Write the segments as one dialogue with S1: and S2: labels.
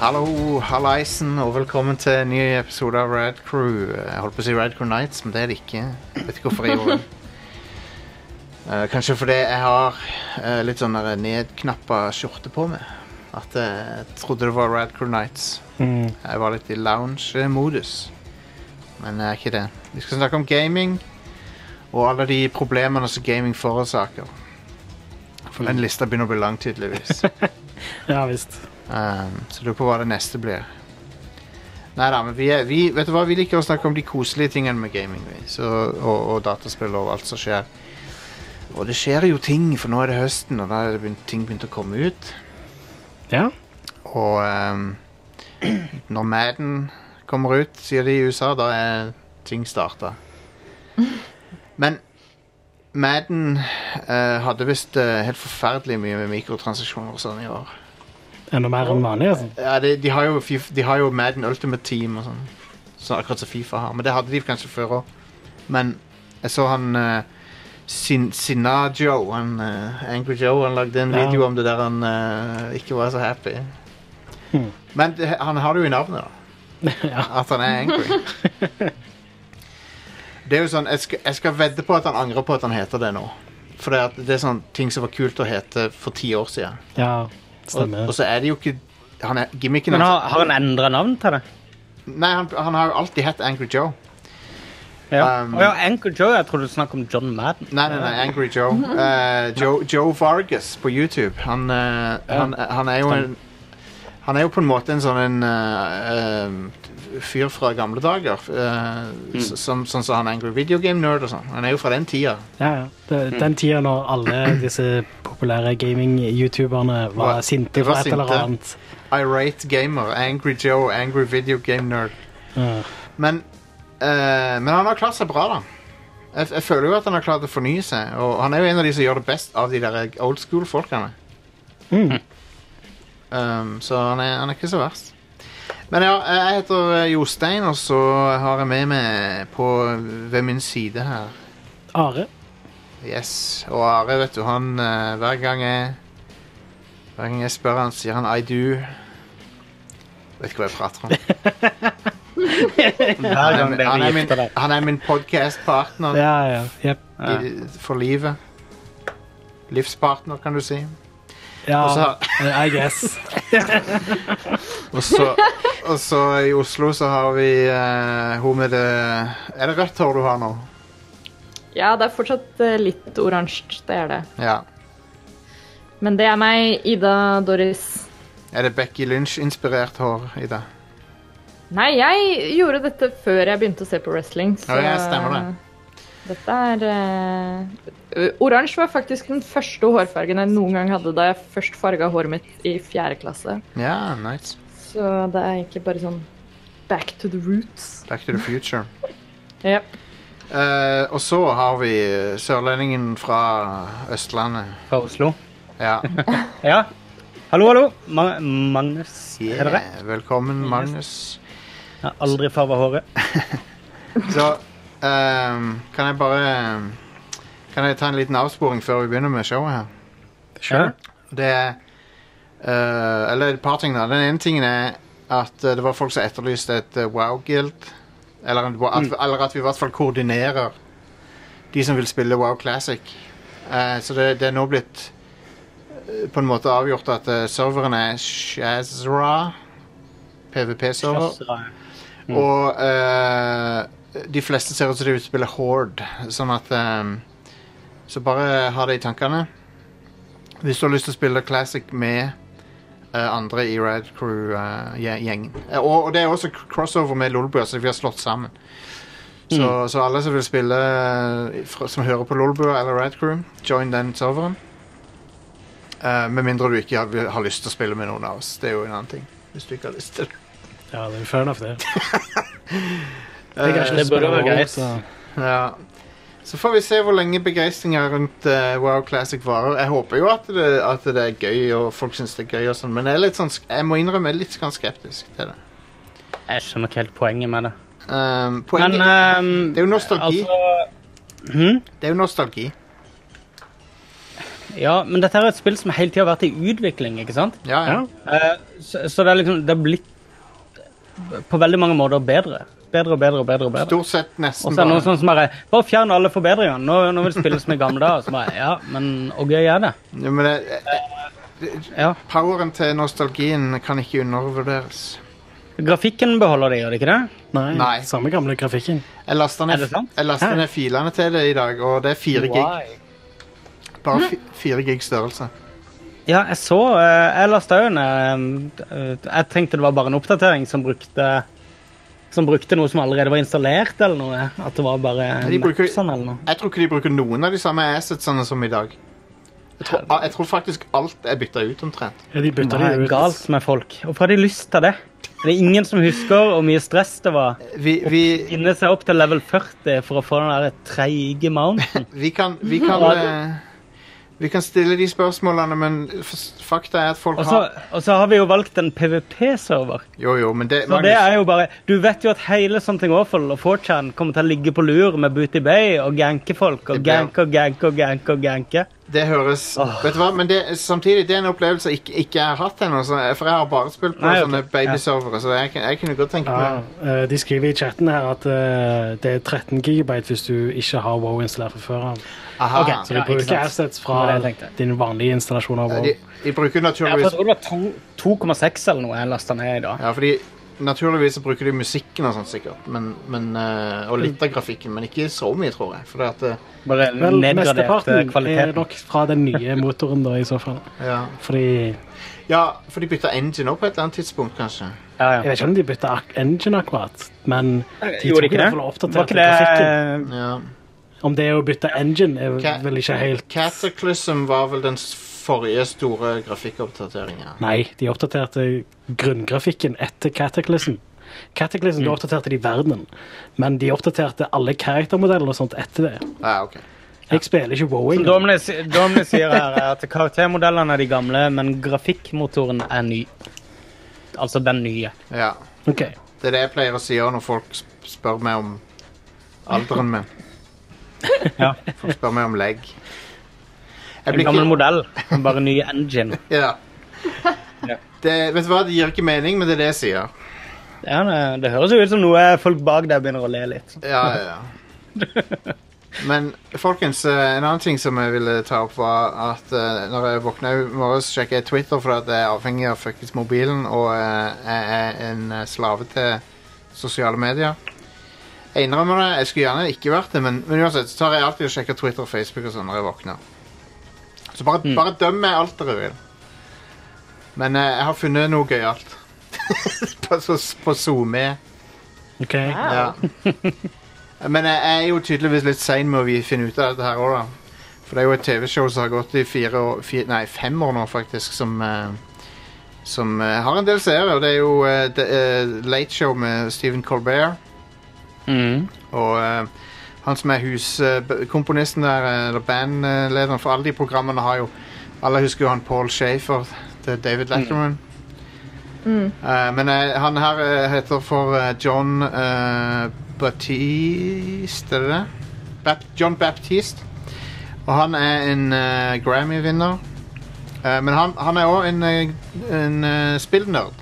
S1: Hallo, hallaisen, og velkommen til en ny episode av Rad Crew. Jeg holdt på å si Rad Crew Nights, men det er det ikke. Jeg vet ikke hvorfor jeg gjorde det. Eh, kanskje fordi jeg har eh, litt sånn der nedknappa skjorte på meg. At eh, jeg trodde det var Rad Crew Nights.
S2: Mm.
S1: Jeg var litt i lounge-modus. Men jeg er ikke det. Vi skal snakke om gaming og alle de problemene som gaming forårsaker.
S2: Mm.
S1: For den lista begynner å bli lang, tydeligvis.
S2: Ja visst.
S1: Um, så lurer på hva det neste blir. Nei da, men vi, er, vi, vet du hva? vi liker å snakke om de koselige tingene med gaming. Vi. Så, og, og dataspill og alt som skjer. Og det skjer jo ting, for nå er det høsten, og da er det begynt, ting begynt å komme ut.
S2: Ja.
S1: Og um, når Madden kommer ut, sier de i USA, da er ting starta. Men Madden eh, hadde visst eh, helt forferdelig mye med mikrotransaksjoner og sånn i år.
S2: Enda mer enn vanlig, altså.
S1: Ja, de, de, har jo Fif- de har jo Madden Ultimate Team og sånn. Så akkurat som Fifa har. Men det hadde de kanskje før òg. Men jeg så han eh, Sin Sinna Joe, han eh, Angry Joe, han lagde en
S2: Ja.
S1: video om det der han eh, ikke var så happy.
S2: Hmm.
S1: Men det, han har det jo i navnet, da.
S2: Ja.
S1: At han er angry. Det er jo sånn, jeg skal, jeg skal vedde på at han angrer på at han heter det nå. For det er, at det er sånn ting som var kult å hete for ti år siden.
S2: ja
S1: Og,
S2: stemmer.
S1: og så er det jo ikke han er, Gimmicken
S3: Men
S1: hans-
S3: har, har han endra navn til det?
S1: Nei, han, han har jo alltid hett Angry Joe.
S3: Ja.
S1: Um,
S3: Å ja, Uncle Joe. Jeg trodde du snakket om John Madden.
S1: Nei, nei, nei, Angry Joe. Eh, Joe, Joe Vargas på YouTube. Han, eh, han, han er jo en Han er jo på en måte en sånn en eh, eh, fyr fra gamle dager. eh, s- som, sånn som han er Angry Video Game Nerd og sånn. Han er jo fra den tida.
S2: Ja, ja. Det- Den tida når alle disse populære gaming-youtuberne
S1: Var-
S2: var sinte
S1: de var
S2: for et eller
S1: sinte.
S2: annet.
S1: Irate Gamer. Angry Joe. Angry Video Game Nerd.
S2: Ja.
S1: Men, eh, men han har klart seg bra, da. Jeg, jeg føler jo at han har klart å fornye seg. Og han er jo en av de som gjør det best av de der old school-folkene. Um, så han er, han er ikke så verst. Men ja, jeg heter eh, Jostein, og så har jeg med meg på ved min side her
S2: Are.
S1: Yes. Og Are, vet du, han eh, Hver gang jeg Hver gang jeg spør han, sier han I do. Vet ikke hva jeg prater om.
S3: Hver
S1: Han
S3: gang
S1: er,
S3: dere
S1: han er min,
S3: gifter dere.
S1: han er min podcast-partner
S2: Ja, ja. Jep.
S1: i- for livet. Livspartner, kan du si.
S2: Ja,
S1: Og så-
S2: I guess.
S1: Og så, og så i Oslo så har vi eh, hun med det Er det rødt hår du har nå?
S4: Ja, det er fortsatt eh, litt oransje, det er det.
S1: Ja.
S4: Men det er meg, Ida Doris.
S1: Er det Becky Lynch-inspirert hår i det?
S4: Nei, jeg gjorde dette før jeg begynte å se på wrestling. Så
S1: Ja, ja, stemmer det.
S4: Dette er eh, Oransje var faktisk den første hårfargen jeg noen gang hadde da jeg først farga håret mitt i fjerde klasse.
S1: Ja, nice.
S4: Så det er egentlig bare sånn back to the roots.
S1: Back to the future.
S4: Yep.
S1: Eh, og så har vi eh, sørlendingen fra Østlandet.
S3: Fra Oslo.
S1: Ja.
S3: Ja. Hallo, hallo. Ma Magnus. Er det rett?
S1: Yeah. Velkommen, Magnus.
S3: Jeg har aldri farga håret.
S1: Så ehm, kan jeg bare ehm, Kan jeg ta en liten avsporing før vi begynner med showet her?
S3: Sure.
S1: Det er eh, Eller et par ting, da. Den ene tingen er at eh, det var folk som etterlyste et eh, wow-guild. Eller, en- at, eller at vi i hvert fall koordinerer de som vil spille Wow Classic. Eh, så det, det er nå blitt eh, på en måte avgjort at eh, serveren er Shazra. PVP-server.
S2: Mm.
S1: Og eh, de fleste ser ut som de vil spille Horde, sånn at eh, Så bare ha det i tankene. Hvis du har lyst til å spille Classic med eh, andre i eh, Rad Crew-gjengen. og, og det er også k- crossover med Lolbua, så vi har slått sammen. Så,
S2: Mm.
S1: så alle som vil spille eh, fra- som hører på Lolbua eller Rad Crew, join den serveren. Eh, med mindre du ikke har, har lyst til å spille med noen av oss. Det er jo en annen ting. Hvis du ikke har lyst til det.
S2: Ja, det er fair enough, det. Jeg har ikke lyst
S3: det
S2: til å
S3: burde være
S2: spille
S3: greit.
S2: WoW, så-
S1: Ja. Så får vi se hvor lenge begeistringa rundt eh, Wow Classic varer. Jeg håper jo at det, at det er gøy, og folk syns det er gøy, og sånn, men jeg, er litt sånn, sk- jeg må innrømme jeg er litt sånn skeptisk til det.
S3: Jeg skjønner ikke helt poenget med det.
S1: Um,
S3: Men altså-
S1: poenget
S3: ehm,
S1: Det er jo nostalgi.
S3: Altså, hm?
S1: Det er jo nostalgi.
S3: Ja, men dette her er et spill som hele tida har vært i utvikling, ikke sant?
S1: Ja, ja.
S2: Ja.
S3: Eh, så, så det er liksom Det er blitt på veldig mange måter bedre. Bedre og bedre og bedre. og bedre.
S1: Stort sett
S3: Og
S1: nesten
S3: så er det noen
S1: bare.
S3: sånn som bare Bare fjern alle forbedringene. Nå, nå vil det spilles som i gamle dager. Så bare, ja, men og gøy er det.
S1: Ja, men det,
S3: Ja.
S1: poweren til nostalgien kan ikke undervurderes.
S3: Grafikken beholder de, gjør de ikke det?
S2: Nei,
S1: Nei.
S2: samme gamle grafikken.
S1: Jeg lasta
S3: Er
S1: ned,
S3: det sant?
S1: jeg lastet
S2: Hæ?
S1: ned filene til det i dag, og det er fire gig.
S3: Why?
S1: Bare fi- fire gig størrelse.
S3: Ja, jeg så eh, Jeg lasta jo ned eh, Jeg tenkte det var bare en oppdatering som brukte som brukte noe som allerede var installert, eller noe. At det var bare
S1: de bruker-
S3: Maxen eller noe.
S1: Jeg tror ikke de bruker noen av de samme assetsene som i dag. Jeg tror, jeg tror faktisk alt er bytta ut omtrent.
S2: Ja, de bytta
S3: Det
S2: de
S3: er
S2: ut.
S3: galt med folk. Hvorfor har de lyst til det? Det er ingen som husker hvor mye stress det var.
S1: Vi, vi,
S3: Inne seg opp til level 40 for å få den der treige mounten.
S1: vi kan, vi kan, eh, vi kan stille de spørsmålene, men f- fakta er at folk
S3: Og så,
S1: har
S3: Altså, og så har vi jo valgt en PVP-server.
S1: Jo, jo, men det,
S3: Så det
S1: Magnus,
S3: er jo bare Du vet jo at hele Something Awful og 4chan kommer til å ligge på lur med Booty Bay og ganke folk og
S1: Det blir-
S3: ganke og ganke og ganke. og ganke.
S1: det høres
S3: Åh.
S1: Vet du hva, men det, samtidig, det er en opplevelse jeg ikke, ikke har hatt ennå, så- for jeg har bare spilt på
S3: Nei, ok.
S1: sånne babyservere, så jeg, kan- jeg kunne godt tenke
S2: Ja,
S1: meg
S2: eh, de skriver i chatten her at eh, det er 13 gigabyte hvis du ikke har WoW installert fra før av.
S1: Aha.
S3: Ok,
S2: Så de
S3: Ja, ikke
S2: bruker
S3: sant.
S2: assets
S3: Det
S2: fra
S3: var det jeg tenkte.
S2: din vanlige installasjon av WoW.
S1: de, de bruker
S3: Ja, for
S1: naturligvis
S3: jeg tror det var to- 2,6 eller noe jeg lasta ned i dag.
S1: Ja, fordi naturligvis så bruker de musikken og sånt sikkert, men, men, eh, og litt av grafikken, men ikke så mye, tror jeg. Fordi at, eh,
S3: Bare
S2: Vel,
S3: nedgradert eh,
S2: mesteparten er
S3: kvalitet.
S2: nok fra den nye motoren, da, i så fall.
S1: ja.
S2: Fordi
S1: ja, for de bytta engine opp på et eller annet tidspunkt, kanskje.
S3: Ja,
S2: Jeg
S3: ja.
S2: vet ikke om de bytta ak- engine akkurat, men de
S3: Gjorde de
S2: tok i
S3: ikke
S2: hvert fall og
S3: det? eh, Var
S2: oppdaterte
S3: ikke
S2: grafikken.
S3: det
S1: Ja.
S2: Om det er å bytte engine, er
S1: Ka-
S2: vel ikke helt
S1: Cataclysm var vel den s- forrige store grafikkoppdateringen.
S2: Nei, de oppdaterte grunngrafikken etter Cataclysm. Cataclysm,
S3: Mm.
S2: da oppdaterte de verden, men de oppdaterte alle karaktermodeller og sånt etter det.
S1: Ja, ok.
S2: Jeg spiller ikke WoW
S3: Som
S2: engang.
S3: Domne si- Domne sier her, er at karaktermodellene er de gamle, men grafikkmotoren er ny. Altså den nye.
S1: Ja.
S2: Ok.
S1: Det er det jeg pleier å si også når folk sp- spør meg om alderen min.
S3: Ja.
S1: Folk spør meg om legg. Jeg
S3: En
S1: blir
S3: gammel
S1: ikke-
S3: modell, bare ny engine.
S1: Ja.
S3: Ja.
S1: Det, vet du hva, det gir ikke mening, men det er det jeg sier.
S3: Ja, det, det høres jo ut som noe folk bak der begynner å le litt.
S1: Ja, ja, ja. Men folkens, eh, en annen ting som jeg ville ta opp, var at eh, når jeg våkna i morges, sjekka jeg Twitter fordi at jeg er avhengig av fuckings mobilen, og eh, jeg er en eh, slave til sosiale medier. Jeg innrømmer det, jeg skulle gjerne ikke vært det, men, men uansett så tar jeg alltid og sjekker Twitter og Facebook og sånn når jeg våkner. Så bare, bare døm meg alt dere vil. Men eh, jeg har funnet noe gøyalt. på, på SoMe.
S2: ok.
S1: Ja. Men jeg er jo tydeligvis litt sein med å vi- finne ut av dette her òg, da. For det er jo et TV-show som har gått i fire år, fi- nei, fem år nå, faktisk, som eh, Som eh, har en del seere. Og det er jo eh, det, eh, Late Show med Stephen Colbert. Og eh, han som er huskomponisten der, eh, eller bandlederen for alle de programmene, har jo Alle husker jo han Paul Shafer til David Letterman. Eh, men eh, han her eh, heter for eh, John eh, Baptiste, er det det? Bap John Baptiste. Og han er en eh, Grammy-vinner. Eh, men han, han er òg en, eh, en eh, spillnerd.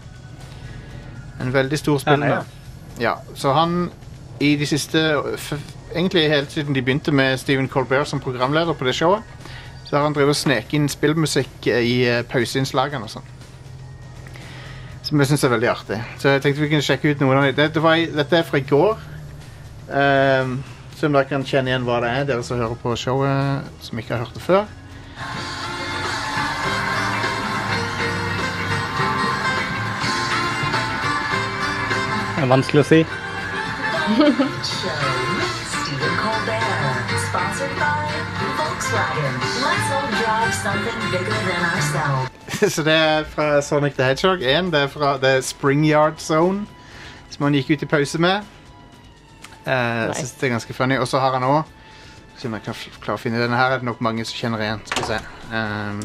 S1: En veldig stor
S3: Han er
S1: spillnerd. Ja, så han i de siste f Egentlig helt siden de begynte med Stephen Colbert som programleder på det showet, så har han drevet og sneket inn spillmusikk eh, i eh, pauseinnslagene og sånn. Som jeg syns er veldig artig. Så jeg tenkte vi kunne sjekke ut noen av dem. Dette, var, i- dette er fra i går. Ehm, så om dere kan kjenne igjen hva det er, dere som hører på showet som ikke har hørt det før.
S3: Det er vanskelig å si.
S5: Show with Stephen Colbert, sponsored by Volkswagen. Let's all drive something bigger than ourselves.
S1: så det er fra Sonic the Hedgehog 1. Det er fra det er Springyard Zone, som han gikk ut i pause med. Eh, Jeg synes det er ganske funny. Og så har han òg Se om jeg kan f- klare å finne denne her. Er det nok mange som kjenner igjen? Skal vi se. Ehm.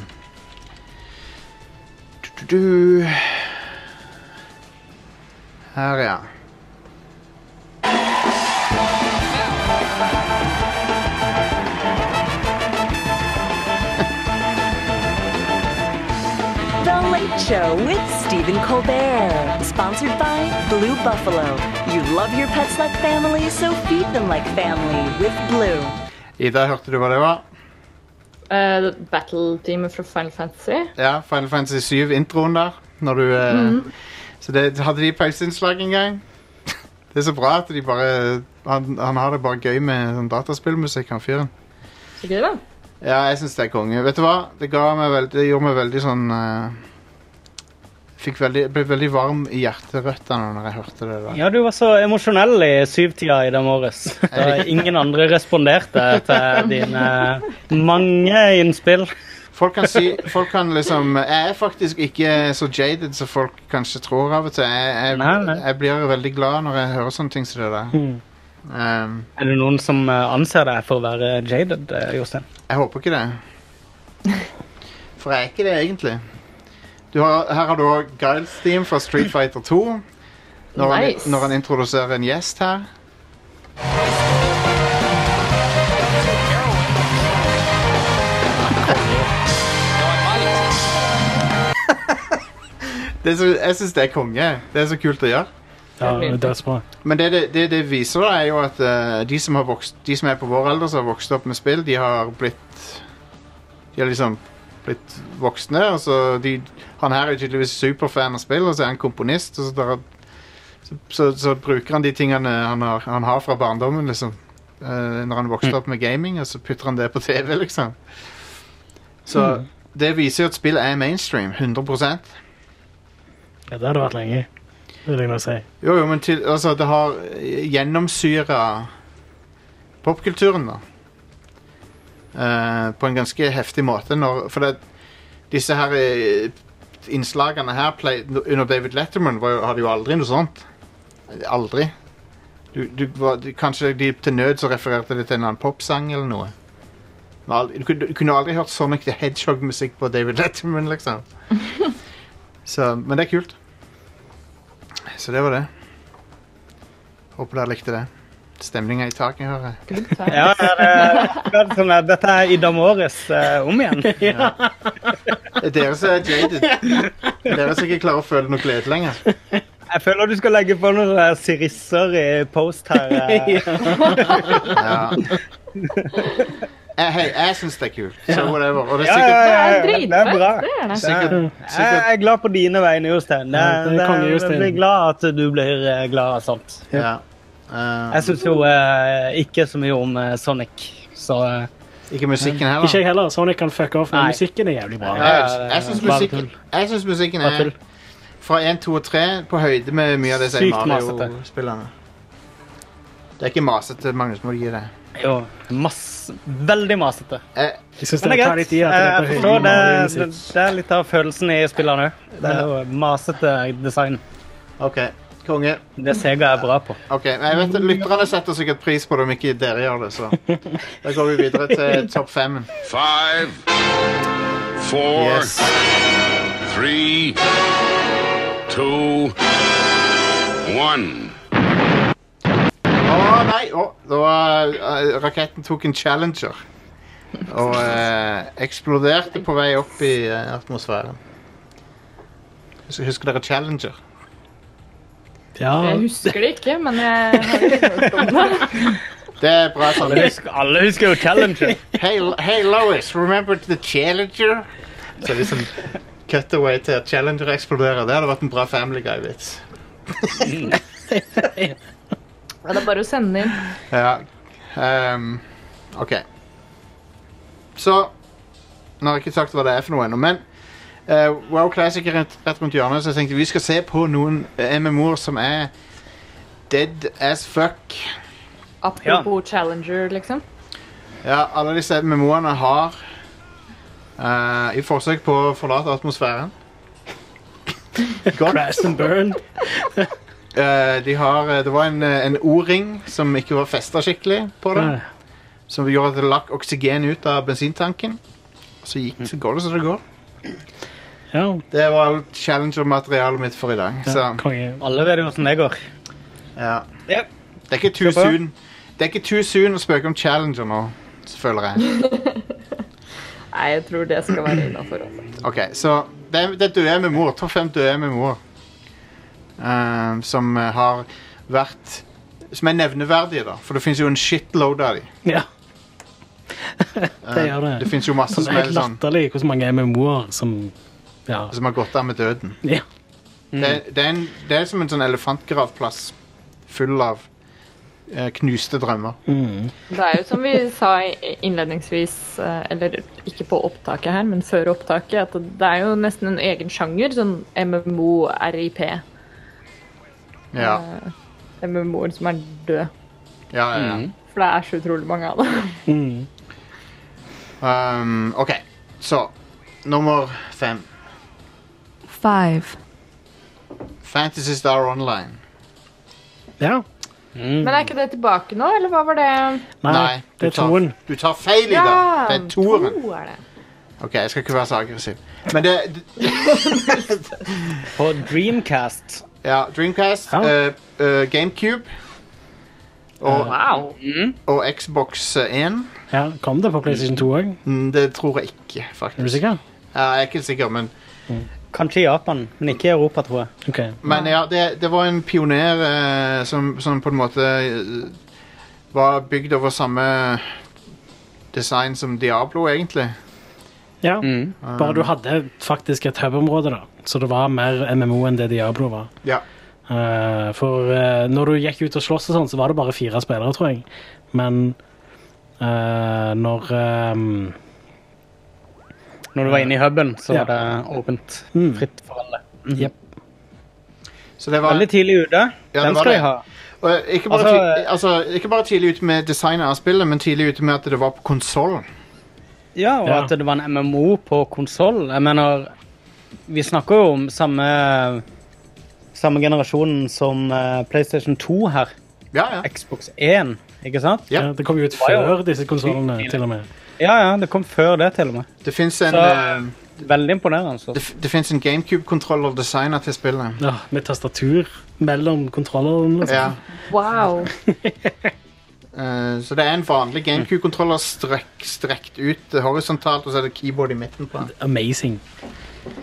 S1: du, du, du. Her, ja.
S5: Night Show with Stephen Colbert. Sponsored by Blue Buffalo. You love your pets like family, so feed them like family with Blue.
S1: Ida, hørte du hva det var?
S4: Eh, Battle-teamet fra Final Fantasy.
S1: Ja, Final Fantasy 7-introen der. Når du, eh, Så det, hadde de pauseinnslag en gang. Det er så bra at de bare han, han har det bare gøy med sånn dataspillmusikk, han fyren.
S4: Så gøy, da.
S1: Ja, jeg syns det er konge. Vet du hva? Det, ga meg veld, det gjorde meg veldig sånn eh, Fikk veldig, ble veldig varm i hjerterøttene når jeg hørte det. der.
S3: Ja, du var så emosjonell i syvtida i dag morges. Da ingen andre responderte til dine mange innspill.
S1: Folk kan si folk kan liksom, Jeg er faktisk ikke så jaded som folk kanskje tror av og til. Jeg, jeg,
S3: Nei, nei. Hmm.
S1: jeg blir veldig glad når jeg hører sånne ting som det der. Um,
S3: Er det noen som eh, anser deg for å være jaded, eh, Jostein?
S1: Jeg håper ikke det. For jeg er ikke det, egentlig. Du har, her har du òg Giles Team fra Street Fighter 2. Når,
S4: Nice.
S1: han, når han introduserer en gjest her. Det er så, jeg syns det er konge. Det er så kult å gjøre.
S2: Ja, det er dødsbra.
S1: Men det det, det, det viser, da, er jo at eh, de, som har vokst, de som er på vår alder, som har vokst opp med spill, de har blitt De har liksom blitt voksne. Og så de, han her er tydeligvis superfan av spill, og så er han komponist. Og så, der, så, så, så bruker han de tingene han har, han har fra barndommen, liksom. eh, når han vokste opp med gaming, og så putter han det på TV, liksom. Så det viser jo at spill er mainstream. 100
S2: Ja, det hadde vært lenge, vil jeg nå si.
S1: Jo, jo, men til, altså, det har gjennomsyra popkulturen, da. Eh, på en ganske heftig måte. Når, for det, disse her eh, innslagene her play, under David Letterman var, jo- hadde jo aldri noe sånt. Aldri. Du, du, var, du, kanskje de til nød så refererte de til en annen popsang eller noe. Men aldri- Du kunne, du kunne aldri hørt Sonic the Hedgehog-musikk på David Letterman, liksom. Så, men det er kult. Så det var det. Håper dere likte det. Stemninga i taket, hører jeg.
S4: Good time.
S3: Ja, det er, det er sånn at dette er Ida Morris eh, om igjen.
S1: Det er dere som er jaded. Det er dere som ikke klarer å føle noe glede lenger.
S3: Jeg føler du skal legge på noen sånne sirisser i post her. eh.
S1: Ja. Eh, Hei, jeg syns det er kult. Så whatever. Og det er
S3: Ja, ja,
S1: sikkert,
S4: Det er
S3: ja, ja, det er
S4: dritfett.
S3: bra.
S4: Det er det.
S1: sikkert,
S3: Jeg
S1: sikkert
S3: er glad på dine vegne, Jostein. Det,
S2: Ja, det er
S3: det-
S2: konge, Jostein.
S3: Jeg blir glad at du blir eh, glad av sånt.
S1: ja.
S3: Jeg
S1: Eh,
S3: syns jo eh, ikke så mye om eh, Sonic, så eh,
S1: Ikke musikken heller.
S2: Ikke jeg heller. Sonic kan fucke off, men
S3: Nei.
S2: musikken er jævlig bra.
S1: Ja, jeg- Jeg syns
S3: Bare
S1: musikken, jeg synes musikken
S3: Bare
S1: er
S3: tull.
S1: fra 1, 2 og 3 på høyde med mye av det som er i
S3: Sykt masete.
S1: Mario-spillerne. Det er ikke masete, Magnus. Må du gi det.
S3: jo masse, veldig masete.
S1: Jeg,
S2: Jeg synes
S3: Men
S2: det
S3: det
S2: er
S3: er
S2: greit.
S3: greit. Jeg jeg
S2: på
S3: forstår
S2: høyden
S3: det,
S2: av
S3: det,
S2: musikken.
S3: det er litt av følelsen i spillene òg. Det er jo masete design.
S1: OK. Konge.
S3: Det Sega er bra på.
S1: Ok, men jeg vet at Lytterne setter sikkert pris på det om ikke dere gjør det, så da går vi videre til topp femmen.
S6: Five, four,
S1: Yes.
S6: three, two, one.
S1: Å nei! Å, det var, eh, raketten tok en Challenger og eh, eksploderte på vei opp i eh, atmosfæren. Husker, husker dere Challenger?
S2: Ja,
S1: Ah.
S4: Jeg husker det ikke, men jeg har ikke hørt om det.
S1: Det er bra sånn.
S3: Alle husker, alle husker jo Challenger.
S1: Hey, hey Lois, remember the Challenger? Så liksom cutaway til at Challenger eksploderer. Det hadde vært en bra Family Guy-vits.
S4: Det er bare å sende inn.
S1: Ja. ehm, OK. Så Nå har jeg ikke sagt hva det er for noe ennå, men eh, Wow Classic er rett, rett rundt hjørnet, så jeg tenkte vi skal se på noen eh, MMO-er som er dead as fuck.
S4: Apropos Challenger, liksom.
S1: Ja, alle disse MMO-ene har eh, I forsøk på å forlate atmosfæren Godt.
S2: Crash and burn.
S1: Eh, de har, eh, det var en, eh, en O-ring som ikke var festa skikkelig på det.
S2: Nei.
S1: Som gjorde at det lakk oksygen ut av bensintanken. Så, gikk, så går det som det går.
S2: Ja,
S1: Det var alt Challenger-materialet mitt for i dag. Så,
S2: konge.
S3: Alle vet jo hvordan det går.
S1: ja.
S3: Yep.
S1: Det er ikke too
S3: Skal prøve.
S1: soon Det er ikke too soon å spøke om Challenger nå, føler jeg.
S4: Nei, jeg tror det skal være innafor. altså.
S1: Ok, Så det, er- det er døde MMO-er. Topp fem døde MMO-er. Eh, som eh, har vært Som er nevneverdige, da. For det fins jo en shitload av dem.
S2: Ja. det gjør det.
S1: Det fins jo masse
S2: Som
S1: som
S2: er
S1: er
S2: helt
S1: sånn
S2: latterlig hvor mange MMO-er som Ja.
S1: som har gått av med døden.
S2: ja. Mm.
S1: Det, er- det, er en, det er som en sånn elefantgravplass full av eh, knuste drømmer.
S2: Mm.
S4: Det er jo som vi sa i- innledningsvis, eh, eller ikke på opptaket her, men før opptaket, at det er jo nesten en egen sjanger, sånn MMO-RIP.
S1: Ja,
S4: MMO-er som er død.
S1: ja, ja, ja.
S4: For det er så utrolig mange av dem.
S2: Mm.
S1: Um, OK, så nummer fem.
S7: Five.
S1: Fantasy Star Online.
S2: ja.
S1: Mm.
S4: Men er ikke det tilbake nå, eller hva var det?
S2: Nei, det er toen.
S1: Du tar feil i det. Det er toeren.
S4: to er det.
S1: OK, jeg skal ikke være så aggressiv. Men det,
S3: På Dreamcast.
S1: Ja, Dreamcast,
S2: Ja.
S1: eh, eh, GameCube og,
S4: Wow.
S1: og Xbox 1.
S2: Ja, Kom det på PlayStation 2 òg?
S1: Mm, Det tror jeg ikke,
S2: Er du
S1: faktisk.
S2: sikker?
S1: Ja, jeg er ikke sikker, men,
S3: Kanskje i Japan, men ikke i Europa, tror jeg.
S2: OK.
S1: men ja, det, det var en pioner eh, som, som på en måte eh, var bygd over samme design som Diablo, egentlig.
S2: Ja. Bare du hadde faktisk et hub-område, da. Så det var mer MMO enn det Diablo var.
S1: Ja.
S2: Eh, for eh, når du gikk ut og sloss og sånn, så var det bare fire spillere, tror jeg. Men eh, når ehm,
S3: Når du var inne i huben, så
S2: Ja.
S3: var det åpent.
S2: Mm.
S3: Fritt for alle.
S2: Jepp.
S1: Så det var,
S3: Veldig tidlig ute.
S1: det
S3: Den
S1: var
S3: skal
S1: det.
S3: jeg ha.
S1: og ikke, bare
S3: Altså,
S1: ti, altså, ikke bare tidlig ute med designet av spillet, men tidlig ute med at det var på konsollen.
S3: Ja, og
S2: Ja.
S3: at det var en MMO på konsoll. Jeg mener, vi snakker jo om samme samme generasjon som eh, PlayStation 2 her.
S1: Ja, ja.
S3: Xbox 1, ikke sant?
S1: Ja.
S2: ja. Det kom jo ut
S3: var jo-
S2: før disse konsollene, til og med.
S3: Ja, ja, det kom før det, til og med.
S1: Det fins en,
S3: Så-
S1: eh,
S3: Veldig imponerende. altså. Så.
S1: det f- det finnes en GameCube-kontroller designa til spillet.
S2: Ja, med tastatur mellom kontrollene. Liksom.
S1: Ja.
S4: Wow.
S1: Eh, så det er en vanlig GameCube-kontroller strekk, strekt ut eh, horisontalt, og så er det keyboard i midten på den.
S2: Amazing.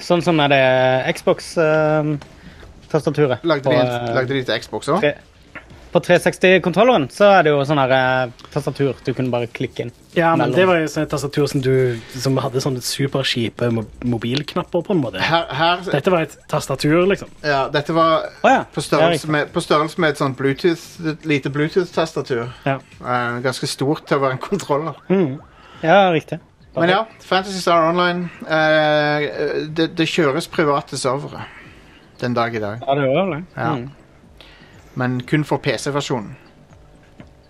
S3: Sånn som er det Xbox-tastaturet.
S1: Lagde
S3: på,
S1: de,
S3: eh,
S1: en, lagde de til Xbox òg?
S3: tre- på 360-kontrolleren så er det jo sånn her eh, tastatur du kunne bare klikke inn.
S2: Ja, men
S3: Mellom.
S2: det var jo sånn et tastatur som, du, som hadde sånne superskipe mo- mobilknapper, på en måte.
S1: Her, her
S2: Dette var et tastatur, liksom.
S1: ja, Dette var
S3: Å ja.
S1: på
S3: det er
S1: størrelse
S3: riktig.
S1: med, på størrelse med et sånt Bluetooth, et lite Bluetooth-tastatur.
S2: Ja.
S1: Eh, ganske stort til å være en kontroller.
S3: Mm. Ja, riktig.
S1: Men ja, Fantasy Star Online eh, eh, det, det kjøres private servere den dag i dag.
S3: Ja, det var det.
S1: Ja.
S3: Mm.
S1: Men kun for PC-versjonen.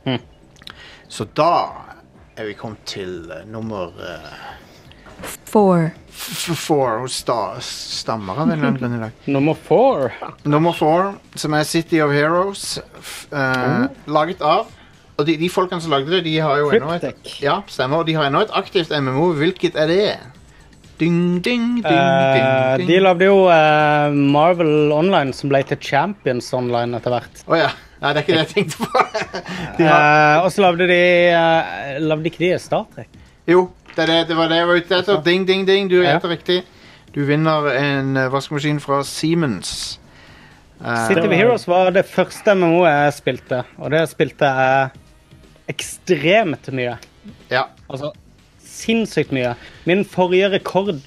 S3: Mhm.
S1: Så da er vi kommet til eh, nummer eh,
S7: Four.
S1: f- four hun sta, stammer av en eller annen grunn i dag.
S3: Nummer four.
S1: Nummer four, som er City of Heroes, f,
S3: Oh.
S1: eh, laget av Og de, de folkene som lagde det, de har jo ennå et
S3: Cryptek.
S1: Ja, stemmer. Og de har ennå et aktivt MMO. Hvilket er det? Ding, ding, ding,
S3: Eh,
S1: ding.
S3: de
S1: ding.
S3: lagde jo eh, Marvel Online, som ble til Champions Online etter hvert.
S1: Å ja. Nei, det er ikke det jeg tenkte på. De har,
S3: Eh, og så lagde de eh, Lagde ikke de Star Trek?
S1: jo, det, er det, det var det jeg var ute etter. Ding, ding, ding. Du
S3: Ja.
S1: gjetter riktig. Du vinner en eh, vaskemaskin fra Siemens. Eh,
S3: City
S2: Det
S3: of
S2: var-
S3: Heroes var det første MMO jeg spilte, og det spilte jeg ekstremt mye.
S1: ja.
S3: Altså sinnssykt mye. Min forrige rekord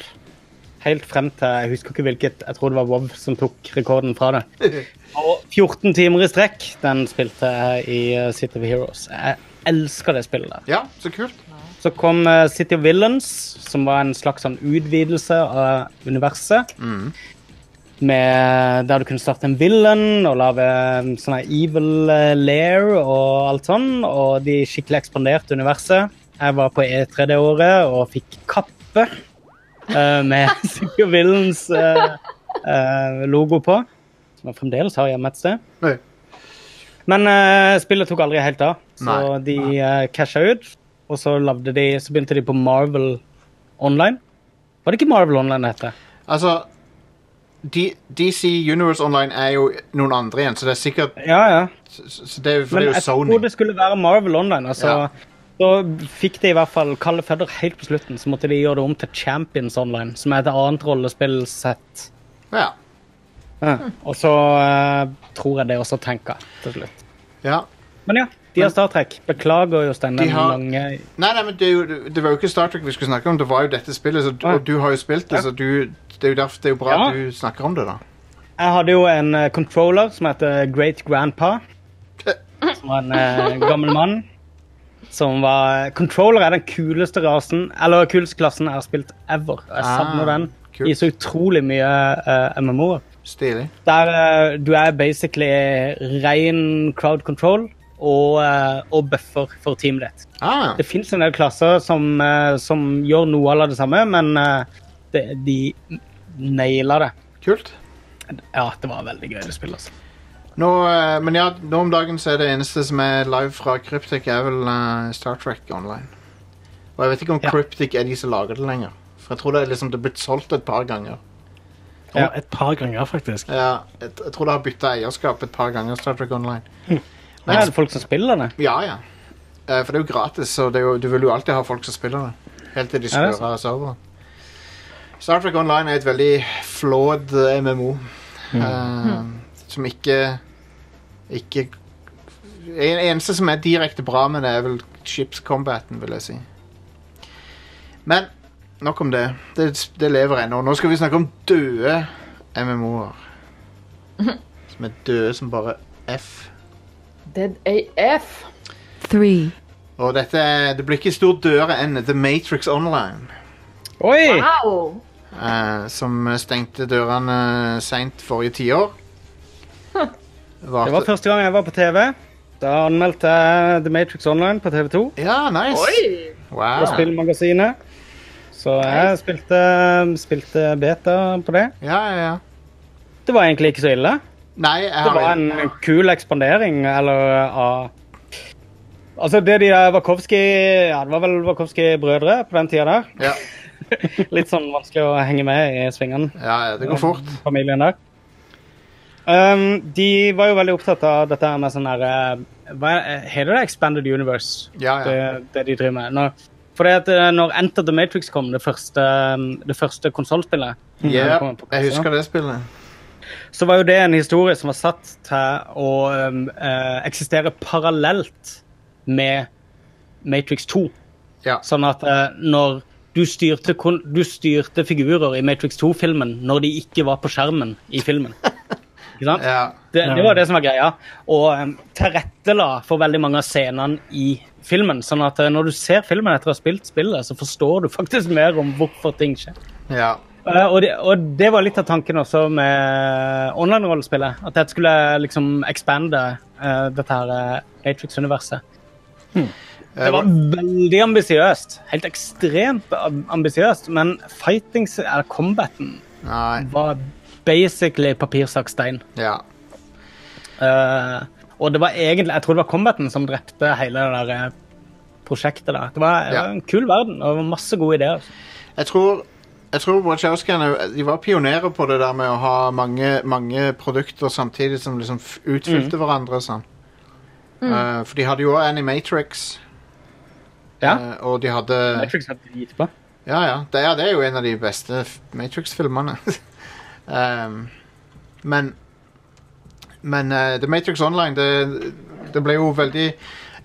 S3: helt frem til Jeg husker ikke hvilket, jeg tror det var WoW som tok rekorden fra det. Og 14 timer i strekk den spilte jeg i eh, City of Heroes. Jeg elsker det spillet der.
S1: ja, så kult.
S3: Så kom eh, City of Villains, som var en slags sånn utvidelse av universet. Med, der du kunne starte en villain og lage en sånn her evil eh, lair og alt sånn. Og de skikkelig ekspanderte universet. Jeg var på E3 det året og fikk kappe eh, med City of Villains eh, eh, logo på. Som jeg fremdeles har hjemme et sted.
S1: Nei.
S3: Men eh, spillet tok aldri helt av, så
S1: Nei.
S3: de uh, casha ut. Og så, lagde de, så begynte de på Marvel Online. Var det ikke Marvel Online det heter?
S1: Altså D- DC Universe Online er jo noen andre igjen, så det er sikkert
S3: Ja, ja.
S1: så så det, er- for
S3: Men
S1: det er jo
S3: jeg tror
S1: Sony.
S3: det skulle være Marvel Online. Altså,
S1: Ja.
S3: Så fikk de i hvert fall kalde føtter helt på slutten, så måtte de gjøre det om til Champions Online, som er et annet rollespillsett.
S1: Ja.
S3: Ja. Og så eh, tror jeg det også tenker til slutt.
S1: ja.
S3: Men ja, de har Star Trek. Beklager, Jostein,
S1: De
S3: den
S1: har-
S3: lange
S1: Nei, nei, men det, er jo, det var jo ikke Star Trek vi skulle snakke om, det var jo dette spillet, så, du-
S3: Ja.
S1: og du har jo spilt det,
S3: Ja.
S1: så du, det er jo derfor det er jo bra
S3: Ja.
S1: at du snakker om det, da.
S3: Jeg hadde jo en eh, controller som heter Great Grandpa. Som var en eh, gammel mann. Som var Controller er den kuleste rasen, eller kuleste klassen jeg har spilt ever. Jeg savner
S1: Ah,
S3: den
S1: kult.
S3: i så utrolig mye eh, MMO-er.
S1: Stilig.
S3: Der eh, du er basically ren crowd control og, eh, og buffer for teamet ditt.
S1: Ah,
S3: Det fins en del klasser som, eh, som gjør noe av det samme, men eh, det, de nailer det.
S1: kult.
S3: Ja, det var veldig gøy å spille. altså.
S1: Nå, eh, men ja, nå om dagen så er det eneste som er live fra Cryptic, er vel eh, Star Trek Online. Og jeg vet ikke om
S3: Ja.
S1: Cryptic er de som lager det lenger. For jeg tror det er liksom det er blitt solgt et par ganger.
S3: Ja.
S2: Og et par ganger, faktisk.
S1: Ja, jeg, jeg tror det har bytta eierskap et par ganger, Star Trek Online.
S3: Men er det folk som spiller det?
S1: Ja, ja. Eh, For det er jo gratis, så det er jo, du vil jo alltid ha folk som spiller det. Helt til de
S3: Ja, det er
S1: skrur av serveren. Star Trek Online er et veldig flawed eh, MMO.
S3: Mm.
S1: eh, Som ikke Ikke en, Eneste som er direkte bra med det, er vel skipscombaten, vil jeg si. Men nok om det. Det, det lever ennå. Nå skal vi snakke om døde MMO-er. Som er døde som bare F.
S4: Dead AF.
S7: three,
S1: Og dette er, det blir ikke stort dødere enn The Matrix Online,
S3: Oi!
S4: Wow!
S1: eh, som stengte dørene seint forrige tiår.
S3: Det var første gang jeg var på TV. Da anmeldte jeg The Matrix Online på TV2
S1: Ja, nice.
S4: Oi!
S3: og
S1: Wow.
S3: Spillmagasinet. Så jeg spilte, spilte beta på det.
S1: Ja, ja, ja.
S3: Det var egentlig ikke så ille.
S1: Nei, jeg
S3: Det
S1: har
S3: var en kul ekspandering, eller av Altså, det de der Wachowski Ja, det var vel Wachowski-brødre på den tida der.
S1: ja.
S3: Litt sånn vanskelig å henge med i svingene.
S1: ja, ja, det går fort.
S3: familien der. Um, de var jo veldig opptatt av dette her med sånn derre Hva er- heter det? Expanded Universe?
S1: Ja, Ah, ja.
S3: Det, det de driver med. Når, fordi at eh, når Enter the Matrix kom, det første, um, det første konsollspillet,
S1: Yep, jeg husker det spillet.
S3: så var jo det en historie som var satt til å um, eh, eksistere parallelt med Matrix 2.
S1: Ja.
S3: Sånn at eh, når du styrte, kon du styrte figurer i Matrix 2-filmen når de ikke var på skjermen i filmen. Ikke sant?
S1: ja.
S3: Det, det var det som var greia. Og um, tilrettela for veldig mange av scenene i filmen. Sånn at eh, når du ser filmen etter å ha spilt spillet, så forstår du faktisk mer om hvorfor ting skjer.
S1: ja.
S3: Eh, og, det, og det var litt av tanken også med online-rollespillet. At dette skulle liksom expande eh, dette her eh, Matrix-universet. Det var veldig ambisiøst. Helt ekstremt am- ambisiøst. Men fightings, eller combaten,
S1: Nei.
S3: var basically papirsakstein.
S1: Ja.
S3: Eh, og det var egentlig, jeg tror det var combaten som drepte hele det der eh, prosjektet der. Det var, det
S1: Ja.
S3: var en kul verden, og det var masse gode ideer. altså.
S1: Jeg tror jeg tror Wachowskiene de var pionerer på det der med å ha mange, mange produkter samtidig som liksom f- utfylte hverandre. og Sånn. Eh, for de hadde jo også Animatrix,
S3: Ja.
S1: eh, og de hadde
S3: Matrix er dritbra.
S1: Ja, ja. Det, ja, det er jo en av de beste f- Matrix-filmene. Ehm, men men eh, The Matrix Online, det, det ble jo veldig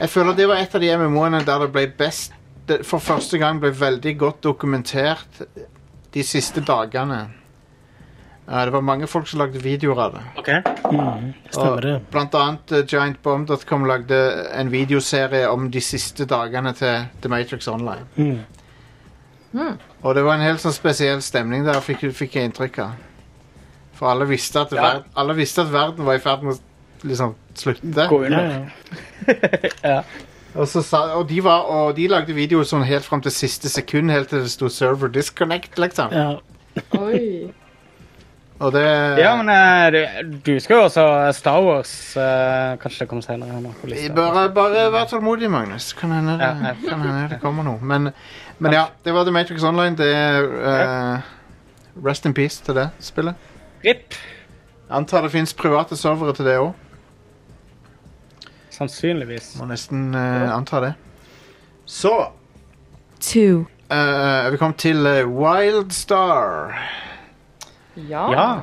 S1: Jeg føler det var et av de MMO-ene der det ble best det, For første gang ble veldig godt dokumentert de siste dagene. Eh, det var mange folk som lagde videoer av det.
S3: Okay.
S2: Stemmer det.
S1: Blant annet eh, GiantBomb.com lagde en videoserie om de siste dagene til The Matrix Online.
S2: Mm.
S1: Og det var en helt sånn spesiell stemning der, fikk, fikk jeg inntrykk av. For alle visste at,
S3: Ja.
S1: ver alle visste at verden var i ferd med å liksom slutte.
S3: Gå
S2: Ja,
S3: under.
S2: ja.
S1: Og, så sa, og, de var, og de lagde videoer sånn helt fram til siste sekund, helt til det sto 'server disconnect', liksom.
S2: ja.
S4: Oi.
S1: Og det
S3: Ja, men eh, du, du skal jo også Star Wars eh, Kanskje det kommer senere her nå på
S1: Vi
S3: lista.
S1: Bare, bare vær tålmodig, Magnus. Kan hende det,
S3: Ja, ja.
S1: kan hende det kommer noe. Men, men ja, det var The Matrix Online. Det er eh, Rest in peace til det spillet.
S3: RIP.
S1: Antar det fins private servere til det òg.
S3: Sannsynligvis.
S1: Må nesten eh, anta det. Så
S7: two,
S1: eh, er vi kommet til eh, Wildstar,
S4: Ja.
S3: Ja.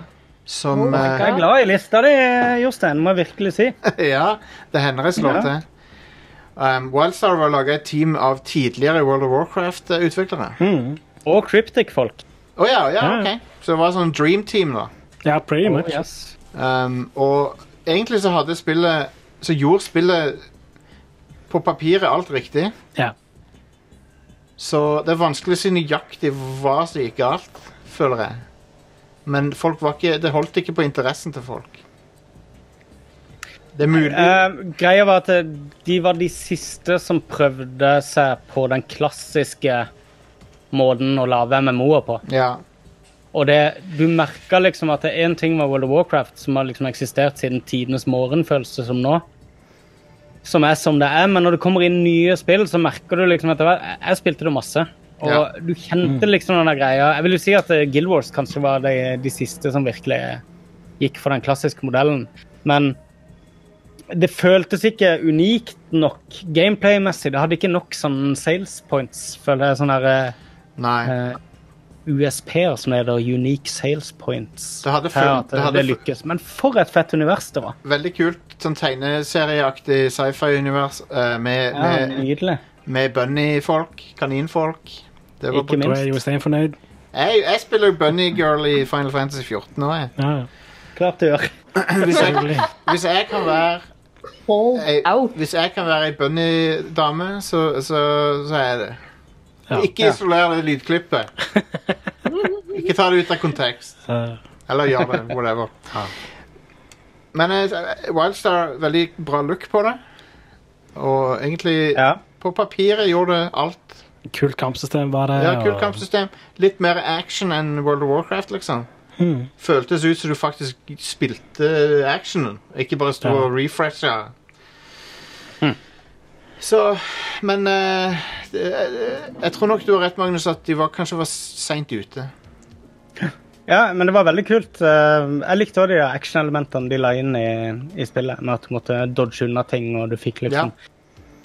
S1: som eh,
S3: Jeg er glad i lista di, eh, Jostein, må jeg virkelig si.
S1: Ja, det hender jeg slår
S3: Ja.
S1: til. Um, Wildstar var laga et team av tidligere World of Warcraft-utviklere.
S3: Mm.
S1: Å
S2: Mm.
S3: Og Cryptic-folk.
S1: ja, ja,
S2: Ja.
S1: ok. Så det var sånn dream team, da.
S2: Ja, pretty much.
S3: Oh, Yes.
S1: Um, og egentlig så hadde spillet Så gjorde spillet på papiret alt riktig.
S2: Ja.
S1: Så det er vanskelig å si nøyaktig hva som gikk galt, føler jeg. Men folk var ikke, det holdt ikke på interessen til folk. Det er mulig
S3: Eh, greia var at eh, de var de siste som prøvde seg på den klassiske måten å lage MMO-er på.
S1: Ja.
S3: Og det, du merka liksom at det er én ting med World of Warcraft som har liksom eksistert siden tidenes morgen, føles det som nå. Som er som det er, men når det kommer inn nye spill, så merker du liksom at det var, Jeg spilte det masse, og
S1: Ja.
S3: du kjente liksom den der greia Jeg vil jo si at eh, Guild Wars kanskje var de, de siste som virkelig eh, gikk for den klassiske modellen, men det føltes ikke unikt nok gameplay-messig. Det hadde ikke nok sånn sales points, føler jeg. sånn der... eh,
S1: Nei.
S3: eh, USP-er, som heter Unique Sales Points.
S1: Det hadde
S3: Her
S1: fun-
S3: at
S1: det hadde
S3: det
S1: fun-
S3: lykkes. Men for et fett univers det var.
S1: veldig kult sånn tegneserieaktig sci-fi-univers eh, med,
S3: Ja,
S1: med,
S3: nydelig.
S1: med bunny-folk, kaninfolk. Det var
S3: Ikke
S1: på-
S2: Da
S3: minst.
S2: er Jostein fornøyd.
S1: jeg, jeg spiller jo Bunny Girl i Final Fantasy 14 nå, jeg.
S2: Ja, ja.
S3: Klart du gjør.
S1: Hvis jeg,
S2: Selvfølgelig.
S1: hvis jeg kan være
S4: Hold
S1: ei,
S4: out.
S1: Hvis jeg kan være ei bunny-dame, så, så, så er jeg det.
S2: Ja.
S1: Ikke isoler det lydklippet. Ikke ta det ut av kontekst.
S2: Eh,
S1: Eller gjør det, whatever. Men eh, Wildstar, veldig bra look på det. Og egentlig
S3: Ja.
S1: På papiret gjorde det alt
S2: kult kampsystem var det.
S1: Ja, kult
S2: og-
S1: kampsystem. Litt mer action enn World of Warcraft, liksom.
S2: Mhm.
S1: Føltes ut som du faktisk spilte actionen, ikke bare sto
S2: Ja.
S1: og refresha. Så Men eh, det- eh, jeg tror nok du har rett, Magnus, at de var, kanskje var seint ute.
S3: ja, men det var veldig kult. Eh, Jeg likte òg de der action-elementene de la inn i, i spillet, med at du måtte dodge unna ting, og du fikk liksom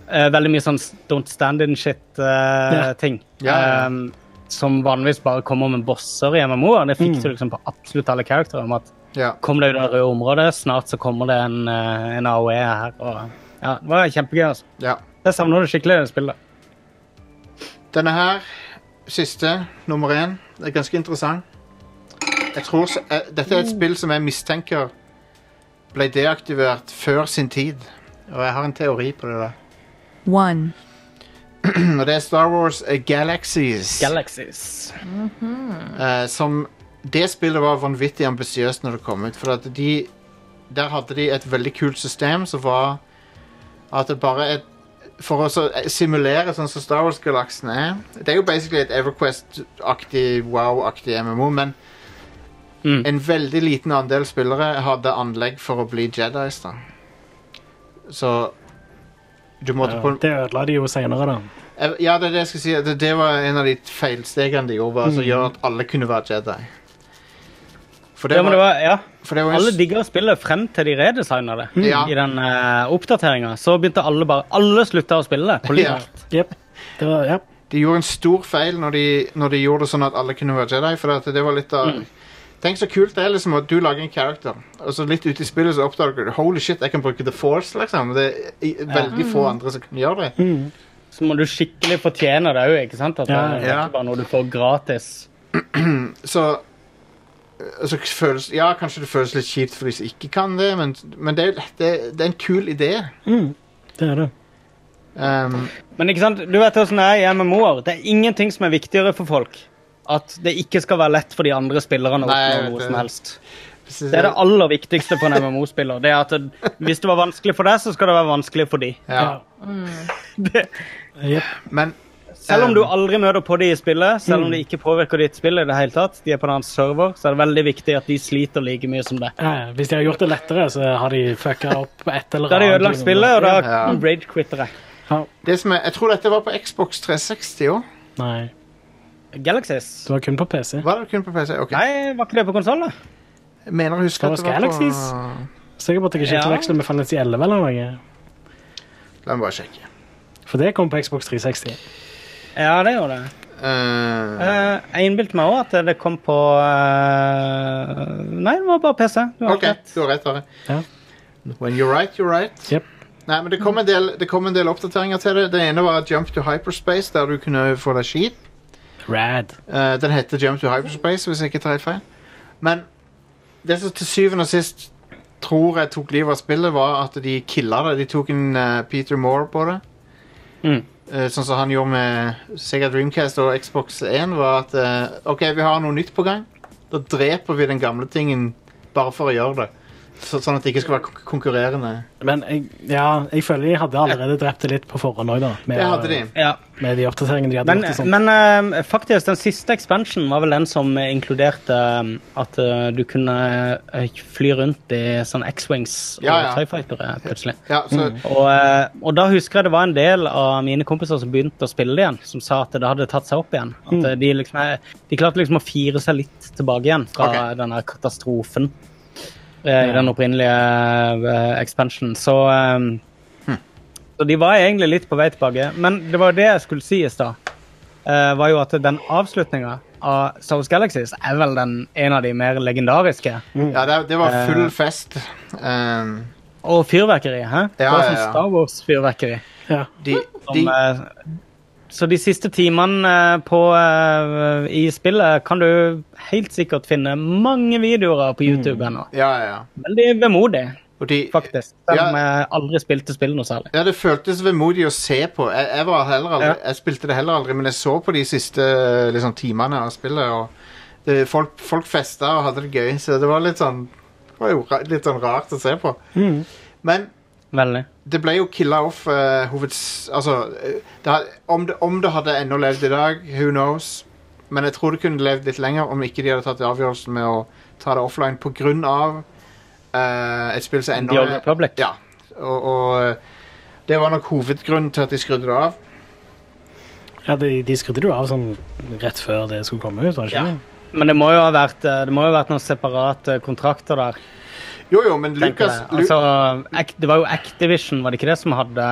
S3: eh, Veldig mye sånn don't stand in
S2: Ja.
S3: shit-ting.
S1: Ja, ja, ja.
S3: Eh, som vanligvis bare kommer med bosser i MMO-er. Det fikk
S2: Mm.
S3: du liksom på absolutt alle karakterer. Med at
S1: Ja.
S3: kom deg ut av det røde området. Snart så kommer det en, eh, en AOE her. Og, ja, det var kjempegøy. altså.
S1: ja.
S3: Jeg savner det skikkelig, det spillet.
S1: Denne her, siste, nummer én, det er ganske interessant. Jeg tror s- eh, Dette er et spill som jeg mistenker ble deaktivert før sin tid. Og jeg har en teori på det. der.
S7: one,
S1: Og det er Star Wars eh, Galaxies.
S3: Galaxies.
S1: eh, som Det spillet var vanvittig ambisiøst når det kom ut. For at de Der hadde de et veldig kult system som var at det bare er For å så simulere sånn som Star Wars-galaksen er Det er jo basically et Everquest-aktig, wow-aktig MMO, men
S3: Mm.
S1: en veldig liten andel spillere hadde anlegg for å bli Jedis, da. Så du måtte
S2: Ja,
S1: på
S2: det ødela de jo senere, da.
S1: Eh, Ja, det er det jeg skal si. Det, det var en av de feilstegene de gjorde,
S3: Mm.
S1: var, som gjør at alle kunne være Jedi. For det
S3: Ja, men det
S1: var,
S3: var, ja.
S1: for det var
S3: Alle
S1: en, s-
S3: digger spillet frem til de redesigna det.
S1: Mm. Ja.
S3: I den uh, oppdateringa. Så begynte alle bare Alle slutta å spille det. På
S1: Ja.
S3: livet.
S2: Jep. Det var, ja.
S1: de gjorde en stor feil når de, når de gjorde det sånn at alle kunne være Jedi. For at det var litt av
S3: Mm.
S1: Tenk så kult det er liksom at du lager en character, og så litt ute i spillet så oppdager du Holy shit, jeg kan bruke The Force, liksom. Det er i- veldig få andre som kan gjøre
S3: Mm.
S1: det.
S3: Så må du skikkelig fortjene det òg, ikke sant? At
S2: Ja,
S3: det, det er
S1: ja.
S3: ikke bare noe du får gratis.
S1: Så og så føles, ja, kanskje det føles litt kjipt for de som ikke kan det, men, men det, er- det, det er en kul idé.
S2: Det er det.
S1: Um,
S3: Men ikke sant, du vet hvordan det er i MMO-er. Det er ingenting som er viktigere for folk. At det ikke skal være lett for de andre spillerne å
S1: Nei, jeg
S3: oppnå
S1: vet
S3: noe
S1: det.
S3: som helst. Det er det aller viktigste på en MMO-spiller. Det er at det, Hvis det var vanskelig for deg, så skal det være vanskelig for de.
S1: ja.
S3: Det,
S2: Jep.
S1: Men
S3: selv om du aldri møter på de i spillet, selv om det ikke påvirker ditt spill, i det hele tatt, de er på en annen server, så er det veldig viktig at de sliter like mye som det.
S2: Ja, ja. Hvis de har gjort det lettere, så har de fucka opp på et eller annet.
S3: Da har de ødelagt spillet, og da
S1: Ja.
S3: rage-quitter jeg.
S2: Ja.
S1: det som er, Jeg tror dette var på Xbox 360 òg.
S2: Nei,
S3: Galaxies?
S2: det var kun på PC.
S1: Var det kun på PC? Ok.
S3: Nei, var ikke det på konsoll, da?
S1: Jeg Mener å huske at
S2: Star Wars
S1: det var
S2: Galaxies?
S1: på
S2: Sikkert på at jeg ikke
S3: Ja.
S2: forveksler med Final Fantasy 11 eller noe.
S1: La meg bare sjekke.
S2: For det kom på Xbox 360.
S3: Ja, det gjorde det.
S1: Eh,
S3: Eh, jeg innbilte meg òg at det kom på eh, Nei, det var bare PC. Du har
S1: OK,
S3: rett.
S1: du har rett. Are.
S2: Ja.
S1: When you're right, you're right.
S2: Jep.
S1: Nei, men det kom, en del, det kom en del oppdateringer til det. Det ene var Jump to Hyperspace, der du kunne få deg skip.
S2: Rad.
S1: Eh, den heter Jump to Hyperspace, hvis jeg ikke tar helt feil. Men det som til syvende og sist tror jeg tok livet av spillet, var at de killa det. De tok en eh, Peter Moore på det.
S3: Mm.
S1: Eh, sånn som han gjorde med Sega Dreamcast og Xbox 1, var at eh, OK, vi har noe nytt på gang. Da dreper vi den gamle tingen bare for å gjøre det. Så, sånn at det ikke skal være konk- konkurrerende.
S2: Men jeg, ja, jeg føler jeg hadde allerede drept det litt på forhånd òg, da. Med,
S1: Det hadde de.
S3: Ja.
S2: med de oppdateringene de hadde
S3: Men,
S2: gjort. og sånt.
S3: men eh, faktisk, den siste expansionen var vel den som inkluderte eh, at eh, du kunne eh, fly rundt i sånn X-Wings og E
S1: Ja, ja.
S3: TIE Fightere plutselig.
S1: Ja, så,
S3: Og, eh, og da husker jeg det var en del av mine kompiser som begynte å spille det igjen, som sa at det hadde tatt seg opp igjen. At eh, de, liksom, er- de klarte liksom å fire seg litt tilbake igjen fra
S1: Ok.
S3: den her katastrofen eh, i den opprinnelige eh, expansionen. Så, eh,
S1: Hm.
S3: så de var egentlig litt på vei tilbake. Men det var jo det jeg skulle si i stad. eh, var jo at den avslutninga av South Galaxies er vel den, en av de mer legendariske.
S1: ja det, det var full
S3: Eh.
S1: fest. Um,
S3: Og fyrverkeri, hæ? det
S1: Ja,
S3: var
S1: ja,
S3: sånn
S1: ja.
S3: Star Wars-fyrverkeri.
S2: ja.
S1: de, de,
S3: Som, eh, så de siste timene eh, på, eh, i spillet kan du helt sikkert finne mange videoer på
S1: Mm.
S3: YouTube ennå.
S1: ja, ja, ja.
S3: Veldig vemodig,
S1: Og de,
S3: faktisk. Selv om
S1: Ja.
S3: jeg aldri spilte spill noe særlig.
S1: Ja, det føltes vemodig å se på. Jeg, jeg, var heller aldri, jeg spilte det heller aldri, men jeg så på de siste eh, liksom, timene av spillet. Og det, folk, folk festa og hadde det gøy, så det var litt sånn det var jo ra- litt sånn rart å se på. Men
S3: Veldig.
S1: det ble jo killa off eh, hoveds... Altså, eh, det, had- om, det, om det hadde ennå levd i dag, who knows? Men jeg tror det kunne levd litt lenger om ikke de hadde tatt avgjørelsen med å ta det offline på grunn av eh, et spill som ennå
S3: The Old Republic.
S1: Ja. Og, og eh, det var nok hovedgrunnen til at de skrudde det av.
S2: ja de, de skrudde det jo av sånn rett før det skulle komme ut, var det ikke
S1: Ja.
S2: det?
S3: Men det må jo ha vært, eh, det må jo ha vært noen separate eh, kontrakter der.
S1: Jo, jo, men
S3: tenker
S1: Lucas,
S3: jeg.
S1: Lu-
S3: Altså, Ac- det var jo Activision, var det ikke det som hadde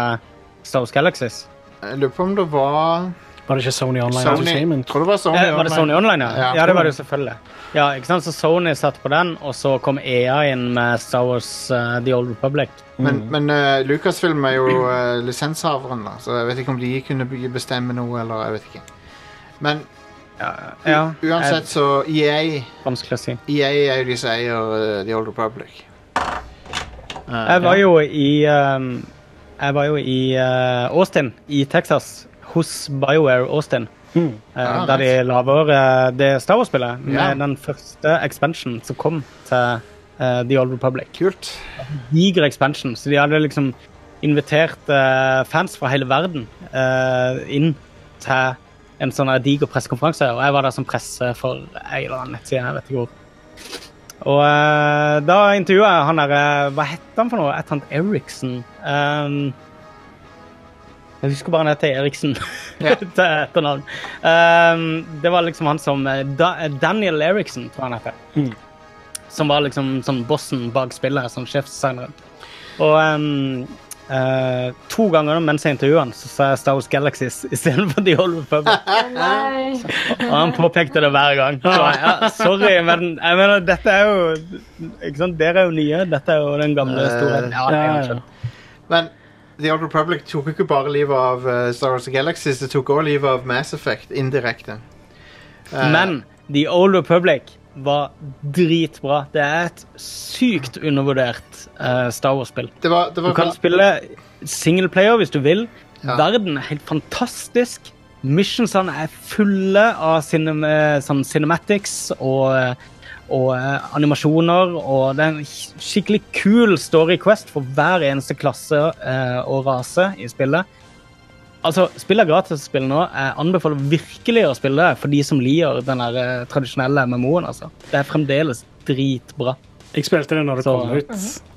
S3: Star Wars Galaxies?
S1: Jeg lurer på om det var
S2: Var det ikke Sony Online
S1: Sony. Jeg
S2: Entertainment?
S1: tror det var Sony.
S3: Eh, var det Sony Online, ja?
S1: Ja.
S3: Ja, det var det jo selvfølgelig. Ja, ikke sant? Så Sony satt på den, og så kom EA inn med Star Wars eh, The Old Republic.
S1: Men, men eh, Lucasfilm er jo eh, lisenshaveren, da, så jeg vet ikke om de kunne be- bestemme noe, eller jeg vet ikke. Men
S3: Ja,
S1: Uansett, så E EA,
S3: eh, Vanskelig å si.
S1: EA er jo de som eier eh, The Old Republic.
S3: Jeg var jo i ehm, Jeg var jo i eh, Austin, i Texas, hos BioWare Austin. eh,
S1: Ah,
S3: der de
S1: nice.
S3: lager eh, det Star Wars-spillet med
S1: Ja.
S3: den første expansion som kom til eh, The Old Republic.
S1: Kult.
S3: diger expansion, så de hadde liksom invitert eh, fans fra hele verden eh, inn til en sånn her diger pressekonferanse, og jeg var der som presse for en eller annen nettside, jeg vet ikke hvor. Og eh, da intervjuet jeg han der, eh, hva hette han for noe? Et han Eriksen. Ehm, jeg husker bare han heter Eriksen
S1: Ja.
S3: til etternavn. Ehm, det var liksom han som eh, da, eh, Daniel Eriksen, tror jeg han heter. Som var liksom sånn bossen bak spillet, sånn sjefsdesigneren. Og ehm, eh, to ganger mens jeg intervjuet han, så sa jeg Star Wars Galaxies istedenfor The Old Republic.
S4: Nei.
S3: Og han påpekte det hver gang. Så, ja, sorry, men jeg mener, dette er jo ikke sant, Dere er jo nye. Dette er jo den gamle historien. Eh, Ja, jeg har skjønt.
S1: Men The Old Republic tok jo ikke bare livet av eh, Star Wars Galaxies, det tok også livet av Mass Effect indirekte. Eh,
S3: Men The Old Republic var dritbra. Det er et sykt undervurdert eh, Star Wars-spill.
S1: det var, det
S3: Du
S1: var
S3: kan spille singleplayer hvis du vil. Verden er helt fantastisk. Missionsene er fulle av cinem eh, sånn cinematics og, og eh, animasjoner. Og det er en sk- skikkelig kul story quest for hver eneste klasse eh, og rase i spillet. Altså, Spill er gratis å spille nå. Jeg anbefaler virkelig å spille det for de som liker den der, eh, tradisjonelle MMO-en. Altså. Det er fremdeles dritbra.
S2: Jeg spilte det når det
S3: Så-
S2: kom ut,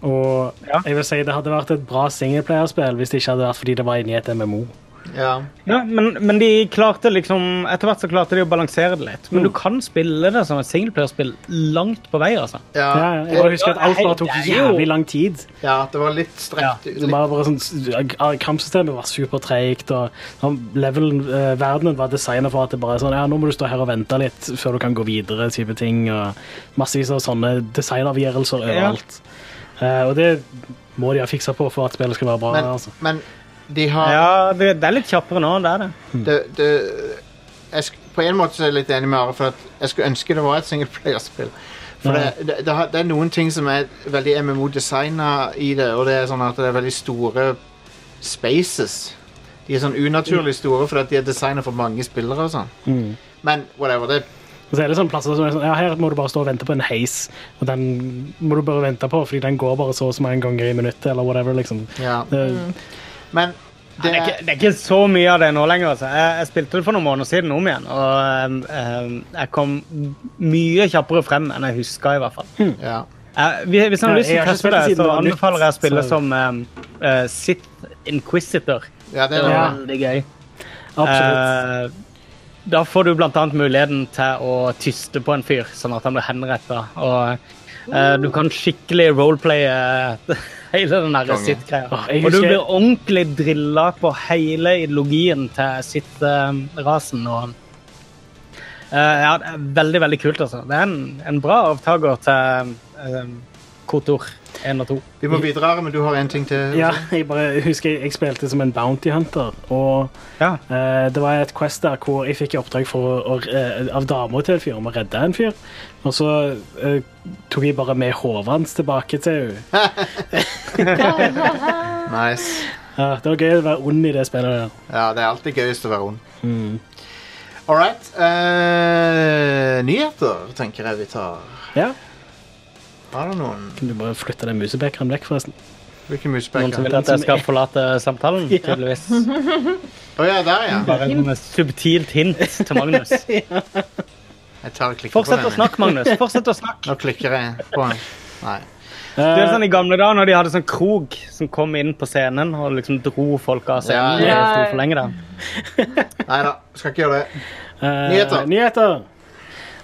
S2: og
S3: Ja.
S2: jeg vil si det hadde vært et bra singleplayerspill hvis det ikke hadde vært fordi det var inni et MMO.
S1: bra- Ja.
S3: Ja, men, men de klarte liksom Etter hvert så klarte de å balansere det litt.
S2: Mm.
S3: Men du kan spille det som et singleplayerspill langt på vei, altså.
S1: Ja.
S2: Ja, jeg bare husker at alt bare tok så jævlig lang tid.
S1: ja, det var litt strekt ut.
S2: Det var bare sånn, Kampsystemet var supertreigt, og sånn, levelen, eh, verdenen var designet for at det bare er sånn ja, nå må du stå her og vente litt før du kan gå videre. type ting, og Massevis av sånne designavgjørelser overalt. Eh, og det må de ha fiksa på for at spillet skal være bra.
S1: Men,
S2: altså.
S1: men de har
S3: Ja, det, det er litt kjappere nå. det er det.
S1: det, det, jeg, sk- På en måte så er jeg litt enig med Are, for at jeg skulle ønske det var et singleplayerspill. For det, det, det, har- det er noen ting som er veldig MMO-designa i det, og det er sånn at det er veldig store spaces. De er sånn unaturlig store fordi at de er designa for mange spillere og sånn.
S2: Mm.
S1: Men whatever. Det,
S2: Og så er det sånne plasser som er sånn, ja, Her må du bare stå og vente på en heis, og den må du bare vente på, fordi den går bare så og så mange ganger i minuttet, eller whatever. liksom.
S1: ja.
S2: Det,
S1: Men
S3: Det
S1: det
S3: er,
S1: er
S3: ikke, det er ikke så mye av det nå lenger. altså. Jeg, jeg spilte det for noen måneder siden om igjen, og ehm, ehm, jeg kom mye kjappere frem enn jeg huska. i hvert fall.
S1: ja.
S3: Eh, hvis- hvis man
S2: Ja,
S3: har lyst
S2: Hm.
S3: til
S2: jeg har
S3: å
S2: ikke
S3: teste
S2: spilt det
S3: det,
S2: siden
S3: så
S2: det var nytt,
S3: anbefaler jeg å spille
S2: så-
S3: som ehm, eh, Sith Inquisitor.
S1: ja, det
S3: Det
S1: er
S3: var
S2: Ja.
S3: veldig gøy.
S2: absolutt.
S3: Eh, da får du blant annet muligheten til å tyste på en fyr, sånn at han blir henretta. Og eh, du kan skikkelig roleplaye eh, hele den der
S1: Konge.
S3: sitt-greia.
S2: Åh, jeg
S3: Og du
S2: husker-
S3: blir ordentlig drilla på hele ideologien til sitt-rasen. og eh, ja, det er veldig, veldig kult, altså. Det er en, en bra avtaker til uh, Kotor 1 og 2.
S1: Vi må videre, Are, men du har en ting til.
S2: Ja, jeg bare husker jeg spilte som en bounty hunter, og
S3: Ja.
S2: Eh, det var et quest der hvor jeg fikk i oppdrag for å, å, eh, av dama til en fyr om å redde en fyr. Og så eh, tok jeg bare med hodet hans tilbake til henne.
S1: Nice.
S2: Ja, det var gøy å være ond i det spillet. der.
S1: Ja, det er alltid gøyest å være ond.
S3: Mm.
S1: All right. eh, nyheter tenker jeg vi tar.
S2: Ja,
S1: Har du noen?
S2: Kan du bare flytte den musebekeren vekk, forresten?
S1: Hvilke
S3: Noen som
S1: musepeker?
S3: vil at jeg skal forlate samtalen, tydeligvis.
S1: Å ja, der, ja.
S3: Bare med subtilt hint til Magnus.
S1: Jeg tar og klikker på
S3: Fortsett å
S1: den. jeg.
S3: snakke, Magnus. Fortsett å snakke.
S1: Nå klikker jeg på den. Nei.
S3: Det er
S2: Eh,
S3: sånn I gamle dager når de hadde sånn krog som kom inn på scenen og liksom dro folk av scenen.
S1: Ja,
S3: når
S4: ja.
S3: de sto for lenge der.
S1: Nei da, skal ikke gjøre det.
S2: eh,
S1: nyheter.
S2: nyheter.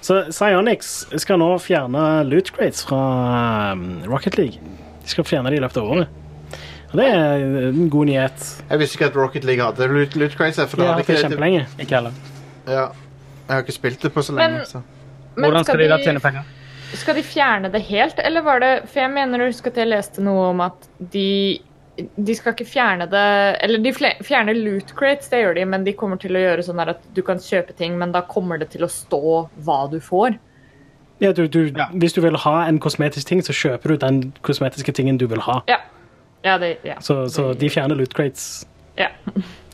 S2: Så Psyonix skal nå fjerne loot crates fra um, Rocket League. De skal fjerne de i løpet av året. Og det er en god nyhet.
S1: Jeg visste ikke at Rocket League hadde Loot, loot Crates. For
S2: De
S1: det
S2: har
S1: hadde
S2: hatt det
S1: ikke det.
S2: kjempelenge.
S3: Ikke heller.
S1: Ja. Jeg har ikke spilt det på så
S4: Men-
S1: lenge. Så.
S4: Men
S3: Hvordan skal de da tjene penger?
S4: Skal de fjerne det helt, eller var det For jeg mener du husker at jeg leste noe om at de de skal ikke fjerne det Eller de fle- fjerner loot crates, det gjør de, men de kommer til å gjøre sånn der at du kan kjøpe ting, men da kommer det til å stå hva du får.
S2: Ja, du, du,
S3: Ja.
S2: Hvis du vil ha en kosmetisk ting, så kjøper du den kosmetiske tingen du vil ha.
S4: Ja. Ja, det Ja.
S2: Så, så de fjerner loot crates.
S4: ja.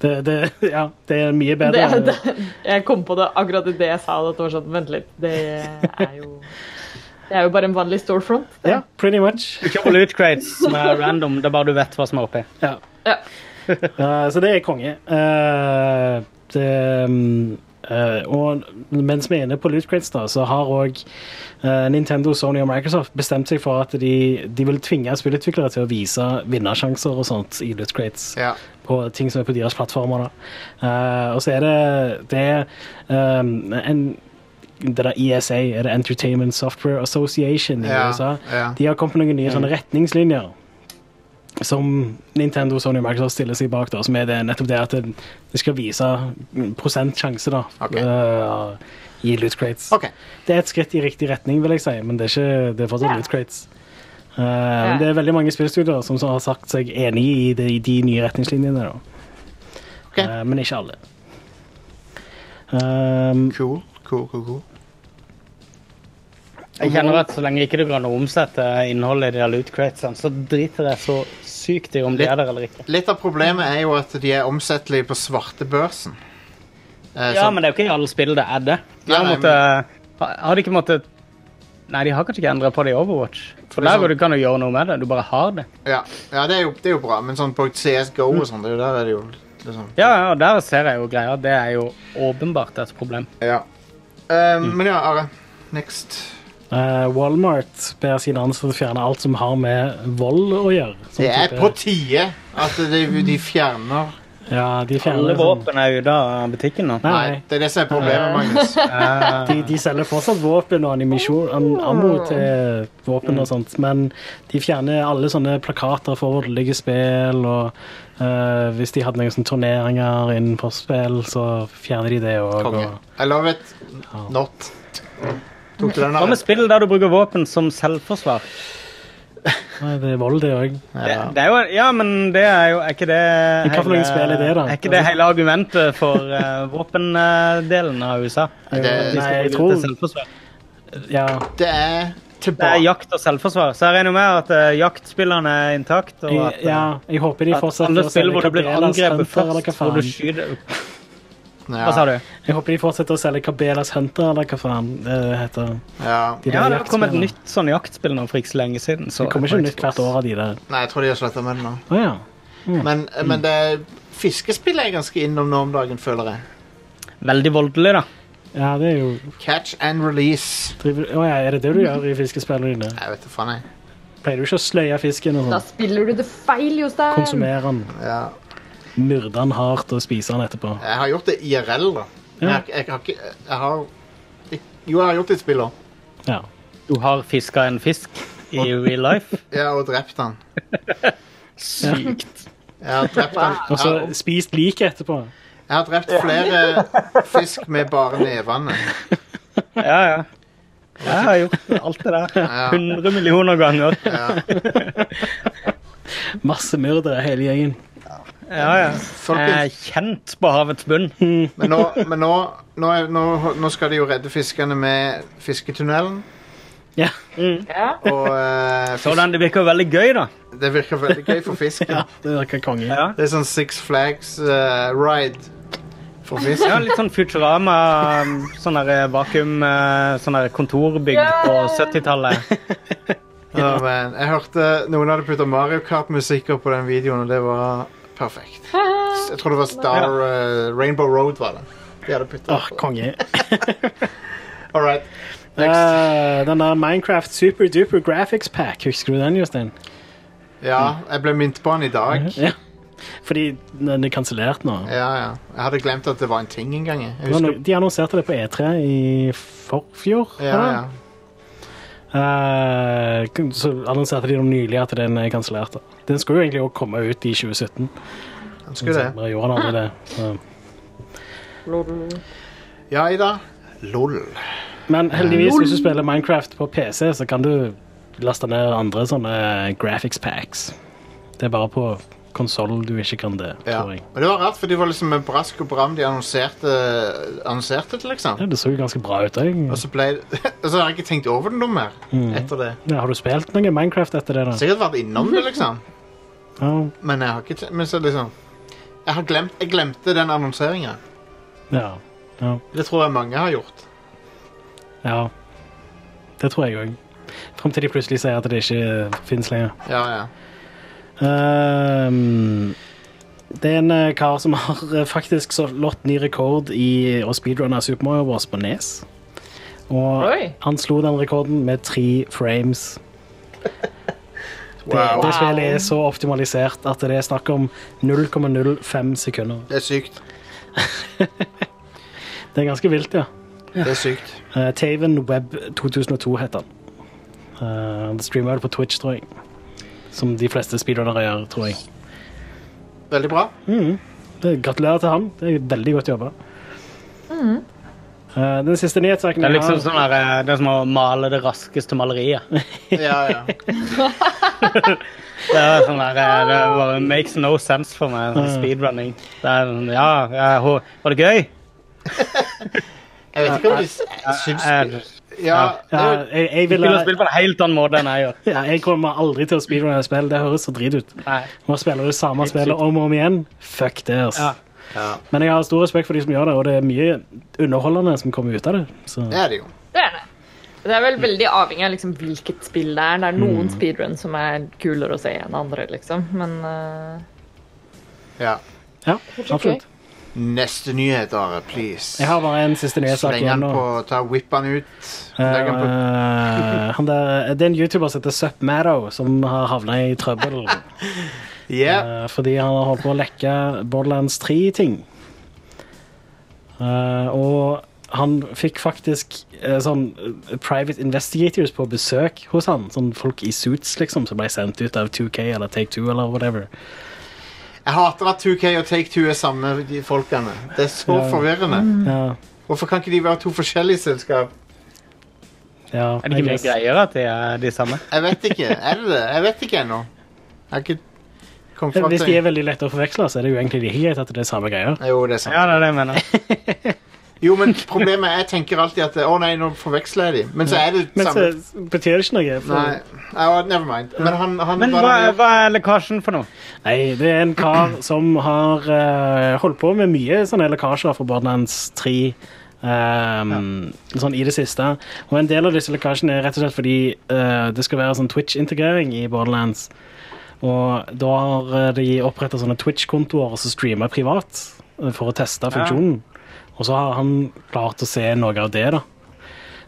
S2: Det, det, ja, det er mye
S4: Det,
S2: bedre.
S4: det, jeg kom på det akkurat idet jeg sa det. at det var sånn, Vent litt. Det er jo Det er jo bare en vanlig storefront.
S2: Ja, pretty much.
S3: Ikke all loot crates som er random, det er bare du vet hva som er oppi.
S2: Ja.
S4: Ja.
S2: Eh, så det er konge. Eh, det, mm, eh, og mens vi er inne på loot crates, da, så har òg Nintendo, Sony og Microsoft bestemt seg for at de, de vil tvinge spillutviklere til å vise vinnersjanser og sånt i loot crates.
S1: Ja.
S2: på ting som er på deres plattformer. Da. Eh, og så er det, det er, ehm, en det der ESA, er det Entertainment Software Association i
S1: Ja,
S2: USA.
S1: ja. Mm.
S2: De har kommet med noen nye sånne retningslinjer som Nintendo Sony og Microsoft stiller seg bak, da, som er det, nettopp det at det- det skal vise prosentsjanse da,
S1: Ok.
S2: eh, i loot crates.
S1: OK.
S2: Det er et skritt i riktig retning, vil jeg si, men det er, ikke, det er fortsatt
S4: Ja.
S2: loot crates. Eh, men Det er veldig mange spillstudioer som har sagt seg enig i de, i de nye retningslinjene. Da.
S1: Ok.
S2: Eh, men ikke alle. Ehm,
S1: Cool. Cool, cool, cool.
S3: Jeg kjenner at så lenge ikke du kan omsette innholdet i de der loot cratesene, så driter jeg så sykt i om de er der eller ikke.
S1: Litt av problemet er jo at de er omsettelige på svartebørsen. Eh,
S3: Ja,
S1: så-
S3: men det er jo ikke i alle spill det er det. De
S1: Nei,
S3: har,
S1: nei,
S3: måttet, har de ikke måttet Nei, de har kanskje ikke endra på det i Overwatch. For
S1: det er
S3: der
S1: sånn-
S3: hvor du kan jo gjøre noe med det. Du bare har det.
S1: ja, ja det, er jo, det er jo bra, men sånn på CSGO og sånn, det er jo der er det jo liksom
S3: Ja, ja, og der ser jeg jo greia. Det er jo åpenbart et problem.
S1: Ja. Eh, Men ja, Are. Next.
S2: eh, Walmart ber sine ansatte fjerne alt som har med vold å gjøre. Som
S1: Det er
S2: type-
S1: på tide at de, de fjerner
S2: Ja, de
S3: Alle
S2: fjerner sånn.
S3: våpen er ute av butikken nå.
S2: Nei,
S1: Nei, det er det som er problemet, Magnus.
S3: Eh,
S2: de, de selger fortsatt våpen og animisjon, an, ammo til våpen og sånt, men de fjerner alle sånne plakater for voldelige spill, og eh, hvis de hadde noen sånne turneringer innenfor spill, så fjerner de det òg.
S1: Konge. I love it. Not. Tok du den
S3: Hva med
S1: av?
S3: spill der du bruker våpen som selvforsvar?
S2: Det er vold, det òg.
S3: Det, det er jo, ja, men det er jo Er ikke det
S2: Men hva for noen spill er det, da?
S3: Er ikke det hele argumentet for eh, våpendelen av USA?
S1: Det,
S3: De
S2: Nei,
S3: skal
S2: jeg
S3: bruke
S2: tror-
S3: til selvforsvar.
S2: Ja.
S1: det er
S3: Det er
S1: tilbake.
S3: jakt og selvforsvar, så jeg regner med at eh, jaktspillene er intakt. Og
S2: Jeg,
S3: at, eh,
S2: ja, jeg håper de
S3: at
S2: fortsetter
S3: alle
S2: å
S3: spill
S2: selge
S3: hvor du blir
S2: Cabela's
S3: angrepet
S2: Hunter, eller hva
S3: først, hvor du
S2: faen.
S3: skyter
S1: Ja.
S3: Hva sa du?
S2: Jeg håper de fortsetter å selge Cabelas Hunter, eller hva faen det heter.
S1: Ja.
S2: De
S3: Ja,
S2: der
S3: det kom et
S2: jaktspillene.
S3: nytt sånn jaktspill nå for ikke så lenge siden. Så
S2: Det kommer ikke nytt hvert år av de der.
S1: Nei, jeg tror de har sletta med det nå.
S2: Å ja.
S3: Mm.
S1: Men, eh, men det er fiskespill er ganske innom nå om dagen, føler jeg.
S3: Veldig voldelig, da.
S2: ja, det er jo
S1: Catch and release.
S2: driver... Å ja, er det det du gjør i fiskespillene dine?
S1: Jeg vet da faen, jeg.
S2: Pleier du ikke å sløye fisken og
S4: Da
S2: sånn?
S4: spiller du det feil, Jostein.
S2: Konsumere den,
S1: Ja.
S2: myrde den hardt og spise den etterpå?
S1: Jeg har gjort det IRL, da. Men
S2: Ja.
S1: Jeg, jeg har ikke Jeg har ik- Jo, jeg har gjort det i spill òg.
S2: Ja.
S3: Du har fiska en fisk i real life.
S1: Ja, og drept han.
S3: Sykt.
S1: Jeg har drept han.
S2: Og så spist liket etterpå.
S1: Jeg har drept flere fisk med bare nevene.
S3: Ja, ja. Jeg har gjort alt det der.
S1: Ja.
S3: 100 millioner ganger.
S2: Masse myrdere, hele gjengen.
S3: Ja, ja. Jeg er
S1: Folkens,
S3: kjent på havets bunn.
S1: men nå, men nå, nå, er- nå, nå skal de jo redde fiskene med fisketunnelen.
S2: Ja.
S4: Ja.
S1: Og eh, fis-
S3: Sådan, det virker jo veldig gøy, da.
S1: det virker veldig gøy for fisken.
S2: ja, det virker konge.
S3: Ja.
S1: Det er sånn Six Flags eh, ride for
S3: Ja,
S1: fisken.
S3: litt sånn Futurama, sånn der vakuum, eh, sånn der kontorbygg på 70-tallet.
S1: Å, man. Jeg hørte noen hadde putta Mario Kart-musikker på den videoen, og det var perfekt. Jeg tror det var Star eh, Rainbow Road, var det. De hadde puttet
S2: Åh,
S1: det på.
S2: konge.
S1: All right. Next.
S2: Eh, den der Minecraft Super Duper Graphics Pack, husker du den, Jostein?
S1: Ja, jeg ble minnet på den i dag.
S2: Ja. Fordi den er kansellert nå.
S1: Ja, ja. Jeg hadde glemt at det var en ting en gang. jeg. Jeg
S2: Det var
S1: husker...
S2: no- De annonserte det på E3 i forfjor.
S1: Ja,
S2: var det?
S1: ja.
S2: Eh, så annonserte de nå nylig at den er kansellert. da. Den skulle jo egentlig også komme ut i 2017.
S1: Han skulle
S2: men så
S1: det.
S2: bare gjorde han aldri det. Um, Så.
S1: Ja, Ida. LOL.
S2: Men heldigvis, hvis du spiller Minecraft på PC, så kan du laste ned andre sånne graphics packs. Det er bare på konsoll du ikke kan det,
S1: Ja.
S2: tror jeg.
S1: Men det var rart, for de var liksom med brask og bram. De annonserte, annonserte det, liksom.
S2: Ja, det så jo ganske bra ut òg.
S1: Og så ble Og så har jeg ikke tenkt over det noe mer etter det.
S2: Ja, har du spilt noe Minecraft etter det? da?
S1: Sikkert vært innom det, liksom.
S2: Ja,
S1: Men jeg har ikke te- Men så liksom Jeg, har glemt, jeg glemte den annonseringa.
S2: ja. ja.
S1: Det tror jeg mange har gjort.
S2: Ja, det tror jeg òg. Frem til de plutselig sier at det ikke finnes lenger.
S1: Ja, ja.
S2: Ehm, det er en eh, kar som har eh, faktisk slått ny rekord i å speedrunne Super Mario Bros. på Nes. Og
S4: Oi.
S2: han slo den rekorden med tre frames. Det,
S1: Wow.
S2: det spillet er så optimalisert at det er snakk om 0,05 sekunder.
S1: Det er sykt.
S2: Det er ganske vilt, ja.
S1: Det er sykt.
S2: Eh, Taven Web 2002 heter han. Eh, han streamer det på Twitch, tror jeg. Som de fleste speedrunnere gjør, tror jeg.
S1: Veldig bra.
S2: Det, gratulerer til han. Det er veldig godt jobba. Eh, den siste nyhetssaken
S3: Det er
S2: jeg
S3: liksom
S2: har
S3: sånn der, eh, det er som å male det raskeste maleriet.
S1: Ja, ja.
S3: Det er sånn der, eh, det bare makes no sense for meg, sånn speedrunning. Det er, sånn, ja, jeg, hå- var det gøy?
S1: Jeg vet ikke om de s- syns
S3: Jeg,
S1: Ja, det
S2: ja,
S1: er jo-
S2: jeg, jeg,
S3: jeg
S2: ville,
S3: spiller spill på en helt annen måte enn jeg gjør.
S2: ja, jeg kommer aldri til å speedrunne et spill. Det høres så drit ut.
S3: Nei.
S2: Nå spiller du samme spillet om og om igjen. Fuck det, altså.
S3: Ja.
S1: Ja.
S2: Men jeg har stor respekt for de som gjør det, og det er mye underholdende som kommer ut av det. Så.
S1: det er det jo.
S4: Det er det. Det er vel veldig avhengig av liksom hvilket spill det er. Det er noen speedrun som er kulere å se enn andre, liksom. Men eh,
S1: Ja.
S2: Ja, absolutt.
S1: Neste nyhet, Are. Please.
S2: Jeg har bare en siste nyhetssak
S1: Slenge han
S2: igjen nå.
S1: på, ta whippen ut. Legg han på.
S2: Eh, han der, det er en YouTuber som heter Sup Maddow, som har havna i trøbbel.
S1: Yeah.
S2: Eh, fordi han har holdt på å lekke Borderlands 3-ting. Eh, og han fikk faktisk eh, sånn eh, private investigators på besøk hos han. Sånn folk i suits, liksom, som ble sendt ut av 2K eller Take Two eller whatever.
S1: Jeg hater at 2K og Take-Two er samme de folkene. Det er så
S2: Ja.
S1: forvirrende.
S2: Ja,
S1: Hvorfor kan ikke de være to forskjellige selskap?
S2: ja,
S3: Er det ikke
S2: I
S3: mye
S2: guess.
S3: greier at de er de samme?
S1: Jeg vet ikke. Er det det? Jeg vet ikke ennå. Jeg har ikke kommet
S3: Sånn
S1: fram
S2: Eh, Hvis
S1: til
S2: de er veldig lette å forveksle, så er det jo egentlig like greit at det er samme greier.
S1: Jo, det er sant.
S3: Ja, det er det jeg mener.
S1: Jo, men problemet er jeg tenker alltid at Å nei, nå forveksler jeg de. Men så er det
S2: Men
S1: samme.
S2: så betyr det ikke noe. For,
S1: Nei, oh, never mind. Men han, han
S3: Men
S1: hva
S3: hva,
S1: han gjør-
S3: hva er lekkasjen for noe?
S2: Nei, det er en kar som har eh, holdt på med mye sånne lekkasjer fra Borderlands 3 ehm, sånn i det siste. Og en del av disse lekkasjene er rett og slett fordi eh, det skal være sånn Twitch-integrering i Borderlands. Og da har eh, de oppretta sånne Twitch-kontoer og så streamer privat eh, for å teste funksjonen. Og så har han klart å se noe av det, da.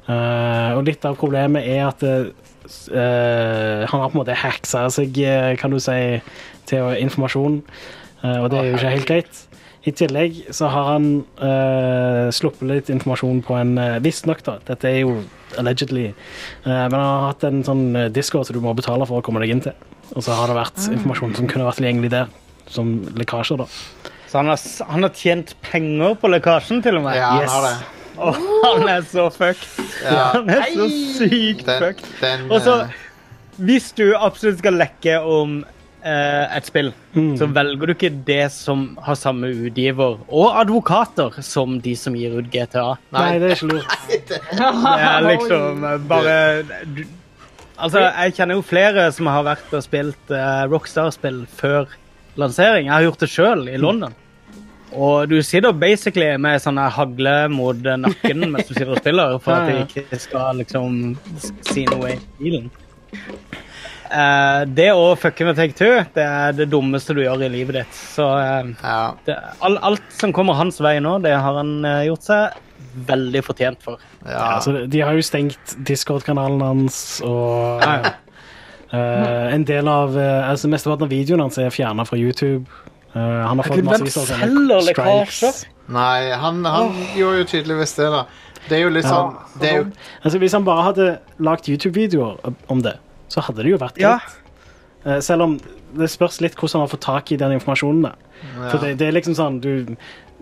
S2: Eh, og litt av problemet er at eh, s- eh, han har på en måte hacksa seg, eh, kan du si, til å- informasjon. eh, og det er jo ikke helt greit. I tillegg så har han eh, sluppet litt informasjon på en uh, Visstnok, da. Dette er jo allegedly. eh, men han har hatt en sånn eh, Discord som du må betale for å komme deg inn til. Og så har det vært informasjon som kunne vært tilgjengelig der. Som lekkasjer, da.
S3: Så han har, s- han har tjent penger på lekkasjen, til og med.
S1: Ja, han har det.
S3: Og han er så fucked.
S1: Ja.
S3: Han er så sykt
S1: Den,
S3: fucked.
S1: den,
S3: Og så,
S1: eh,
S3: hvis du absolutt skal lekke om eh, et spill, så velger du ikke det som har samme utgiver og advokater som de som gir ut GTA.
S2: Nei, det er ikke lurt.
S3: Det er liksom eh, bare du, Altså, jeg kjenner jo flere som har vært og spilt eh, Rockstar-spill før lansering. Jeg har gjort det sjøl i London. Og du sitter basically med sånn her hagle mot eh, nakken mens du sitter og spiller, for
S2: Ja, ja.
S3: at de ikke skal liksom s- si noe i bilen. Eh, det å fucke med Take Two, det er det dummeste du gjør i livet ditt. Så eh,
S1: ja.
S3: det, all, alt som kommer hans vei nå, det har han eh, gjort seg veldig fortjent for.
S1: Ja.
S2: Ja, så Altså, de- de har jo stengt Discord-kanalen hans, og
S3: Ja, ja.
S2: eh, en del av eh, altså Mesteparten av videoen hans er fjerna fra YouTube. Eh, han har fått
S3: Gud, hvem
S2: massevis av
S3: selger
S2: sånne
S3: lekkasjer?
S2: strikes.
S1: Nei, han, han gjorde jo tydeligvis det, da. Det er jo litt sånn det er jo,
S2: Altså, hvis han bare hadde lagd YouTube-videoer om det, så hadde det jo vært
S3: Ja.
S2: greit. Eh, Selv om det spørs litt hvordan han får tak i den informasjonen. Da. For det, det er liksom sånn du,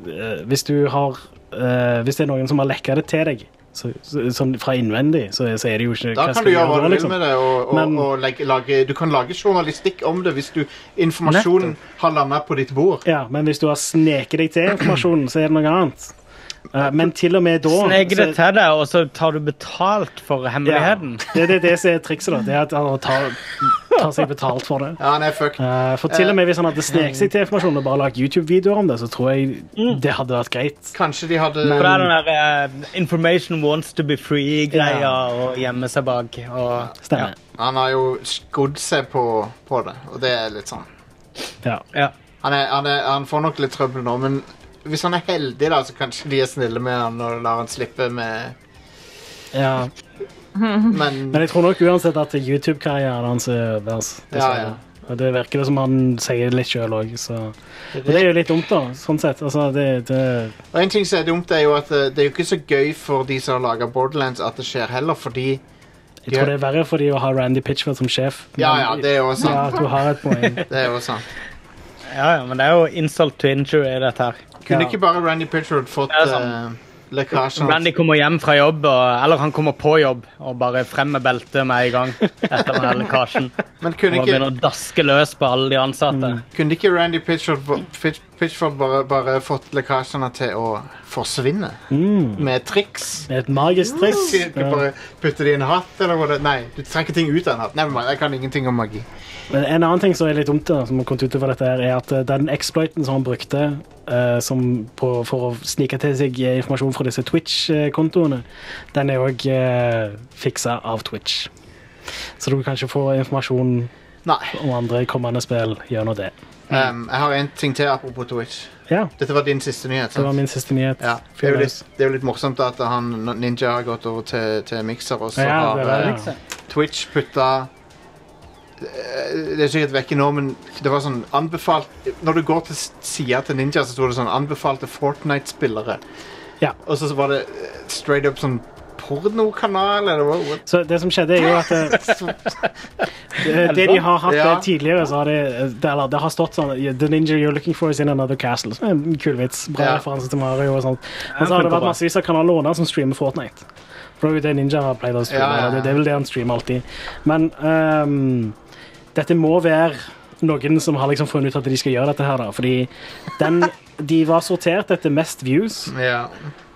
S2: eh, Hvis du har eh, Hvis det er noen som har lekka det til deg, så, så, sånn fra innvendig, så, så er det jo ikke
S1: Da
S2: hva
S1: kan
S2: skal
S1: du
S2: jeg
S1: gjøre hva du vil
S2: liksom?
S1: med det. Og, og,
S2: Men-
S1: og legge, lage, du kan lage journalistikk om det hvis du, informasjonen har landa på ditt bord.
S2: Ja, men hvis du har sneket deg til informasjonen, så er det noe annet. Eh, men til og med da
S3: Sneker det
S2: så-
S3: til deg, og så tar du betalt for
S2: Ja,
S3: hemmeligheten.
S2: det er det, det som er trikset, da. Det er at han tar, tar seg betalt for det.
S1: Ja, han er fucked.
S2: Eh, For til og med hvis han hadde sneket seg til informasjonen og bare lagd YouTube-videoer om det, så tror jeg det hadde vært greit.
S1: Kanskje de hadde
S3: For det er den der eh, 'information wants to be free'-greia
S2: Ja.
S3: og gjemme seg bak. Og,
S2: Stemmer.
S1: Han har jo skodd seg på, på det, og det er litt sånn.
S2: Ja.
S3: ja.
S1: Han, er, han, er, han får nok litt trøbbel nå, men hvis han er heldig, da, så kanskje de er snille med han og lar han slippe med
S2: ja.
S1: Men
S2: Men jeg tror nok uansett at YouTube-karrieren hans er øverst. dessverre.
S1: Ja, ja.
S2: Og det virker det som han sier det litt sjøl òg, så Og det er jo litt dumt, da. Sånn sett. Altså, det, det
S1: Og en ting som er dumt, er jo at eh, det er jo ikke så gøy for de som har laga Borderlands at det skjer heller, fordi
S2: Jeg tror det er verre for de å ha Randy Pitchford som sjef.
S1: Ja, ja, det er jo sant.
S2: Ja, du har et poeng.
S1: Det er jo sant.
S3: ja, ja, men det er jo insult to injury, dette her.
S1: Kunne
S2: Ja.
S1: ikke bare Randy Pitchford fått
S3: Det er sant.
S1: eh, lekkasjen?
S3: Randy kommer hjem fra jobb, og, eller han kommer på jobb, og bare frem med beltet med en gang etter den her lekkasjen.
S1: Men
S3: Og
S1: kunne
S3: begynner
S1: ikke,
S3: å daske løs på alle de ansatte.
S1: kunne ikke Randy Pitchford, Pitch- Pitchford bare, bare fått lekkasjene til å forsvinne? Med triks?
S2: Et magisk Mm. triks.
S1: Sier ikke
S2: Ja.
S1: bare putte det i en hatt, eller hva det Nei, du trekker ting ut av en hatt. Nei, men jeg kan ingenting om magi.
S2: Men en annen ting som er litt dumt, da, som har kommet ut over dette, her, er at eh, den exploiten som han brukte eh, som på, for å snike til seg eh, informasjon fra disse Twitch-kontoene, den er òg uh, fiksa av Twitch. Så du kan ikke få informasjon
S1: Nei.
S2: om andre kommende spill gjennom det.
S1: Um, jeg har en ting til apropos Twitch.
S2: Ja,
S1: Dette var din siste nyhet.
S2: det
S1: sant?
S2: var min siste nyhet.
S1: Ja, det er, jo litt, det er jo litt morsomt at han, Ninja har eh, gått over til, til Mixer, og så
S2: Ja,
S1: har
S2: det liksom. var
S1: eh,
S2: det.
S1: Twitch putta eh, Det er sikkert vekke nå, men det var sånn anbefalt Når du går til sida til Ninja, så sto det sånn anbefalte Fortnite-spillere.
S2: Ja.
S1: Og så så var det eh, straight up sånn pornokanal, eller hva? what?
S2: Så det som skjedde, er jo at eh, Det de har hatt
S1: Ja.
S2: eh, tidligere, så har de, det, eller, det har stått sånn The ninja you're looking for is in another castle. Som er en kul vits. Bra
S1: Ja.
S2: referanse til Mario og sånt. Men så har
S3: funker
S2: det vært
S3: bra.
S2: massevis av kanaler unna som streamer Fortnite. For det er jo det ninja har pleid å streame.
S1: Ja, ja, ja.
S2: og Det, det er vel det han streamer alltid. Men ehm, dette må være noen som har liksom funnet ut at de skal gjøre dette her, da. Fordi den, de var sortert etter mest views.
S1: Ja.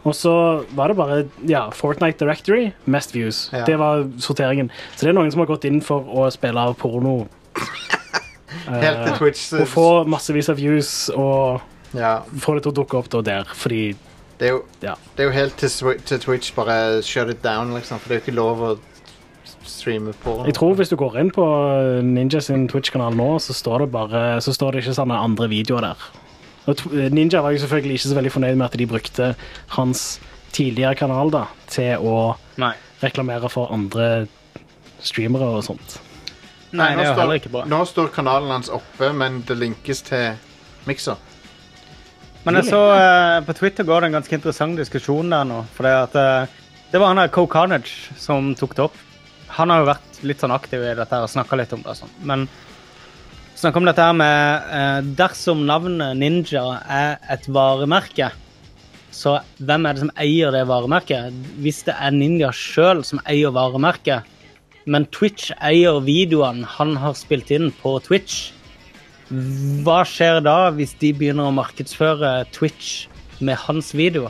S2: Og så var det bare ja, Fortnite Directory, mest views.
S1: Ja.
S2: Det var sorteringen. Så det er noen som har gått inn for å spille av porno
S1: Helt til Twitch. eh,
S2: og få massevis av views og
S1: Ja.
S2: få det til å dukke opp da der, fordi
S1: Det er jo,
S2: Ja.
S1: det er jo helt til, Swi- til Twitch bare shut it down, liksom. For det er jo ikke lov å streame porno.
S2: Jeg tror hvis du går inn på Ninja sin Twitch-kanal nå, så står det bare Så står det ikke sånne andre videoer der. Og tw- Ninja var jo selvfølgelig ikke så veldig fornøyd med at de brukte hans tidligere kanal da til å
S3: Nei.
S2: reklamere for andre streamere og sånt.
S3: Nei,
S1: nå
S3: det er jo
S1: står-
S3: heller ikke bra.
S1: Nå står kanalen hans oppe, men det linkes til Mixer.
S3: Men jeg så eh, på Twitter går det en ganske interessant diskusjon der nå. For det, at, eh, det var han der Co Carnage som tok det opp. Han har jo vært litt sånn aktiv i dette her og snakka litt om det. og Sånn. Men snakka om dette her med eh, Dersom navnet Ninja er et varemerke, så hvem er det som eier det varemerket? Hvis det er Ninja sjøl som eier varemerket, men Twitch eier videoene han har spilt inn på Twitch. Hva skjer da hvis de begynner å markedsføre Twitch med hans video?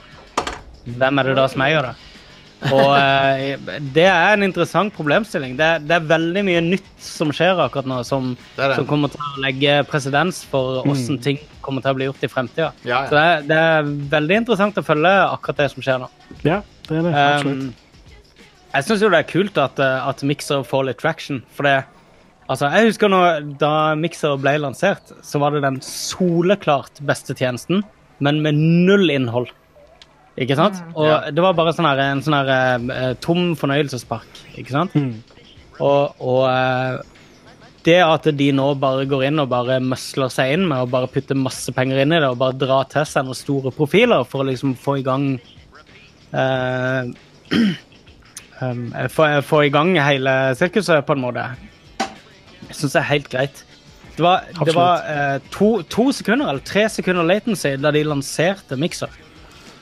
S3: Hvem er det da som eier det? Og eh, Det er en interessant problemstilling. Det er, det er veldig mye nytt som skjer akkurat nå, som,
S1: Det er det.
S3: som kommer til å legge presedens for hvordan ting kommer til å bli gjort i fremtida.
S1: Mm. Ja, ja.
S3: Så det er, det er veldig interessant å følge akkurat det som skjer nå.
S2: Ja, det er det. Absolutt.
S3: Um, jeg syns jo det er kult at, eh, at Mixer får litt traction, for det Altså, jeg husker nå, Da Mixer ble lansert, så var det den soleklart beste tjenesten, men med null innhold. Ikke sant?
S1: Mm. Ja.
S3: Og det var bare sånn her, en sånn her eh, tom fornøyelsespark. Ikke
S1: Mm.
S3: sant? Og, og eh, det at de nå bare går inn og bare møsler seg inn med å bare putte masse penger inn i det og bare dra til seg noen store profiler for å liksom få i gang eh, um, få, få i gang hele sirkuset på en måte. Jeg syns det er helt greit. Det var, det
S2: Absolutt.
S3: var eh, to, to sekunder eller tre sekunder latency da de lanserte Mixer.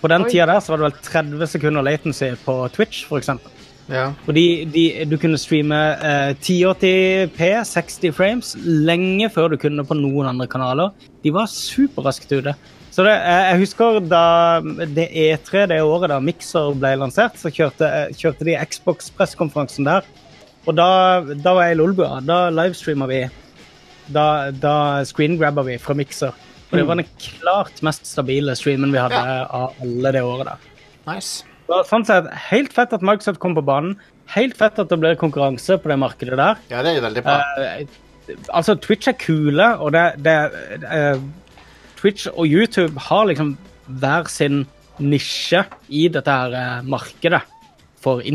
S3: På den
S4: Oi.
S3: tida der så var det vel 30 sekunder latency på Twitch, for eksempel.
S1: Ja.
S3: Og de, de, du kunne streame eh, 1080p, 60 frames, lenge før du kunne på noen andre kanaler. De var superraskt ute. Så det, eh, jeg husker da det E3 det året da Mixer ble lansert, så kjørte, eh, kjørte de Xbox-pressekonferansen der. Og da, da var jeg i Lolbua. Da livestreama vi. Da, da screengrabba vi fra Mixer. Og det var den klart mest stabile streamen vi hadde av alle det året der.
S1: Nice.
S3: Så sånn sett, Helt fett at Microsoft kom på banen. Helt fett at det blir konkurranse på det markedet der.
S1: Ja, det er veldig bra.
S3: Eh, altså, Twitch er kule, og det, det eh, Twitch og YouTube har liksom hver sin nisje i dette her eh, markedet for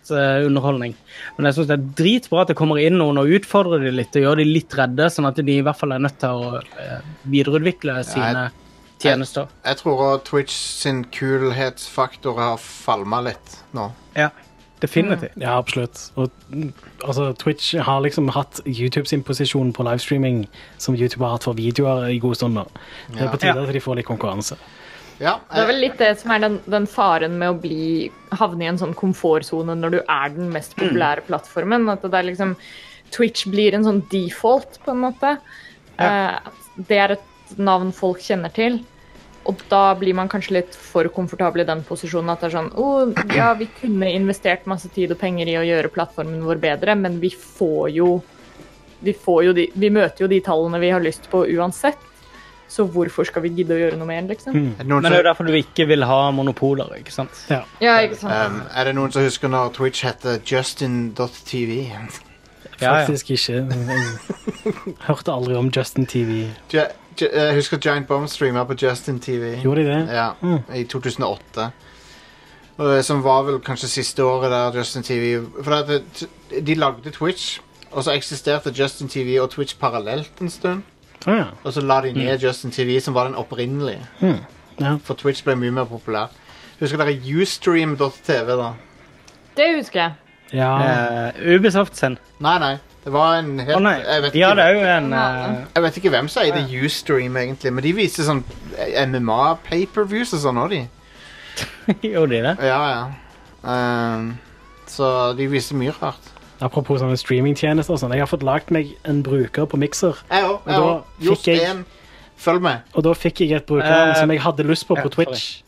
S3: internettunderholdning. Men jeg syns det er dritbra at det kommer inn noen og utfordrer de litt og gjør de litt redde, sånn at de i hvert fall er nødt til å eh, videreutvikle sine tjenester.
S1: Jeg tror også Twitch sin kulhetsfaktor har falma litt nå.
S3: Ja, definitivt.
S2: Ja, absolutt. Og, mm, altså, Twitch har liksom hatt YouTube sin posisjon på livestreaming som YouTube har hatt for videoer i god stund. nå. Det er på tide
S3: Ja.
S2: at de får litt konkurranse.
S1: Ja,
S4: Det er vel
S1: jeg,
S4: litt det som er den, den faren med å bli, havne i en sånn komfortsone når du er den mest populære plattformen. At det er liksom Twitch blir en sånn default, på en måte. Eh, at det er et navn folk kjenner til. Og da blir man kanskje litt for komfortabel i den posisjonen at det er sånn oh, Ja, vi kunne investert masse tid og penger i å gjøre plattformen vår bedre, men vi får jo Vi, får jo de, vi møter jo de tallene vi har lyst på uansett. Så hvorfor skal vi gidde å gjøre noe mer, liksom?
S1: er, det noen
S3: Men det er jo
S1: som,
S3: derfor du ikke vil ha monopoler, ikke sant?
S2: Ja.
S4: Ja, ikke sant.
S1: um, er det noen som husker når Twitch heter Justin.tv?
S2: Faktisk ikke. Jeg Hørte aldri om Justin TV.
S1: Ju- Ju- Jeg husker Giant Bomb streama på Justin.tv.
S2: Gjorde de det?
S1: Ja, i 2008. Og det som var vel kanskje siste året der Justin TV For at det, de lagde Twitch, Og så eksisterte Justin TV og Twitch parallelt en stund.
S2: Å ja.
S1: Og så la de ned Justin TV, som var den opprinnelige.
S2: Mm. Ja.
S1: For Twitch ble mye mer populær. Husker dere Ustream.tv, da?
S4: Det husker jeg.
S2: ja.
S3: Eh, Ubisoft sin.
S1: Nei, nei. Det var en helt
S3: Å nei,
S1: jeg, vet
S3: de hadde
S1: ikke,
S3: òg en eh,
S4: Ja.
S1: jeg vet ikke hvem som eide Ustream, egentlig, men de viste sånn MMA-paperviews og sånn òg, de.
S3: eh, Gjorde de det?
S1: Ja, ja. Ehm, så de viste mye rart.
S2: Apropos sånne streamingtjenester og sånn. Jeg har fått lagd meg en bruker på Mixer.
S1: Jeg òg. Jeg
S2: Og da
S1: òg. Just
S2: fikk jeg-
S1: én. Følg med.
S2: Og da fikk jeg et brukernavn
S3: Eh,
S2: som jeg hadde lyst på
S3: ja,
S2: på Twitch.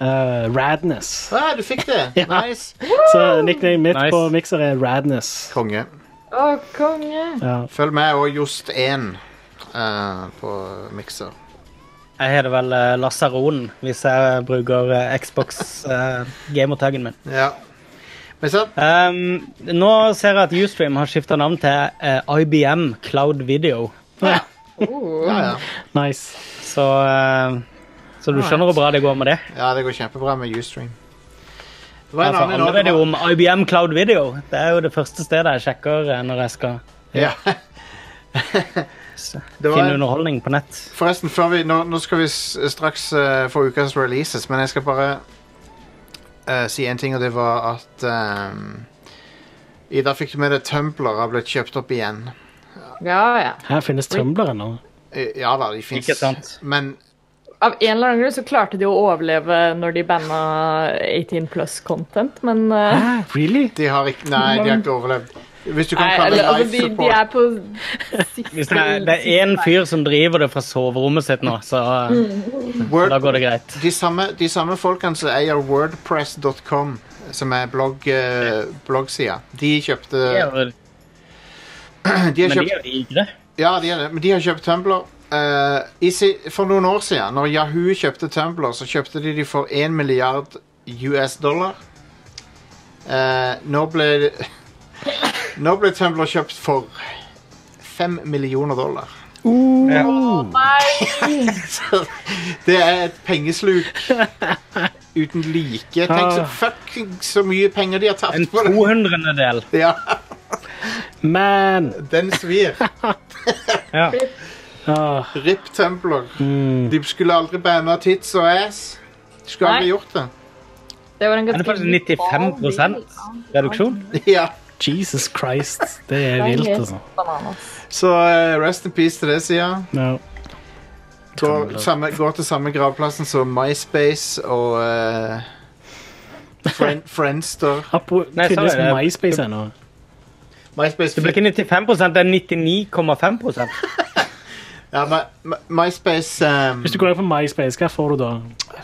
S2: Eh, Radness.
S1: Ah, du fikk det!
S2: Ja.
S1: Nice.
S2: Så nicknamet mitt
S3: Nice.
S2: på Mixer er Radness.
S1: Konge.
S4: Å, konge.
S2: Ja.
S1: Følg med og Just én eh, på mikser.
S3: Jeg har det vel eh, Lasaron hvis jeg bruker eh, Xbox uh, gamertagen min.
S1: Ja. Men så
S3: Ehm, nå ser jeg at Ustream har skifta navn til eh, IBM Cloud Video.
S4: Oh.
S1: ja, ja.
S2: Nice.
S3: Så, eh, så du skjønner hvor bra det går med det.
S1: ja, det går kjempebra med Ustream. Det var en
S3: Altså,
S1: annen
S3: alle vet
S1: nå.
S3: jo om IBM Cloud Video. Det er jo det første stedet jeg sjekker eh, når jeg skal
S1: Ja.
S3: s-
S1: Det var
S3: finne
S1: en-
S3: underholdning på nett.
S1: Forresten, før vi, nå, nå skal vi s- straks eh, få ukas releases, men jeg skal bare eh, si en ting, og det var at um, Ida, fikk du med deg Tumblr har blitt kjøpt opp igjen?
S4: Ja, ja.
S2: Her finnes Tumblr ennå.
S1: Eh, Ja da, de fins.
S3: Ikke sant.
S1: Men
S4: Av en eller annen grunn så klarte de å overleve når de banna 18 plus content, men eh,
S2: Ah, really?
S1: de har ikke Nei, de har ikke overlevd. Hvis du kan
S4: Nei,
S1: kalle
S4: eller,
S1: det
S4: altså,
S1: life
S4: de, de
S1: support
S4: er på siste
S3: Hvis det er, det er én fyr som driver det fra soverommet sitt nå, så eh, da
S1: Word,
S3: går det greit.
S1: de, samme, de samme folkene som eier wordpress.com, som er blogg, eh, bloggsida, de kjøpte
S3: Det er jo-
S1: de har
S3: Men de
S1: kjøpt
S3: er jo digre.
S1: Ja, de er det, men de har kjøpt Tumblr. Eh, i si- for noen år siden, når Yahoo kjøpte Tumblr, så kjøpte de de for 1 milliard US dollar. Eh, nå ble det- Nå ble Tumblr kjøpt for 5 millioner dollar. Så det er et pengesluk uten like. Tenk så,
S2: Ah.
S1: fucking så mye penger de har
S3: En
S1: tapt på det.
S3: 200-del.
S1: Ja,
S2: Man!
S1: den svir.
S3: Ja.
S2: Ah,
S1: Rip Tumblr.
S2: Mm.
S1: De skulle aldri banna tits og ass. De skulle aldri
S4: Nei.
S1: gjort det.
S4: Det var en
S3: Er det
S4: ganske
S3: faktisk 95 reduksjon?
S1: Ja.
S2: Jesus Christ. Det er
S4: Det er
S2: vilt,
S4: helt
S2: altså.
S4: bananas.
S1: Så eh, rest in peace til det, sier jeg.
S2: Ja.
S1: Går, samme, går til samme gravplassen som MySpace og eh, Fren Friendster.
S2: Apro-
S3: Nei,
S2: Finnes
S3: sorry, det-
S2: MySpace ennå?
S1: MySpace,
S3: Det blir
S1: fikk,
S3: ikke 95 det er 99,5
S1: ja, my, my, MySpace ehm,
S2: Hvis du går inn på MySpace, hva får du da?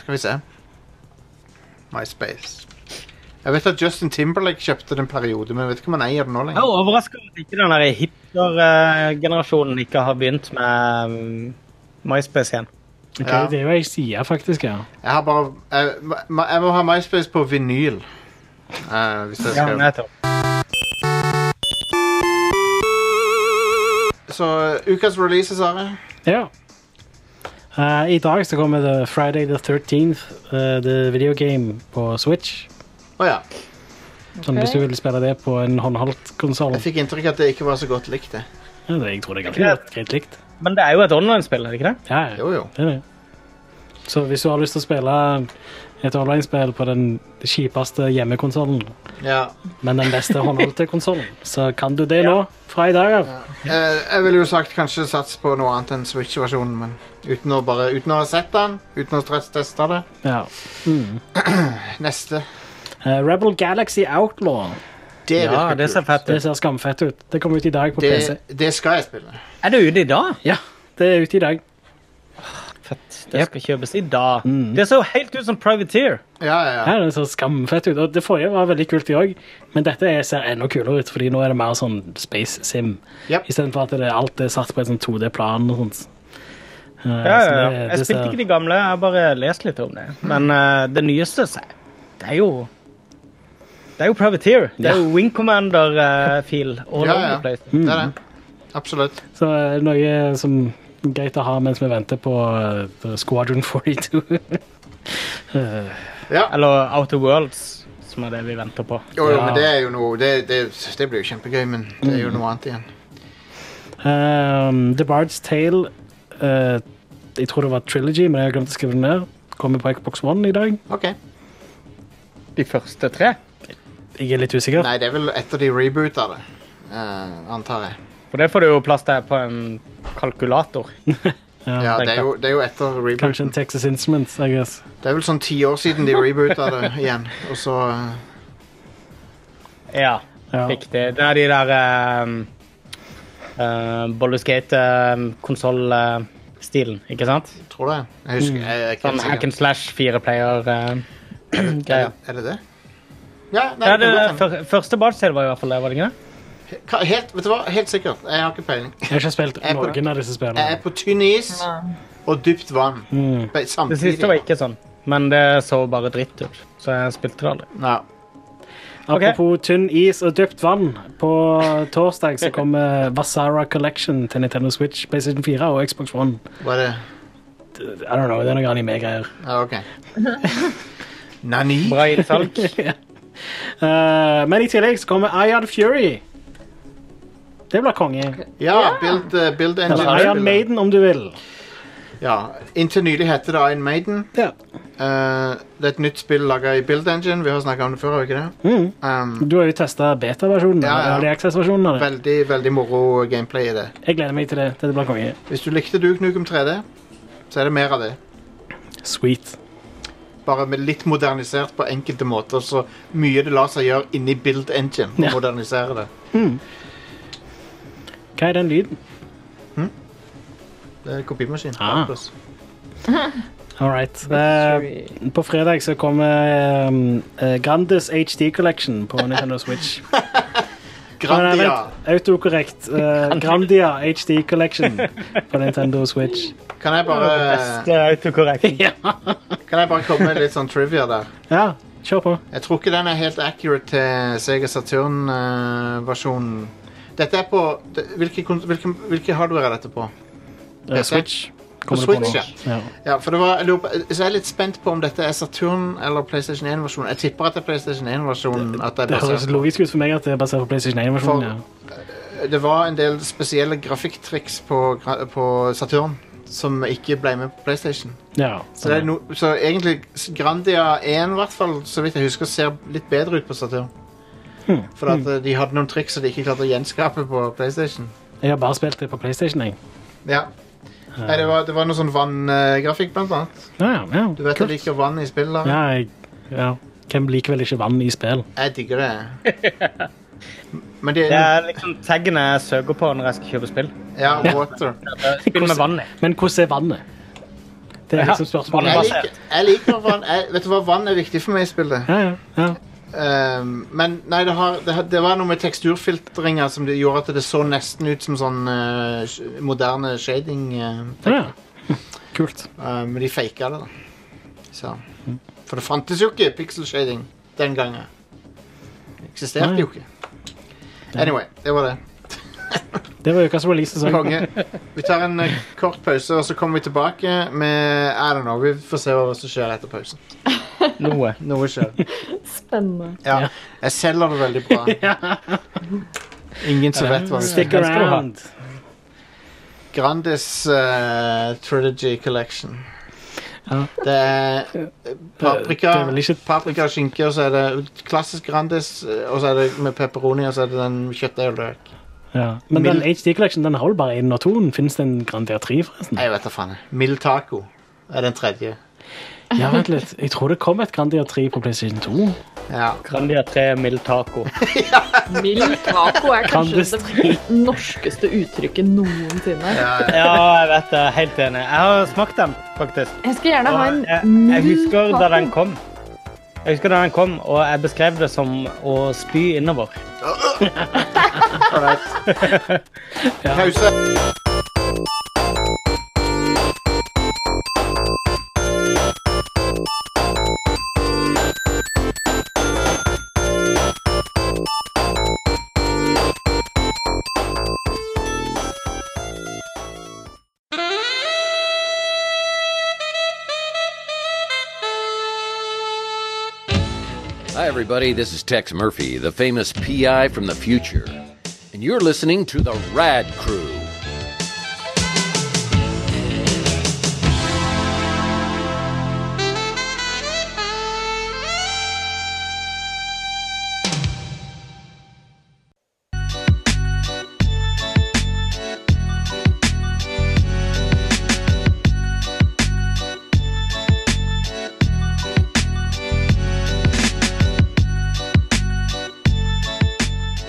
S1: Skal vi se. MySpace. Jeg vet at Justin Timberlake kjøpte den periode, men jeg vet ikke om han eier den nå
S3: Jeg er
S1: lenger.
S3: overraska over at ikke den der hipster-generasjonen ikke har begynt med um, MySpace igjen.
S2: Ok,
S1: Ja.
S2: Det er jo ei side, faktisk. ja.
S1: Jeg har bare Jeg, ma- jeg må ha MySpace på vinyl. Eh, hvis jeg
S3: Ja,
S1: skal
S3: nettopp.
S1: Så eh, ukas releases, Are.
S2: Ja. Eh, I dag så kommer det Friday the 13th, eh, the video game på Switch.
S1: Å ja.
S2: Sånn, Hvis du vil spille det på en håndholdt konsoll.
S1: Jeg fikk inntrykk av at det ikke var så godt likt, det.
S2: Ja, det- jeg tror det er ganske godt- greit likt.
S3: Men det er jo et online-spill, er det ikke det?
S2: Ja, ja.
S1: Jo, jo.
S2: Det er det. Så hvis du har lyst til å spille et online-spill på den kjipeste hjemmekonsollen,
S1: Ja.
S2: men den beste håndholdte konsollen, så kan du det nå, fra i dag av.
S1: Eh, jeg ville jo sagt kanskje sats på noe annet enn Switch-versjonen, men uten å, bare, uten å ha sett den, uten å stressteste det.
S2: Ja.
S1: Neste.
S2: Eh, Rebel Galaxy Outlaw.
S1: Det
S3: Ja,
S1: virker
S3: det ser
S1: kult.
S3: fett
S2: Det
S3: ut.
S2: ser skamfett ut. Det kommer ut i dag på PC.
S1: Det, det skal jeg spille.
S3: Er det ute i dag?
S2: Ja, det er ute i dag.
S3: Fett. Det skal kjøpes i dag. Det ser jo helt ut som Privateer.
S1: Ja, ja, ja.
S2: Ja, det ser skamfett ut. Og det forrige var veldig kult, det òg, men dette er- ser enda kulere ut, fordi nå er det mer sånn Space Sim.
S1: Yep.
S2: Istedenfor at det, alt er satt på en sånn 2D-plan og sånt. Eh,
S3: Ja,
S2: så
S3: ja, ja.
S2: det-
S3: Jeg
S2: det ser-
S3: spilte ikke de gamle, jeg har bare lest litt om det. Men eh, det nyeste, så det er jo Det er jo Privateer. Det er jo Wing eh, Commander-feel all
S1: Ja,
S3: over
S1: ja.
S3: the place.
S1: Det er det. Absolutt.
S2: Så eh, noe som er greit å ha mens vi venter på eh, The Squadron 42.
S1: Ja.
S3: Eller Outer Worlds, som er det vi venter på.
S1: Jo, jo,
S2: Ja.
S1: men det er jo noe Det, det, det blir jo kjempegøy, men det er jo noe annet igjen.
S2: Ehm, The Bard's Tale eh, Jeg tror det var Trilogy, men jeg har glemt å skrive det ned. Kommer på Xbox One i dag.
S1: OK.
S3: De første tre.
S2: Jeg er litt usikker.
S1: Nei, det er vel etter de reboota det, eh, antar jeg.
S3: For det får du jo plass til på en kalkulator.
S1: Ja, det
S3: tenker
S1: er jo, det er jo etter
S2: Kanskje
S1: rebooten.
S2: en Texas Instruments. I guess.
S1: Det er vel sånn ti år siden de reboota det igjen, og så eh,
S3: Ja,
S2: Ja.
S3: riktig. Det er de der um, uh, eh, Bolleskate-konsoll-stilen, eh, ikke sant?
S1: Tror det. Jeg husker jeg, jeg, er ikke
S3: Sånn
S1: helt
S3: hack
S1: sikker.
S3: and slash, fire player uh,
S1: Er,
S3: greier.
S1: det- er det det? Ja, nei,
S3: Ja,
S1: det kan
S3: det,
S1: godt hende.
S3: fyr- første bardstil var i hvert fall det, var det ikke det?
S1: Ka- helt, vet du hva? helt sikkert. Jeg har ikke peiling.
S2: Jeg har ikke spilt
S1: Jeg er på-
S2: noen av disse
S1: Jeg er
S2: spillene.
S1: på tynn is og dypt vann
S2: Mm.
S1: Be-
S3: Det siste var
S1: samtidig.
S3: ikke sånn, men det så bare dritt ut, så jeg spilte det aldri.
S1: Ja.
S3: Ok.
S2: Apropos tynn is og dypt vann. På torsdag så kommer Vasara Collection til Nintendo Switch, PlayStation 4 og Xbox One.
S1: Var det
S2: I don't know, Det er noe anime-greier.
S1: Ja, OK. Nani?
S3: Bra innsalg.
S2: Eh, men i tillegg så kommer Ion Fury. Det blir konge.
S1: Ja, Build, eh, build Engine.
S2: Eller Ion Maiden, om du vil.
S1: Ja, Inntil nylig heter det Iron Maiden.
S2: Ja.
S1: Eh, det er et nytt spill laga i Build Engine. Vi har snakka om det før, har vi ikke det?
S2: Mm.
S1: Um,
S2: Du har jo testa beta-versjonen.
S1: Ja, ja.
S2: Early Access-versjonen av det.
S1: veldig veldig moro gameplay i det.
S2: Jeg gleder meg til det. Dette blir konge.
S1: Hvis du likte Duke Nukem 3D, så er det mer av det.
S2: Sweet.
S1: Bare med litt modernisert på enkelte måter. Så mye det lar seg gjøre inni Build Engine. å
S2: Ja.
S1: modernisere det.
S2: Hva er den lyden?
S1: Det er kopimaskin.
S2: Ah.
S1: Oculus.
S2: All right. Eh, på fredag så kommer um, eh, Grandis HD Collection på Nintendo Switch. Nei,
S1: Grandia.
S2: nei, vent. Autokorrekt. Eh, Grandia HD Collection på Nintendo Switch.
S1: Kan jeg bare,
S3: Beste autokorrekt.
S2: ja.
S1: kan jeg bare komme med litt sånn trivia der?
S2: ja, kjør på.
S1: Jeg tror ikke den er helt accurate til Sega Saturn-versjonen. Dette er på det- Hvilke, kon- hvilke, hvilke hardware er dette på?
S2: Eh,
S1: Dette?
S2: Switch.
S1: På
S2: det på
S1: Switch, ja.
S2: nå.
S1: ja for det var, jeg lurer på, så jeg er litt spent på om dette er Saturn eller PlayStation 1-versjonen. Jeg tipper at det er PlayStation 1-versjonen. at det er
S2: Det høres
S1: basert på.
S2: logisk ut for meg at det er basert på PlayStation 1-versjonen. Ja.
S1: Det var en del spesielle grafikktriks på, gra- på Saturn som ikke ble med på PlayStation.
S2: Ja,
S1: Så, det er no, så egentlig s- Grandia 1, i hvert fall, så vidt jeg husker, ser litt bedre ut på Saturn.
S2: Hmm.
S1: For at eh, de hadde noen triks som de ikke klarte å gjenskape på PlayStation.
S2: Jeg har bare spilt det på PlayStation. Jeg.
S1: Ja. Nei, det var, det var noe sånn vanngrafikk, blant annet.
S2: Ja, ja, ja.
S1: Du vet
S2: kult.
S1: jeg liker vann i spill. da.
S2: ja, jeg, ja. Hvem liker vel ikke vann i spill?
S1: Jeg digger det. Men det
S3: Det er liksom taggene jeg søker på når jeg skal kjøpe spill.
S1: Ja, water.
S3: Spill med vann i.
S2: Men hvordan er vannet? Det er
S3: Ja,
S2: liksom spørsmålet.
S3: vannet
S1: Jeg
S2: Ja,
S3: er
S1: liker, jeg liker vann. Jeg, vet du hva, vann er viktig for meg i spillet.
S2: ja, ja.
S1: Ehm, men nei, det, har, det, har- det var noe med teksturfiltringer som det gjorde at det så nesten ut som sånn eh, sh- moderne shading. eh,
S2: ja. Kult.
S1: eh, men de faka det, da. Så. For det fantes jo ikke pixel shading den gangen. Det eksisterte
S2: Nei.
S1: jo ikke. Anyway, det var det.
S2: Det var ukas release-sesong.
S1: Konge. Vi tar en eh, kort pause, og så kommer vi tilbake med I don't know, Vi får se hva som skjer etter pausen.
S3: Noe.
S1: Noe skjer.
S4: Spennende.
S1: Ja. Jeg selger det veldig bra. Ingen som vet hva vi
S2: Stick
S3: Skal du ha?
S2: around.
S1: Grandis eh, Trilogy Collection.
S2: Ja.
S1: Det er eh, paprika,
S2: Det er vel ikke-
S1: paprika og skinke, og så er det klassisk Grandis, eh, og så er det med pepperoni, og så er det den kjøttdeig og løk.
S2: Ja. Men den
S1: Mild-
S2: HD Collection den holder bare én og to. Fins det en Grandia 3, forresten?
S1: Jeg vet da faen. jeg. Mild taco er den tredje.
S2: Ja, vent litt. Jeg tror det kom et Grandia 3 på PlayStation 2.
S1: Ja.
S3: Grandia 3 mild taco.
S4: Mild taco er kanskje
S2: Kan
S4: det norskeste uttrykket noensinne.
S3: Ja, jeg vet det. Helt enig. Jeg har smakt den, faktisk.
S4: Jeg skal gjerne ha
S3: Og jeg,
S4: en
S3: jeg
S4: mild
S3: husker da den
S4: taco.
S3: kom. Jeg husker da den kom, og jeg beskrev det som å spy innover.
S1: Alright. Pause.
S8: Hi, everybody. This is Tex Murphy, the famous PI from the future, and you're listening to the Rad Crew.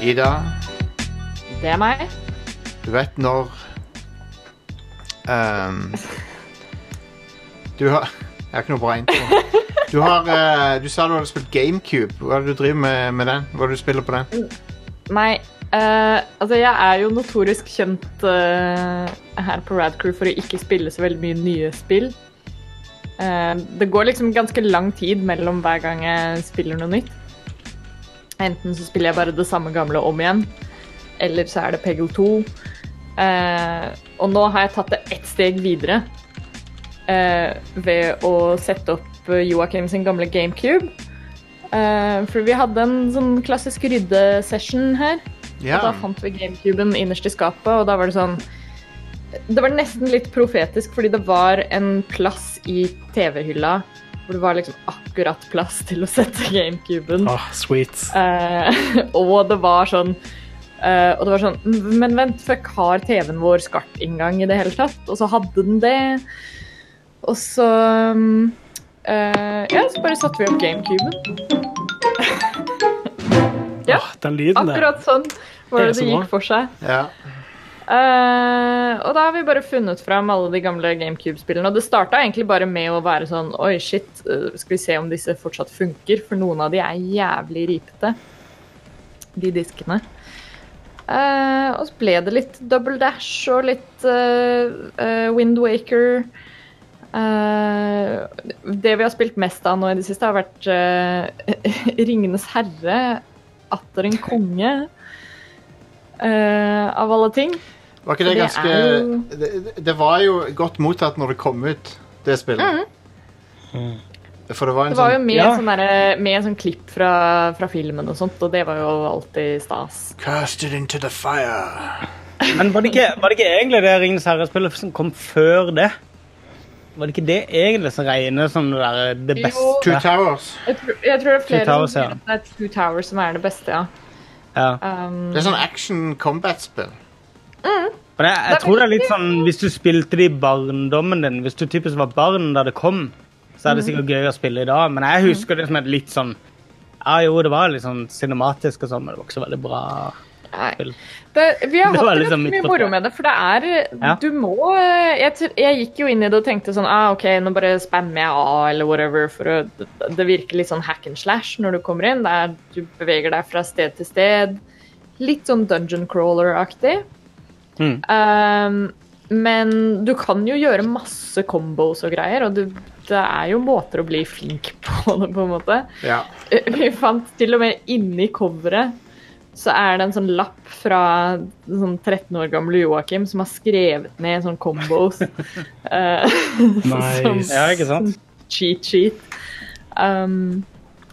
S1: Ida,
S4: Det er meg.
S1: du vet når ehm, Du har Jeg har ikke noe bra intro. Du har eh, Du sa du hadde spilt GameCube. Hva er det du driver med med den? Hva er det du spiller på
S4: Mm,
S1: den?
S4: Nei, eh, altså jeg er jo notorisk kjent eh, her på Radcrew for å ikke spille så veldig mye nye spill. Eh, det går liksom ganske lang tid mellom hver gang jeg spiller noe nytt. Enten så spiller jeg bare det samme gamle om igjen, eller så er det Peggle 2. Eh, og nå har jeg tatt det ett steg videre eh, ved å sette opp eh, Joakim sin gamle GameCube. Eh, for vi hadde en sånn klassisk ryddesession her.
S1: Ja.
S4: Og da fant vi GameCuben innerst i skapet, og da var det sånn Det var nesten litt profetisk, fordi det var en plass i TV-hylla hvor det var liksom akkurat plass til å sette GameCuben.
S2: Åh, sweet.
S4: Eh, og det var sånn eh, Og det var sånn "Mm, Men vent, fuck, har TV-en vår skartinngang i det hele tatt? Og så hadde den det. Og så mm, eh, Ja, så bare satte vi opp GameCuben. ja,
S2: Åh, den lyden der.
S4: akkurat sånn
S2: Det er
S4: var det
S2: så
S4: det
S2: bra.
S4: gikk for seg.
S1: ja.
S4: Eh, og da har vi bare funnet fram alle de gamle GameCube-spillene. Og det starta egentlig bare med å være sånn Oi, shit, eh, skal vi se om disse fortsatt funker? For noen av de er jævlig ripete, de diskene. Eh, og så ble det litt Double Dash og litt eh, eh, Wind Waker. Eh, det vi har spilt mest av nå i det siste, har vært eh, Ringenes herre, atter en konge, eh, av alle ting.
S1: Var ikke det
S4: Det er
S1: ganske
S4: jo-
S1: det, det- det var jo godt mottatt når det kom ut, det spillet. Mm. For det var en
S4: Mhm. Det var jo
S1: sånn
S4: med,
S3: Altså, Ja.
S4: sånn derre- med sånn klipp fra, fra filmen og sånt, og det var jo alltid stas.
S1: Cast it into the fire.
S3: Men var det ikke, var det ikke egentlig det Ringenes herre-spillet som kom før det? Var det ikke det egentlig som regnes som det, der, det
S4: Jo.
S1: Two
S3: beste?
S1: Towers.
S4: Jeg tror, jeg tror det er flere
S3: Two Towers,
S4: som
S3: ja.
S4: sier at det er Two Towers som er det beste, ja.
S3: Ja.
S4: Um,
S1: Det er sånn action combat-spill.
S3: Men jeg, jeg tror det er litt sånn hvis du spilte det i barndommen din, hvis du typisk var barn da det kom, så er det sikkert gøy å spille i dag, men jeg husker det som et litt sånn ja, jo, det var litt sånn cinematisk og sånn, men det var ikke så veldig bra.
S4: nei. Det, vi har
S3: Det var
S4: hatt
S3: liksom midt
S4: ganske mye
S3: på
S4: moro
S3: treet.
S4: med det, for det er
S3: Ja.
S4: Du må eh, jeg, tr- jeg gikk jo inn i det og tenkte sånn ah, OK, nå bare spammer jeg A eller whatever, for å det, det virker litt sånn hack and slash når du kommer inn. Det er, du beveger deg fra sted til sted. Litt sånn dungeon crawler-aktig.
S3: Mm.
S4: Um, men du kan jo gjøre masse combos og greier, og du, det er jo måter å bli flink på det, på en måte. Eh,
S1: Ja.
S4: Vi fant til og med inni coveret så er det en sånn lapp fra en sånn 13 år gamle Joakim som har skrevet ned sånn combos. eh,
S2: sånn Nice.
S3: Ja, ikke sant?
S4: cheat sheet. Um,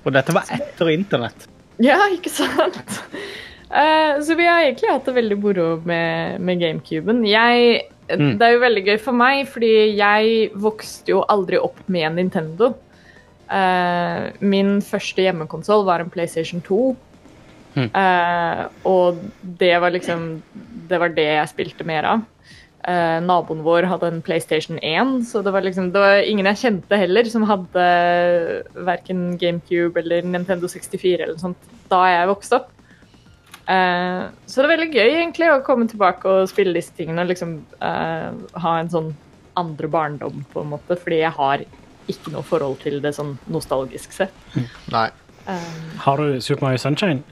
S3: Og dette var etter internett.
S4: ja, ikke sant? Eh, så vi har egentlig hatt det veldig moro med, med GameCuben. Jeg,
S3: Mm.
S4: Det er jo veldig gøy for meg, fordi jeg vokste jo aldri opp med en Nintendo. Eh, min første hjemmekonsoll var en PlayStation 2.
S3: Mm.
S4: Eh, og det var liksom Det var det jeg spilte mer av. Eh, naboen vår hadde en PlayStation 1, så det var liksom Det var ingen jeg kjente heller som hadde verken GameCube eller Nintendo 64 eller noe sånt da jeg vokste opp. Eh, så det er veldig gøy egentlig å komme tilbake og spille disse tingene og liksom eh, ha en sånn andre barndom, på en måte, fordi jeg har ikke noe forhold til det sånn nostalgisk sett.
S1: Nei.
S2: Har du Super Mario Sunshine?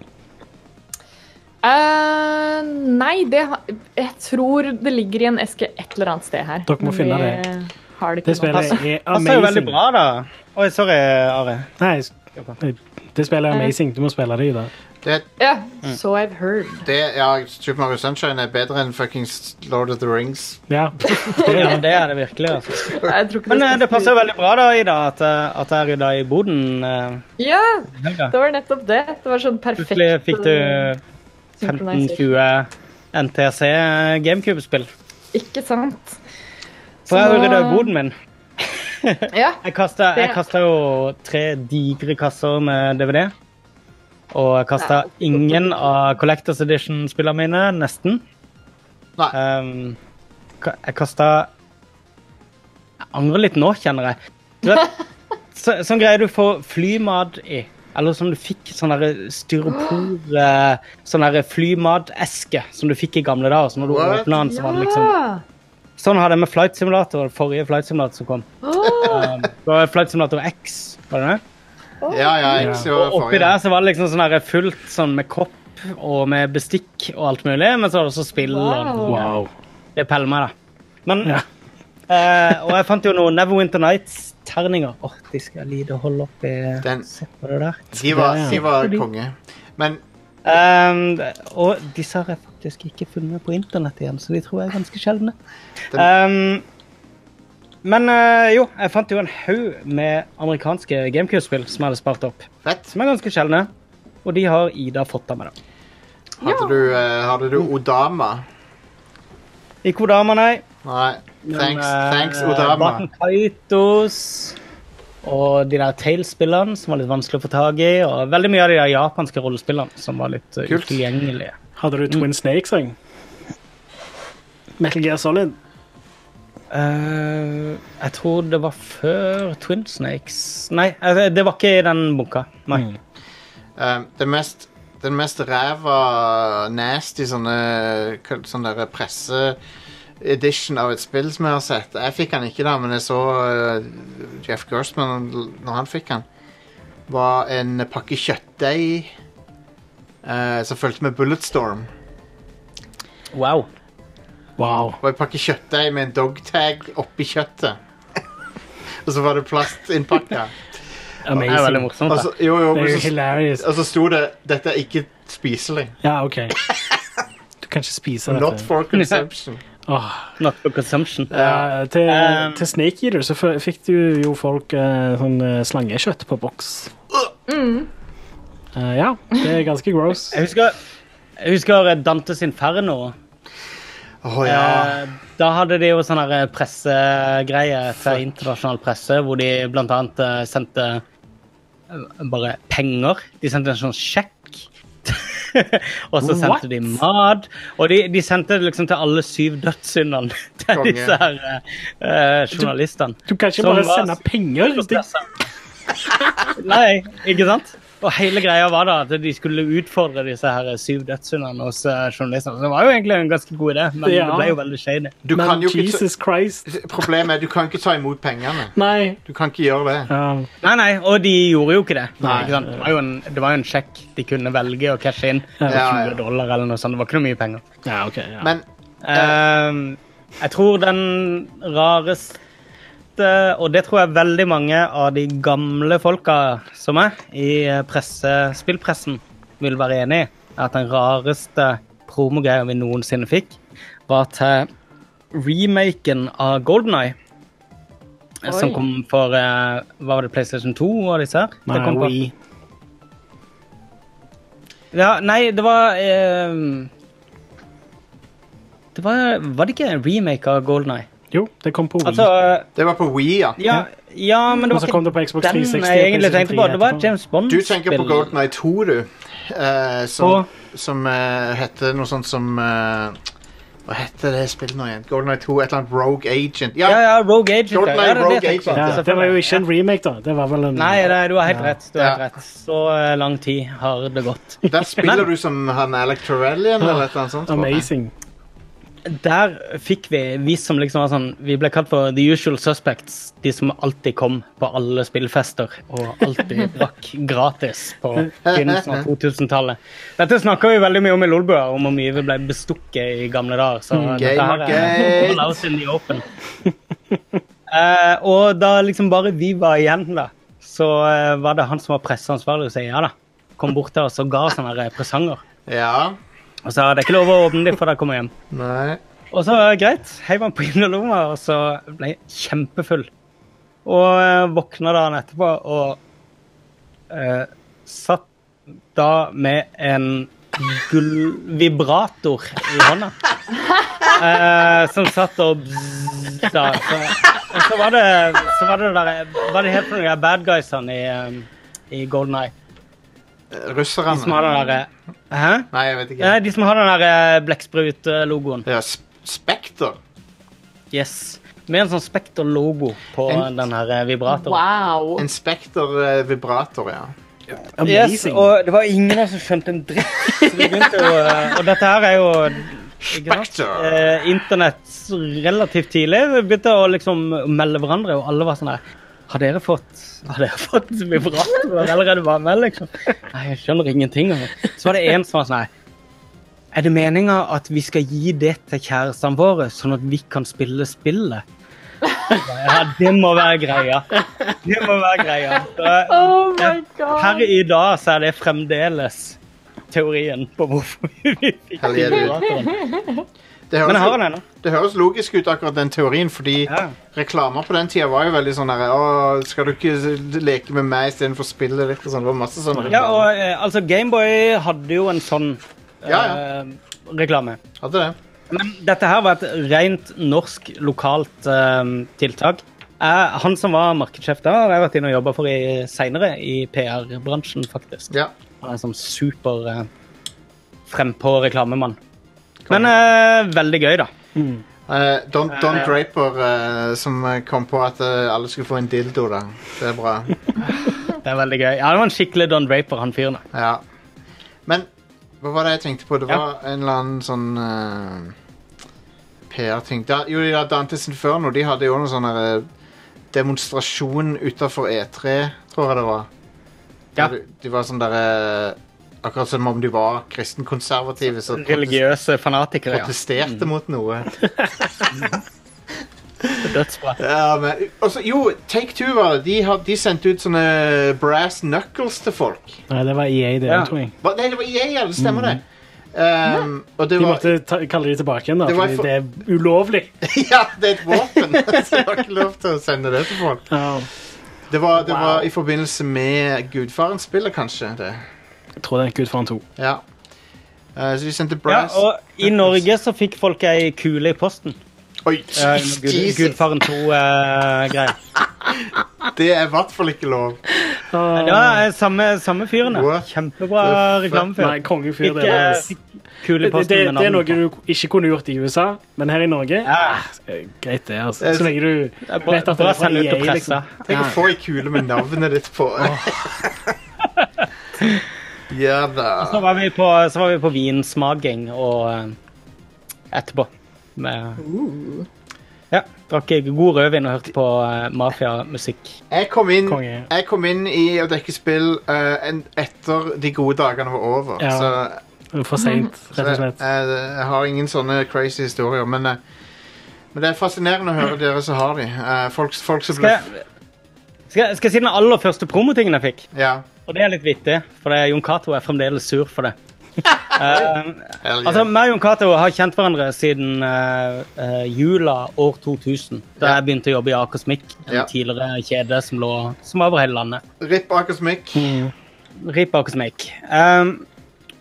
S4: Eh, nei, det ha- Jeg tror det ligger i en eske et eller annet sted her.
S2: Dere må
S4: Men
S2: finne
S4: vi
S2: det.
S4: Har det
S2: Det
S4: ikke nå.
S2: spillet er
S3: Passer jo veldig
S2: amazing.
S3: bra, da. Oi, sorry, Are.
S2: Nei, s- Det spillet er amazing. Du må spille det i dag.
S1: Det,
S4: Ja,
S3: Mm.
S4: so I've heard.
S1: det, ja, Super Mario Sunshine er bedre enn fuckings Lord of the Rings.
S2: Ja.
S3: Ja, det er det virkelig. Altså.
S4: Jeg tror ikke
S3: Men eh,
S4: skal
S3: det passer
S4: bli-
S3: jo veldig bra da, Ida, at, eh, at jeg rydda i boden. eh,
S4: Ja,
S3: i helga.
S4: det var nettopp det. Det var sånn perfekt
S3: Plutselig fikk du
S4: eh,
S3: 15-20
S4: synchronisation.
S3: NTC GameCube-spill.
S4: Ikke sant?
S3: For jeg
S4: Så
S3: har
S4: nå-
S3: rydda i boden min.
S4: Ja.
S3: Jeg kasta, jeg
S4: Det-
S3: kasta jo tre digre kasser med DVD. Og jeg kasta ingen av Collectors Edition-spillene mine, nesten.
S1: Nei.
S3: Ehm, ka- jeg kasta Jeg angrer litt nå, kjenner jeg. Du vet, så, sånn greier du får flymat i. Eller som du fikk sånn derre styropor eh, Sånn derre flymateske som du fikk i gamle dager. Så når du
S1: What?
S3: åpna den, så var det liksom
S4: Ja.
S3: Sånn hadde jeg med Flight Simulator, den forrige Flight Simulator som kom.
S4: Åh,
S3: Um, det var Flight Simulator X, var det det?
S1: Ja, ja, jeg ser hva
S3: Og oppi
S1: forrige-
S3: der så var det liksom sånn her fullt sånn med kopp og med bestikk og alt mulig, men så var det også spill og
S2: Wow.
S3: det peller meg, da. Men eh, Og jeg fant jo noen Neverwinter Nights-terninger. Åh, de skal jeg lide å holde oppi
S1: Den-
S3: Se på det der.
S1: De var, de var
S3: Fordi-
S1: konge. Men
S3: Um, og disse har jeg faktisk ikke funnet på internett igjen, så de tror jeg er ganske sjeldne. Um, men eh, jo, jeg fant jo en haug med amerikanske GameCube-spill som jeg hadde spart opp.
S1: fett.
S3: Som er ganske sjeldne. Og de har Ida fått av meg, da.
S1: Hadde du, eh, hadde du Odama?
S3: Ikke Odama, nei.
S1: Nei.
S3: men,
S1: Thanks,
S3: eh,
S1: thanks Odama.
S3: Barton Kaitos og de der Tales-spillene som var litt vanskelig å få tak i. Og veldig mye av de der japanske rollespillene som var litt eh,
S1: Kult.
S3: utilgjengelige.
S2: Hadde du
S3: Mm.
S2: Twin Snakes òg? Metal Gear Solid?
S3: Eh, jeg tror det var før Twin Snakes Nei, eh, det var ikke i den bunka. Nei.
S1: Eh, det mest den mest ræva, nasty sånne, sånn der presse-edition av et spill som jeg har sett. Jeg fikk han ikke, da, men jeg så eh, Jeff Gerstmann når han fikk han. Var en pakke kjøttdeig eh, som fulgte med Bulletstorm.
S3: Wow.
S2: Wow.
S1: Det var en pakke kjøttdeig med en dogtag oppi kjøttet. Og så var det plastinnpakka.
S3: Det er veldig
S2: Amazing.
S3: morsomt.
S1: Og
S3: da.
S1: så- Altså, jo, jo,
S2: Det
S1: men
S2: er jo
S1: så-
S2: hilarious.
S1: og så sto det 'Dette er ikke spiselig'.
S2: Ja, OK. Du kan ikke spise
S1: Not
S2: dette.
S1: for consumption.
S2: Åh.
S3: Not for consumption.
S2: Ja, til,
S3: Um,
S2: til Snake Eater så f- fikk du jo folk eh, sånn eh, slangekjøtt på boks. Eh, ja, det er ganske gross.
S3: Jeg husker, jeg husker Dantes Inferno.
S1: Å ja.
S3: Eh, Da hadde de jo sånn her pressegreie til internasjonal presse, hvor de blant annet eh, sendte eh, bare penger. De sendte en sånn sjekk. og så sendte
S2: What?
S3: de mat. Og de, de sendte det liksom til alle syv dødssyndene til
S1: Konge.
S3: disse her eh, eh, journalistene.
S2: Du kan ikke
S3: Som
S2: bare
S3: var-
S2: sende penger. Det,
S3: Nei, ikke sant? Og hele greia var da at de skulle utfordre disse her syv dødssyndene hos eh, journalistene. Så Det var jo egentlig en ganske god idé, men
S2: Ja.
S3: det ble jo veldig shady.
S1: Du kan
S2: men
S1: jo ikke ta,
S2: Jesus Christ.
S1: problemet er at du kan ikke ta imot pengene.
S2: Nei.
S1: Du kan ikke gjøre det.
S2: Ja,
S3: Nei, nei, og de gjorde jo ikke det.
S1: Nei.
S3: Ikke sant? Det, var jo en, det var jo en sjekk de kunne velge å cashe inn.
S2: Ja.
S1: Ja, ja.
S3: 20 dollar eller noe sånt. Det var ikke noe mye penger.
S2: ja OK. Ja.
S1: Men
S3: Ehm, jeg tror den rareste eh, Og det tror jeg veldig mange av de gamle folka som er i eh, presse, spillpressen, vil være enig i, er at den rareste promogreia vi noensinne fikk, var til remaken av GoldenEye. Som
S4: Oi.
S3: kom for eh, Hva var det, PlayStation 2 og disse her?
S2: Nei,
S3: det kom på.
S2: Wii.
S3: Ja, nei, det var ehm, Det var Var det ikke en remake av Golden Eye?
S2: Jo, det kom på Wii.
S3: Altså
S1: det var på Wii, ja.
S3: Ja, ja men det
S2: Og så
S3: var
S2: kom det
S3: ikke
S2: på Xbox
S3: den eh,
S2: 360.
S3: jeg egentlig
S2: PlayStation
S3: tenkte på.
S2: 3
S3: Det var
S2: etterpå.
S3: et James Bond.
S1: Du tenker på Golden Eye 2, du. eh, som
S3: Og-
S1: som eh, heter noe sånt som eh, Hva heter det spillet nå igjen? Golden Eye 2, et eller annet Rogue Agent. Ja,
S3: Ja, ja, Rogue Agent.
S1: Golden
S3: ja,
S1: Eye,
S3: det er det jeg
S1: Rogue
S3: tenker på,
S1: Agent,
S2: ja, det var jo ikke en remake, da. Det var vel en
S3: Nei, nei, du har helt rett. Du har helt
S1: Ja.
S3: rett. Så eh, lang tid har det gått.
S1: Der spiller du som han Alec Torellian eller et eller annet sånt. tror jeg.
S2: Amazing.
S3: Der fikk vi vi som liksom var sånn Vi ble kalt for The Usual Suspects. De som alltid kom på alle spillfester og alltid drakk gratis på begynnelsen av 2000-tallet. Dette snakker vi veldig mye om i Lolbua, om hvor mye vi ble bestukket i gamle dager. Så dette her
S1: Gamergate.
S3: er all out in the open. Eh, og da liksom bare vi var igjen, da, så eh, var det han som var presseansvarlig og sa ja da. Kom bort der og så ga oss sånne her presanger.
S1: Ja.
S3: Og sa det er ikke lov å åpne dem før dere kommer hjem.
S1: Nei.
S3: Og så eh, greit, heiv han på innerlomma, og så ble jeg kjempefull. Og eh, våkna dagen etterpå og eh, satt da med en gullvibrator i hånda. Eh, som satt og bzzz, da. Så, og så var det så var det, der, var det helt noen av de bad guysene i, eh, i Golden Eye. De som har
S1: Russerne.
S3: den derre Hæ?
S1: Nei, jeg vet ikke.
S3: Nei, de som har den der eh, blekksprut-logoen.
S1: Ja, sp Spekter.
S3: Yes. Med en sånn Spekter-logo på
S1: En-
S3: den her eh, vibratoren.
S4: Wow.
S1: En Spekter-vibrator, ja.
S3: Yes,
S2: Amazing.
S3: og det var ingen av oss som skjønte en dritt. Så vi begynte jo, eh, og dette her er jo ikke sant,
S1: Spekter.
S3: eh, Internett relativt tidlig. Vi begynte å liksom melde hverandre, og alle var sånn der Har dere fått Har dere fått vibratorer allerede? Bare med, liksom. Nei, jeg skjønner ingenting. av det. Så var det en som var sånn her Er det meninga at vi skal gi det til kjærestene våre, sånn at vi kan spille spillet? Ja, det må være greia. Det må være greia. Så,
S4: Oh my
S3: her
S4: god.
S3: i dag så er det fremdeles teorien på hvorfor vi fikk
S1: Hell yeah, dude.
S3: vibratoren.
S1: Det
S3: Men jeg har
S1: høres,
S3: den ennå.
S1: det høres logisk ut, akkurat den teorien, fordi
S3: Ja.
S1: reklamer på den tida var jo veldig sånn her Å, skal du ikke leke med meg istedenfor spillet ditt? Og sånn. Det var masse sånne
S3: Ja,
S1: reklamer.
S3: og eh, altså, Gameboy hadde jo en sånn eh,
S1: Ja,
S3: reklame.
S1: Hadde det.
S3: Men dette her var et rent norsk, lokalt eh, tiltak. Eh, han som var markedssjef da, har jeg vært inne og jobba for i- seinere i PR-bransjen, faktisk.
S1: Ja.
S3: Han er en sånn super eh, frempå-reklamemann. Men eh, veldig gøy, da.
S1: Eh, Don, Don Draper eh, som eh, kom på at eh, alle skulle få en dildo, da. Det er bra.
S3: Det er veldig gøy. Ja, Han var en skikkelig Don Draper, han fyren. da.
S1: Ja. Men hva var det jeg tenkte på? Det var en eller annen sånn eh, PR-ting. Da- Jo, ja, Dantes Inferno de hadde jo noen sånne eh, demonstrasjon utafor E3, tror jeg det var.
S3: Ja.
S1: De, de var sånn derre Akkurat som om de var kristenkonservative. så protest-
S3: Religiøse fanatikere, ja.
S1: Protesterte mot noe.
S3: Dødsbra.
S1: Ja, men, også, jo, Take Two var det. De, had- de sendte ut sånne brass knuckles til folk.
S2: Nei, det var EA, det,
S3: Ja.
S2: tror jeg.
S1: Hva, nei, det var EA, ja, det stemmer det. Ehm, og det
S2: De
S1: var
S2: måtte ta, kalle de tilbake igjen, da,
S1: Det var
S2: fordi
S1: for-
S2: det er ulovlig.
S1: Ja, det er et våpen! Så det var ikke lov til å sende det til folk. Det var, det var i forbindelse med Gudfaren-spillet, kanskje. det.
S2: Jeg tror det er Gud faen to.
S1: Ja. Eh, så de sendte
S3: Ja,
S1: brass
S3: og i Norge så fikk folk ei kule i posten.
S1: Oi,
S3: Eh,
S1: Jesus!
S3: Gud, Gudfaren
S2: eh,
S3: 2-greier.
S1: Det er i hvert fall ikke lov.
S3: det var eh, samme, samme fyren. da.
S1: What
S3: Kjempebra
S1: the fuck?
S2: Nei,
S3: reklamefyr.
S2: kongefyr,
S3: Fikk
S2: det
S3: eh,
S2: var
S3: fikk kule i
S2: det, det,
S3: posten. med
S2: det er
S3: navnet
S2: noe du
S3: på.
S2: ikke kunne gjort i USA, men her i Norge
S3: Ja.
S2: eh, Greit, det. altså.
S1: Det er-
S2: Så lenge du vet
S3: Det er Bra,
S2: at det
S3: bra
S2: er fra
S3: sendt ut
S2: EA.
S3: til pressa.
S2: Liksom.
S1: Tenk å få ei kule med navnet ditt på. ja
S3: Så
S1: da.
S3: var vi på, så var vi på vinsmaking og eh, etterpå. Med, ja, drakk god rødvin og hørte på eh, mafiamusikk.
S1: Jeg kom inn,
S2: Konge.
S1: jeg kom inn i å dekke spill eh, en, etter de gode dagene var over.
S2: Ja.
S1: Så
S2: For seint, rett og
S1: Så
S2: slett.
S1: Jeg, eh, jeg, jeg har ingen sånne crazy historier, men, eh, men det er fascinerende å høre dere som har de. Eh, folk, folk som ble...
S3: Skal jeg, skal, jeg, skal jeg si den aller første promotingen jeg fikk?
S1: Ja.
S3: Og det er litt vittig, for det er Jon Cato er fremdeles sur for det. Eh,
S1: Hell yeah.
S3: altså, meg og Jon Cato har kjent hverandre siden eh, eh, jula år 2000,
S1: Ja.
S3: da jeg begynte å jobbe i Akersmikk, en
S1: Ja.
S3: tidligere kjede som lå som var over hele landet.
S1: Rip Akersmik.
S3: Rip Akersmikk. Um,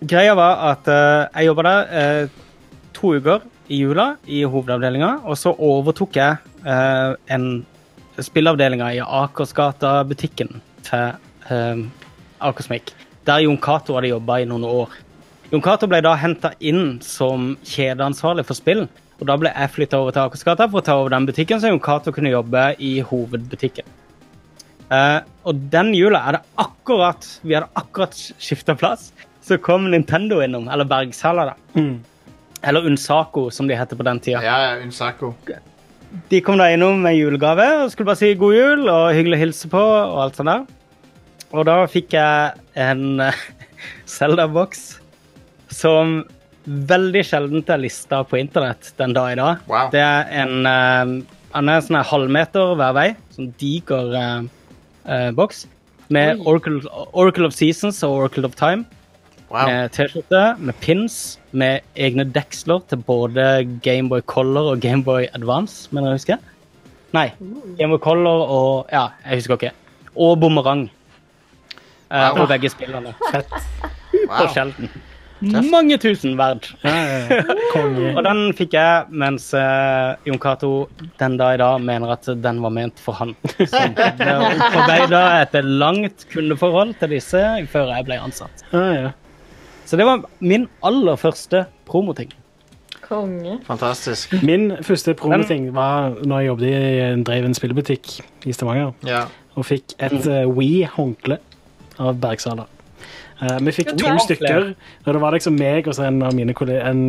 S3: greia var at eh, jeg jobba der eh, to uker i jula i hovedavdelinga, og så overtok jeg eh, en spilleavdelinga i Akersgata-butikken til eh, Akersmik, der Jon Cato hadde jobba i noen år. Jon Cato ble da henta inn som kjedeansvarlig for spill, og da ble jeg flytta over til Akersgata for å ta over den butikken, så Jon Cato kunne jobbe i hovedbutikken. Eh, og den jula er det akkurat Vi hadde akkurat skifta plass. Så kom Nintendo innom, eller Bergsala, da.
S2: Mm.
S3: Eller Unsaco, som de heter på den tida.
S1: Ja, ja, Unsako.
S3: De kom da innom med julegave og skulle bare si god jul og hyggelig å hilse på. Og alt sånt der. Og da fikk jeg en eh, Zelda-boks som veldig sjelden er lista på internett den dag i dag.
S1: Wow.
S3: Det er en eh, Han er en sånn her halvmeter hver vei, sånn diger eh, eh, boks. med Oracle, Oracle of Seasons og Oracle of Time.
S1: Wow.
S3: Med T-skjorte, med pins, med egne deksler til både Gameboy Color og Gameboy Advance, mener jeg husker. Nei, Gameboy Color og Ja, jeg husker ikke. Og bumerang. Eh,
S1: Wow.
S3: og begge spillerne.
S1: wow.
S3: Og sjelden. Mange tusen verd. Og den fikk jeg, mens eh, Jon Cato den dag i dag mener at den var ment for han. Som forbeida et langt kundeforhold til disse før jeg ble ansatt.
S2: Ah, ja.
S3: Så det var min aller første promoting.
S4: Konge.
S1: Fantastisk.
S2: Min første promoting var når jeg jobbet i en drev en spillebutikk i Stavanger.
S1: Ja.
S2: og fikk et uh, Wii-håndkle av Bergsala. Eh, vi fikk
S4: Ja,
S2: to
S4: det er
S2: stykker, og det var liksom meg og så en av mine kolle en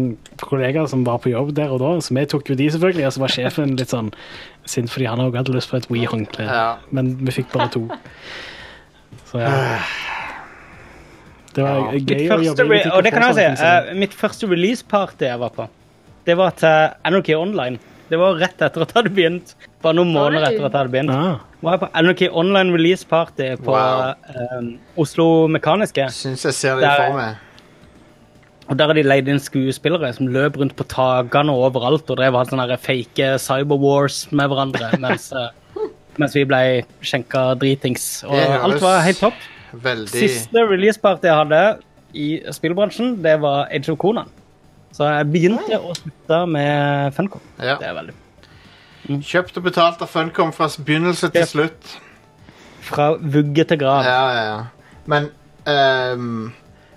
S2: kollegaer som var på jobb der og da, så vi tok jo de selvfølgelig, og så var sjefen litt sånn sint fordi han også hadde lyst på et Wii-håndkle,
S1: Ja.
S2: men vi fikk bare to. Så ja. Det var
S3: Mitt
S2: gøy å
S3: første,
S2: jobbe i
S3: re
S2: butikk
S3: og det
S2: få
S3: kan jeg si,
S2: sånne ting som-
S3: eh, mitt første release-party jeg var på, det var til Anarchy Online. Det var rett etter at jeg hadde begynt. Bare noen måneder
S4: Oi.
S3: etter at jeg hadde begynt.
S2: Ah,
S3: Var jeg på Anarchy Online release-party på
S1: Wow.
S3: eh, Oslo Mekaniske.
S1: Syns jeg ser det
S3: Der-
S1: for meg.
S3: Og der har de leid inn skuespillere som løp rundt på tagane og overalt og drev og hadde sånne her fake cyberwars med hverandre mens, eh, mens vi ble skjenka dritings. Og
S1: Det høres-
S3: alt var helt topp.
S1: Veldig
S3: Siste releaseparty jeg hadde i spillbransjen, det var Age of Conan. Så jeg begynte å slutte med Funcom.
S1: ja.
S3: Det er veldig
S1: Kjøpt og betalt av Funcom fra begynnelse til
S3: Yep.
S1: slutt.
S3: Fra vugge til grav.
S1: Ja, ja, ja. Men ehm,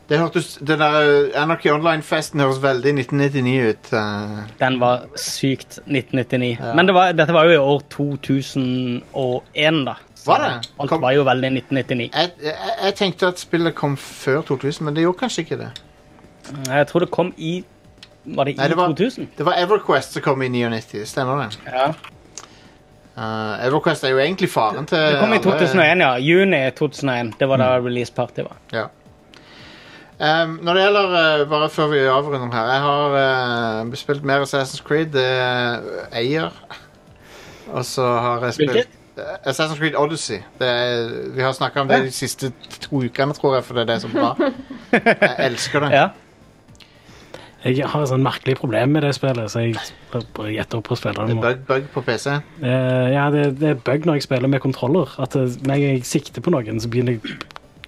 S1: det hørtes Den der Anarchy Online-festen høres veldig 1999 ut. eh.
S3: Den var sykt 1999. Men det var, dette var jo i år 2001, da. Så
S1: Var det?
S3: Alt
S1: Kom-
S3: var jo veldig 1999.
S1: jeg, jeg, jeg tenkte at spillet kom før 2000, men det gjorde kanskje ikke det.
S3: Jeg tror det kom i Var det i
S1: Nei, det var-
S3: 2000?
S1: Det var Everquest som kom i 99, stemmer det?
S3: Ja.
S1: Eh, Everquest er jo egentlig faren til
S3: Det kom i
S1: alle-
S3: 2001, ja. Juni 2001. Det var da
S1: Mm.
S3: release party var.
S1: Ja. Ehm, når det gjelder eh, Bare før vi avrunder her Jeg har eh, spilt mer Assassin's Creed. Det er eier. Og så har jeg spilt
S3: Hvilket?
S1: Eh, Assassin's Creed Odyssey. Det er, vi har snakka om det de siste to ukene, tror jeg, for det er det som er bra. Jeg elsker det.
S3: Ja.
S2: jeg har et sånn merkelig problem med det spillet, så jeg bare gjetter opp og spiller
S1: Det
S2: det
S1: er
S2: nå.
S1: bug, bug på PC.
S2: Eh, ja, det, det er bug når jeg spiller med kontroller. At det, når jeg sikter på noen, så begynner jeg-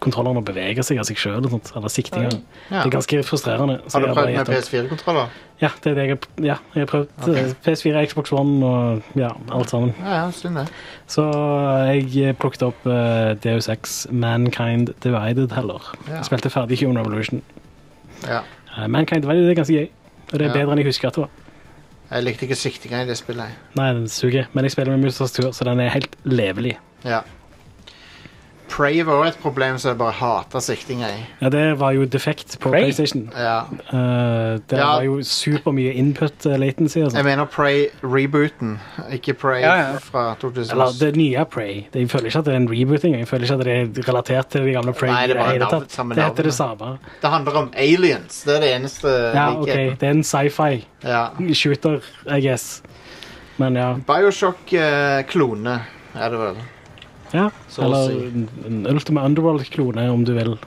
S2: kontrolleren å bevege seg av seg sjøl. Eller siktinga.
S1: Ja.
S2: Det er ganske frustrerende. så
S1: Har du prøvd
S2: jeg bare
S1: med
S2: gitt opp.
S1: PS4-kontroller?
S2: Ja, det er det jeg, har- ja, jeg har prøvd. eh, PS4, Xbox One og ja, alt sammen.
S1: Ja, ja, synd det.
S2: Så jeg eh, plukket opp eh, DU6 Mankind Divided heller.
S1: Ja.
S2: Jeg spilte ferdig Human Revolution.
S1: Ja.
S2: Eh, Mankind Divided er ganske gøy. Og det er
S1: Ja.
S2: bedre enn jeg husker at det var.
S1: Jeg likte ikke siktinga i det spillet. jeg.
S2: Nei, den suger. Men jeg spiller med mus og tastatur, så den er helt levelig.
S1: Ja. Prey var også et problem som jeg bare hater siktinga i.
S2: Ja, det var jo defekt på
S3: Prey?
S2: PlayStation.
S1: Ja.
S2: Eh, det
S1: Ja.
S2: var jo supermye input eh, latency og
S1: Jeg
S2: sånt.
S1: mener Prey-rebooten, ikke Prey
S3: Ja, ja.
S1: fra 2000.
S2: Eller det nye Prey. Det- Jeg føler ikke at det er en reboot engang. Jeg føler ikke at det er relatert til de gamle Prey.
S1: Nei, det er bare
S2: i hele
S1: navn-
S2: tatt.
S1: samme
S2: det heter
S1: navn.
S2: det samme.
S1: Det handler om aliens. Det er det eneste
S2: Ja, ok.
S1: likheten.
S2: Det er en sci-fi
S1: Ja.
S2: shooter, I guess. Men ja.
S1: Bioshock-klone eh, er det vel.
S2: ja.
S1: Så å
S2: Eller
S1: si.
S2: en en Ultima Underworld-klone, om du vil.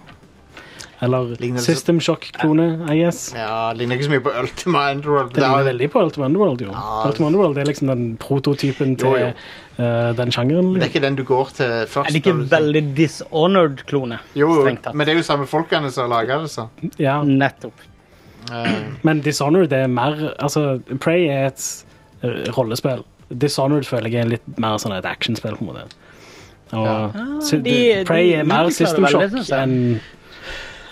S1: Ligner
S2: Eller
S1: det så-
S2: System Shock-klone, I guess.
S1: Ja, det ligner ikke så mye på Ultima Underworld.
S2: Det
S1: har-
S2: ligner veldig på Ultima Underworld, jo.
S1: Ja.
S2: Ultima Underworld er liksom den prototypen til
S1: Jo, jo.
S2: eh, den sjangeren.
S1: det er
S2: Liksom.
S1: ikke den du går til først.
S3: Er det ikke
S1: når du-
S3: veldig dishonored-klone?
S1: Jo,
S3: Strengt tatt.
S1: men det er jo samme folkene som lager det, så.
S2: Ja.
S3: Mm. Nettopp.
S1: Eh,
S2: Men Dishonored er mer Altså, Prey er et eh, rollespill. Dishonored føler jeg er litt mer sånn et actionspill, på en måte. Og
S1: Ja.
S2: sy-
S3: Ah, de-
S2: Prey
S3: de
S2: er mer
S3: utvikler
S2: System
S3: det veldig,
S2: Shock
S3: synes jeg.
S2: enn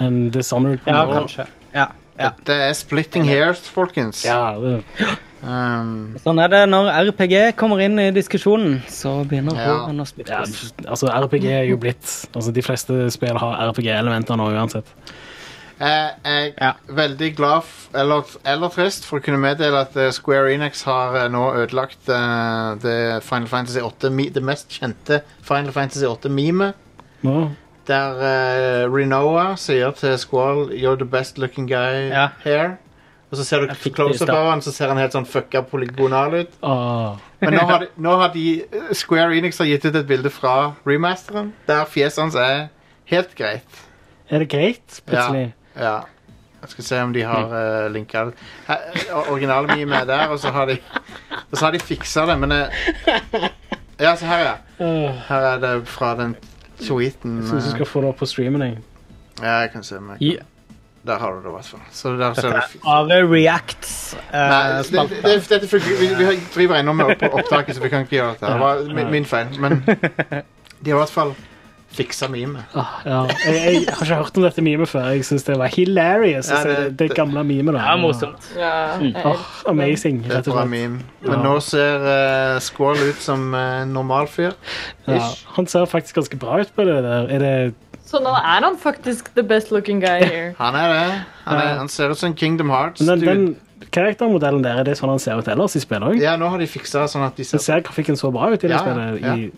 S2: enn Dishonored. på en
S3: Ja,
S2: måte.
S3: kanskje. Ja. ja.
S1: Det er splitting hairs, folkens.
S2: ja, det-
S1: Um,
S3: Sånn er det når RPG kommer inn i diskusjonen, så begynner
S1: Ja.
S3: hårene å
S2: ja,
S3: splittes.
S2: altså, RPG er jo blitt Altså, De fleste spill har RPG-elementer nå uansett.
S1: jeg er
S3: Ja.
S1: veldig glad, f eller, eller trist, for å kunne meddele at eh, Square Enix har eh, nå ødelagt eh, det Final Fantasy 8, mi- det mest kjente Final Fantasy 8-memet.
S2: Nå,
S1: Der eh, Renoa sier til Squall You're the best looking guy
S3: Ja.
S1: here. Og Og så ser du
S2: Jeg fikk det i
S1: close-up
S2: stad.
S1: av han, så ser han helt sånn fucka polygonal ut.
S2: Åh.
S1: Men nå har, de, nå har de eh, Square Enix har gitt ut et bilde fra remasteren, der fjeset hans er helt greit.
S2: Er det greit, plutselig?
S1: Ja. Jeg skal se om de har
S2: Mm.
S1: uh, linka det. Her- Originalmeme er der, og så har de Og så har de fiksa det, men eh, Ja, se her, ja.
S2: Åh,
S1: Her er det fra den tweeten.
S2: Jeg syns du
S1: eh,
S2: skal få det opp på streamen. jeg.
S1: Ja, jeg kan se meg.
S2: I-
S1: Der har du det, i hvert fall. Så der ser du fi-
S3: Av Reacts. eh,
S1: Nei, det,
S3: spalt.
S1: det, det, dette funker- vi, vi har- driver ennå med opp, opptaket, så vi kan ikke gjøre dette. Det var min, min feil, men de har i hvert fall fiksa meme.
S2: Åh, ja. jeg, jeg har ikke hørt om dette mimet før. Jeg syns det var hilarious. å
S1: Ja,
S2: se
S1: det-
S2: det, det, gamle mimet.
S9: Ja, morsomt.
S4: Ja,
S3: Mm.
S4: jeg
S2: Åh, amazing,
S1: Det er
S2: rett
S1: et
S2: og
S1: bra
S2: slett.
S1: meme. Men nå ser eh, Squall ut som uh, normal fyr.
S2: Ja, han ser faktisk ganske bra ut på det der. Er det
S4: Så nå er han faktisk the best looking guy here.
S1: Han er det. Han, er, han ser ut som Kingdom Hearts.
S2: Men den,
S1: dude.
S2: den karaktermodellen der, er det sånn han ser ut ellers i spillet òg?
S1: Ja, nå har de fiksa sånn at de ser
S2: Ser grafikken så bra ut i det
S1: Ja,
S2: spillet?
S1: ja.
S2: I,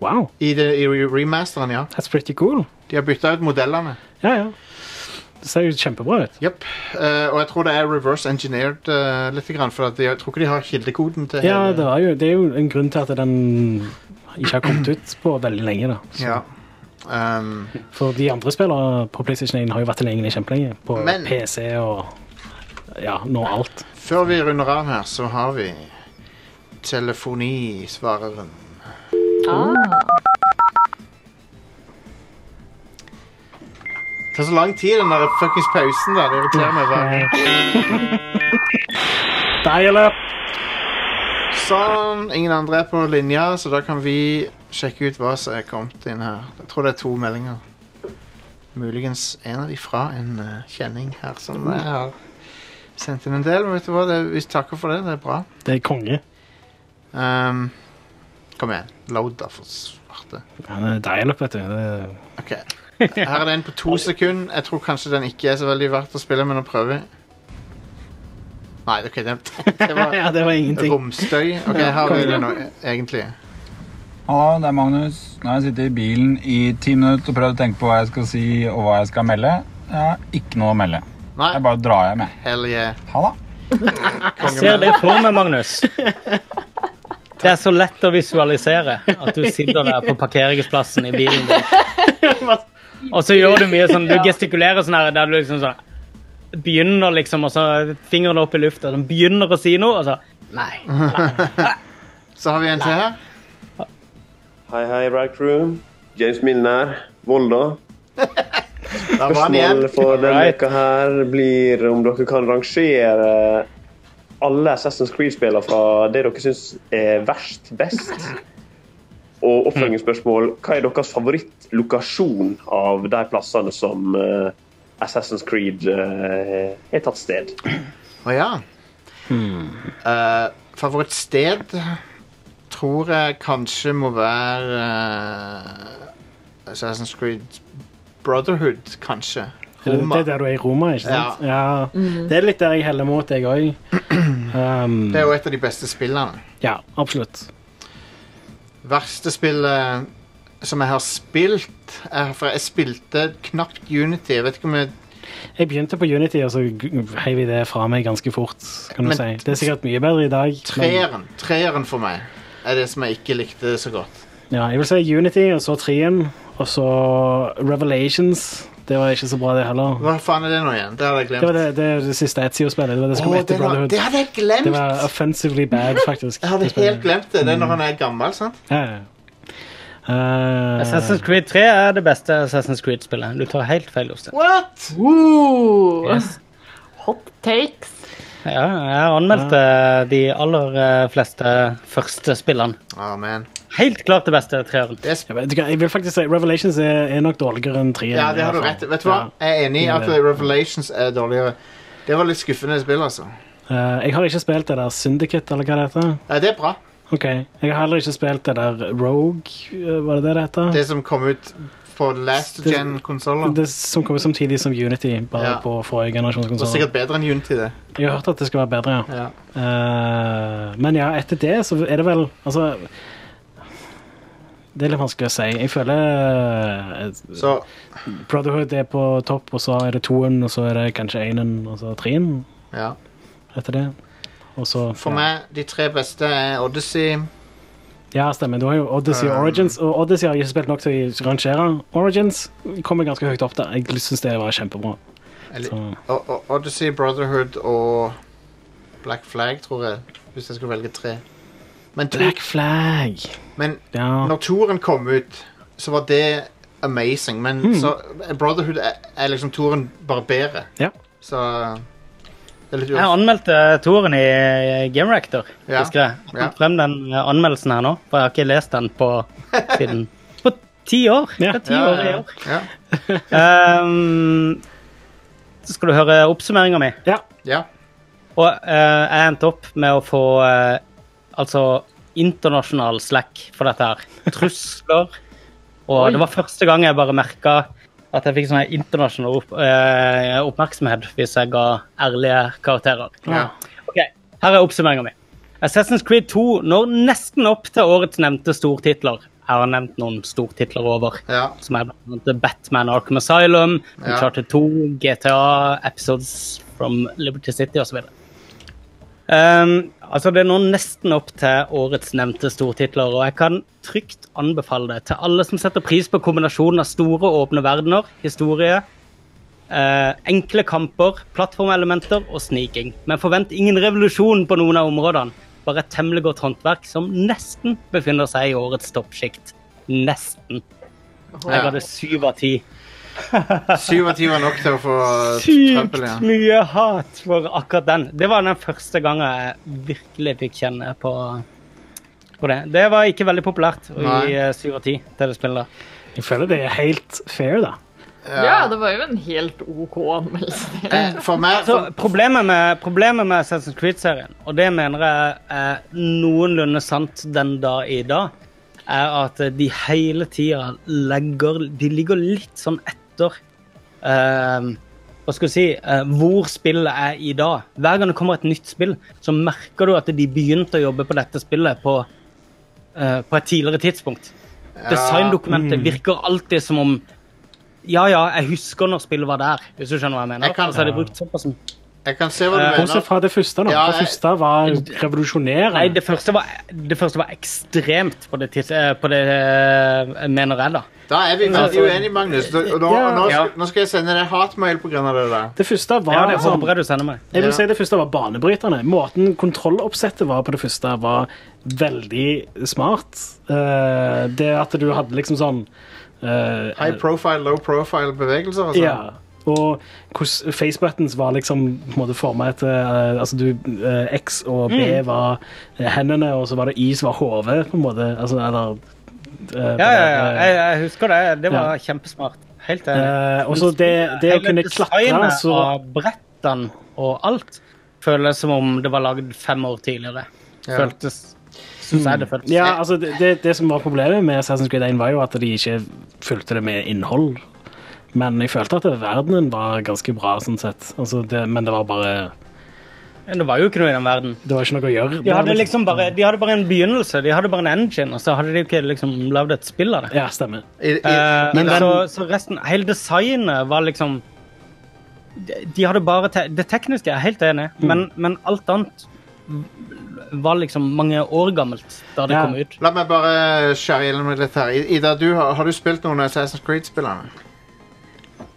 S2: wow,
S1: I, det, i re- remasteren, ja.
S2: that's pretty cool.
S1: De har bytta ut modellene.
S2: Ja, ja. Det ser jo kjempebra ut.
S1: Yep. Eh, og jeg tror det er reverse engineered eh, litt, grann, for at de, jeg tror ikke de har kildekoden til
S2: Ja,
S1: hele-
S2: det, var jo, det er jo en grunn til at den ikke har kommet ut på veldig lenge. da. Så-
S1: Ja. Um,
S2: For de andre spillere på PlayStation 1 har jo vært tilgjengelig kjempelenge. På
S1: Men-
S2: PC og ja, nå alt.
S1: før vi runder av her, så har vi telefonisvareren.
S4: Ah.
S1: Det tar så lang tid, den der fuckings pausen der. Det irriterer meg hver gang.
S2: Dial up!
S1: Sånn. Ingen andre er på linja, så da kan vi sjekke ut hva som er kommet inn her. Jeg tror det er to meldinger. Muligens en av de fra en eh, kjenning her som jeg har sendt inn en del. Men vet du hva, det, vi takker for det. Det er bra.
S2: Det er konge.
S1: Ehm, kom igjen. Load, da, for svarte.
S2: Ja, det er Dial up, vet du. Det er
S1: OK. Her er det en på to sekunder. Jeg tror kanskje den ikke er så veldig verdt å spille, men nå prøver vi. Nei, OK, det, det var
S2: Ja, det var ingenting.
S1: romstøy. OK, her er det nå, egentlig.
S10: Hallo, det er Magnus. Nå har jeg sittet i bilen i ti minutter og prøvd å tenke på hva jeg skal si og hva jeg skal melde. Jeg har ikke noe å melde.
S1: Nei,
S10: Jeg bare drar hjem, jeg.
S1: hell yeah.
S10: Ha det.
S3: Ser det for meg, Magnus. Det er så lett å visualisere at du sitter der på parkeringsplassen i bilen din. Og så gjør du mye sånn, du gestikulerer sånn her, der du liksom sånn Begynner liksom, og så fingrene opp i lufta. Sånn, begynner å si noe, og så Nei.
S1: Så har vi en til her.
S11: Hei, hei, Brad Crew. James Milner, Volda.
S1: Da var han igjen.
S11: Spørsmålet for denne
S3: Alright.
S11: uka her blir om dere kan rangere alle Assassin's Creed-spillene fra det dere syns er verst, best. Og oppfølgingsspørsmål hva er deres favorittlokasjon av de plassene som eh, Assassin's Creed eh, er tatt sted?
S1: Å ja. Eh, favorittsted tror jeg kanskje må være eh, Assassin's Creed Brotherhood, kanskje.
S2: Det det
S1: Roma.
S2: er der du er i Roma, ikke sant? Ja. Det er litt der jeg heller mot, jeg òg. Um,
S1: Det er jo et av de beste spillene.
S2: ja, absolutt.
S1: Verste spillet som jeg har spilt er, For jeg spilte knapt Unity. Jeg vet ikke om jeg
S2: Jeg begynte på Unity, og så heiv jeg det fra meg ganske fort. kan du
S1: Men-
S2: si. Det er sikkert mye bedre i dag. men-
S1: Treeren. Treeren for meg er det som jeg ikke likte så godt.
S2: Ja, jeg vil si Unity, og så Trien, og så Revelations. Det var ikke så bra, det heller.
S1: Hva faen er det nå igjen? Det hadde jeg
S2: Det var
S1: glemt.
S2: det, det, er det siste Ezio-spillet. Det var det som
S1: Å,
S2: kom
S1: det,
S2: etter
S1: var,
S2: Brotherhood.
S1: det hadde jeg glemt!
S2: Det var offensively bad, faktisk.
S1: Jeg hadde
S2: det Mm. spillet.
S1: helt glemt det. Det er når han er gammel, sant?
S2: Ja, ja. Eh,
S3: Assassin's Creed 3 er det beste Assassin's Creed-spillet. Du tar helt feil, Jostein.
S1: What?
S4: Woo!
S3: Yes.
S4: Hot takes.
S3: Ja, jeg anmeldte de aller eh, fleste første spillene.
S1: Å, Ah, man.
S3: Helt klart det beste treeren.
S1: Det er sp
S2: jeg vet ikke, jeg vil faktisk si Revelations er, er nok dårligere enn Trien.
S1: ja,
S2: i
S1: det har du
S2: hvert fall.
S1: rett i. Vet du hva?
S2: Ja.
S1: Jeg er enig i at
S2: Det er det.
S1: Revelations er dårligere. Det var litt skuffende spill, altså.
S2: Eh, jeg har ikke spilt det der Syndicate, eller hva det heter.
S1: Nei, det er bra.
S2: Ok, Jeg har heller ikke spilt det der Rogue, eh, var det det det heter?
S1: Det som kom ut på last
S2: Det-
S1: gen-konsoller.
S2: Det som kommer samtidig som Unity, bare
S1: Ja.
S2: på forrige generasjons
S1: Det var
S2: konsoler.
S1: sikkert bedre enn Unity, det.
S2: Jeg har hørt at det skal være bedre, ja.
S1: Ja.
S2: Eh, men ja, etter det så er det vel Altså Det er litt vanskelig å si. Jeg føler eh,
S1: Så
S2: Brotherhood er på topp, og så er det toen, og så er det kanskje enen, og så treen.
S1: Ja.
S2: etter det. Og så
S1: For meg, de tre beste er Odyssey.
S2: Ja, stemmer. Du har jo Odyssey og
S1: Um.
S2: Origins, og Odyssey har jeg ikke spilt nok til å rangere. Origins kommer ganske høyt opp der. Jeg syns det var kjempebra.
S1: Eller-
S2: Så,
S1: O- O- Odyssey, Brotherhood og Black Flag, tror jeg. Hvis jeg skulle velge tre. Men, to,
S2: Black Flag.
S1: men
S2: Ja.
S1: når toeren kom ut, så var det amazing. Men
S3: Hmm.
S1: så eh, Brotherhood er, er liksom toeren bare bedre.
S2: Ja.
S1: Så det er litt
S3: Jeg
S1: uansett.
S3: anmeldte Toren i eh, Game Reactor.
S1: Ja.
S3: Husker jeg. Jeg
S1: Ja.
S3: fant frem den eh, anmeldelsen her nå, for jeg har ikke lest den på siden På ti år.
S2: Ja.
S3: Det er ti år i år.
S1: Ja.
S3: Ehm, så skal du høre oppsummeringa mi.
S2: ja.
S1: ja.
S3: Og eh, jeg endte opp med å få eh, altså internasjonal slack for dette her. Trusler. Og det var første gang jeg bare merka at jeg fikk sånn her internasjonal opp, eh, oppmerksomhet hvis jeg ga ærlige karakterer.
S1: ja.
S3: Ok, Her er oppsummeringa mi. Assassin's Creed 2 når nesten opp til årets nevnte stortitler. Jeg har nevnt noen stortitler over
S1: ja.
S3: som er blant annet Batman Arkham Asylum,
S1: Ja.
S3: Uncharted 2, GTA, Episodes from Liberty City osv. Um, altså det er nå nesten opp til årets nevnte stortitler, og jeg kan trygt anbefale det til alle som setter pris på kombinasjonen av store og åpne verdener, historie, eh, enkle kamper, plattformelementer og sniking. Men forvent ingen revolusjon på noen av områdene. Bare et temmelig godt håndverk som nesten befinner seg i årets toppsjikt. Nesten. Jeg hadde syv av ti.
S1: Syv av ti var nok til å få
S3: Sykt
S1: trøbbel, ja.
S3: mye hat for akkurat den. Det var den første gangen jeg virkelig fikk kjenne på, på det. Det var ikke veldig populært å
S1: Nei.
S3: gi eh, syv av ti til det spillet.
S2: Jeg føler det er helt fair, da.
S4: Ja, det var jo en helt OK anmeldelse. det.
S1: Eh, For meg
S3: Så
S1: for,
S3: Altså, problemet med, problemet med Assassin's Creed-serien, og det mener jeg er noenlunde sant den dag i dag, er at de hele tida legger De ligger litt sånn etter eh, hva skal jeg si, eh, hvor spillet er i dag. Hver gang det kommer et nytt spill, så merker du at de begynte å jobbe på dette spillet på, eh, på et tidligere tidspunkt.
S1: Mm.
S3: Designdokumentet virker alltid som om Ja, ja, jeg husker når spillet var der, hvis du skjønner hva jeg mener.
S1: Jeg kan-
S3: altså, er det brukt såpass mye.
S1: Jeg kan se hva
S3: Eh,
S1: du
S2: Bortsett
S1: mener.
S2: fra det første, da.
S1: Ja,
S2: det
S1: jeg-
S2: første var revolusjonerende.
S3: Nei, det første var, det første var ekstremt på det, tids, eh, på det eh, mener jeg, da.
S1: Da er vi veldig uenige, Magnus. Nå, nå, nå,
S3: Altså- Ja.
S1: skal, nå skal jeg sende deg hatmail på grunn av det der.
S2: Det første var
S3: Ja, det
S2: sånn-
S3: håper jeg du sender meg.
S2: Jeg vil
S1: Ja.
S2: si det første var banebryterne. Måten kontrolloppsettet var på det første, var veldig smart. Eh, det at du hadde liksom sånn eh,
S1: High profile, low profile bevegelser og sånn.
S2: Ja. Altså, Og hvordan face buttons var liksom på en måte forma etter eh, Altså du eh, X og B
S3: Mm.
S2: var eh, hendene, og så var det Y som var hodet, på en måte. Altså, eller eh,
S3: Ja, ja, ja.
S2: eh,
S3: Jeg, jeg husker det. Det var kjempesmart. Helt enig.
S2: Eh, og så det- det å
S3: Hele
S2: kunne klatre, altså-
S3: designet
S2: så-
S3: av brettene og alt føles som om det var lagd fem år tidligere.
S1: Ja.
S3: Føltes Syns jeg det føltes.
S2: Ja, altså det, det, det som var problemet med Assassin's Creed 1 var jo at de ikke fulgte det med innhold. Men jeg følte at verdenen var ganske bra, sånn sett. Altså det, men det var bare
S3: Men Det var jo ikke noe i den verden.
S2: Det var ikke noe å gjøre.
S3: De hadde liksom bare, de hadde bare en begynnelse. De hadde bare en engine, og så hadde de ikke liksom lagd et spill av det.
S2: Ja, stemmer.
S1: I, i,
S3: Eh,
S1: men den,
S3: så, så resten, hele designet var liksom de- De hadde bare te Det tekniske er jeg helt enig,
S2: Mm.
S3: i, men, men alt annet var liksom mange år gammelt da det
S2: Ja.
S3: kom ut.
S1: la meg bare skjære gjennom det litt her. I- Ida, du, har, har du spilt noen av Assassin's Creed-spillene?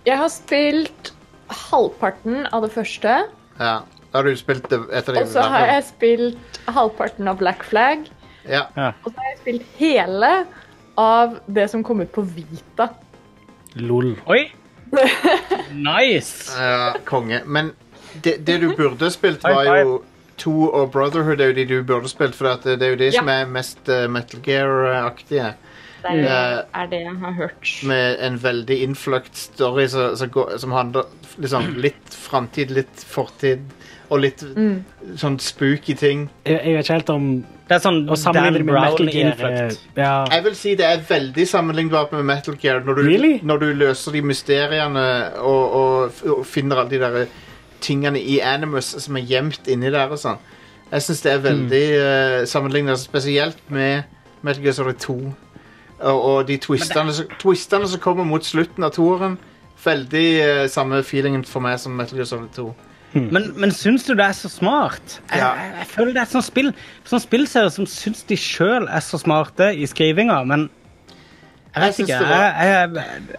S4: Jeg har spilt halvparten av det første.
S1: Ja. Da har du spilt det etter det?
S4: Og så har jeg spilt halvparten av Black Flag.
S1: ja.
S4: Og så har jeg spilt hele av det som kom ut på Vita.
S2: Lol.
S3: Oi! Nice!
S1: ja, konge. Men det, det du burde spilt, var
S3: High
S1: jo To og Brotherhood er jo de du burde spilt, for at eh, det er jo de
S4: Ja.
S1: som er mest eh, Metal Gear-aktige. Eh,
S4: Det er, er det jeg har hørt.
S1: med en veldig innfløkt story som, som, går, som handler liksom, litt framtid, litt fortid og litt
S4: Mm.
S1: sånn spooky ting.
S2: Jeg, jeg vet ikke helt om
S3: Det er sånn
S2: Å sammenligne
S3: Dan
S2: med Metal Gear eh,
S3: Brown-innfløkt.
S2: ja.
S1: Jeg vil si det er veldig sammenlignbart med Metal Gear når du,
S2: Really?
S1: når du løser de mysteriene og, og, f- og finner alle de der tingene i Animus som er gjemt inni der og sånn. Jeg syns det er veldig mm. sammenlignet, spesielt med Metal Gear Solid 2. Og, og de twistene, som- twistene som kommer mot slutten av toeren. Veldig eh, samme feelingen for meg som Metal Gear Solid 2.
S2: mm.
S3: Men, men syns du det er så smart? Jeg, jeg, jeg føler det er et sånt spill Sånn spillserie som syns de sjøl er så smarte i skrivinga, men jeg
S1: Jeg
S3: vet
S1: syns
S3: ikke.
S1: det
S3: Jeg, jeg, jeg,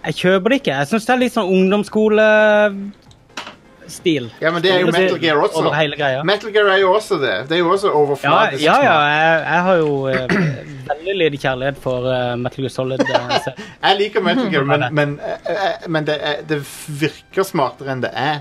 S3: jeg kjøper det ikke. Jeg syns det er litt sånn ungdomsskolestil.
S1: Ja, men det er jo Metal Gear også.
S3: Over hele greia.
S1: Metal Gear er jo også det. Det er jo også
S3: Ja,
S1: overfladisk.
S3: ja, ja jeg, jeg har jo eh, veldig lite kjærlighet for eh, Metal Gear Solid. eh, så-
S1: Jeg liker Metal Gear, men,
S3: Mm.
S1: men, eh, eh, men det, er, det virker smartere enn det er.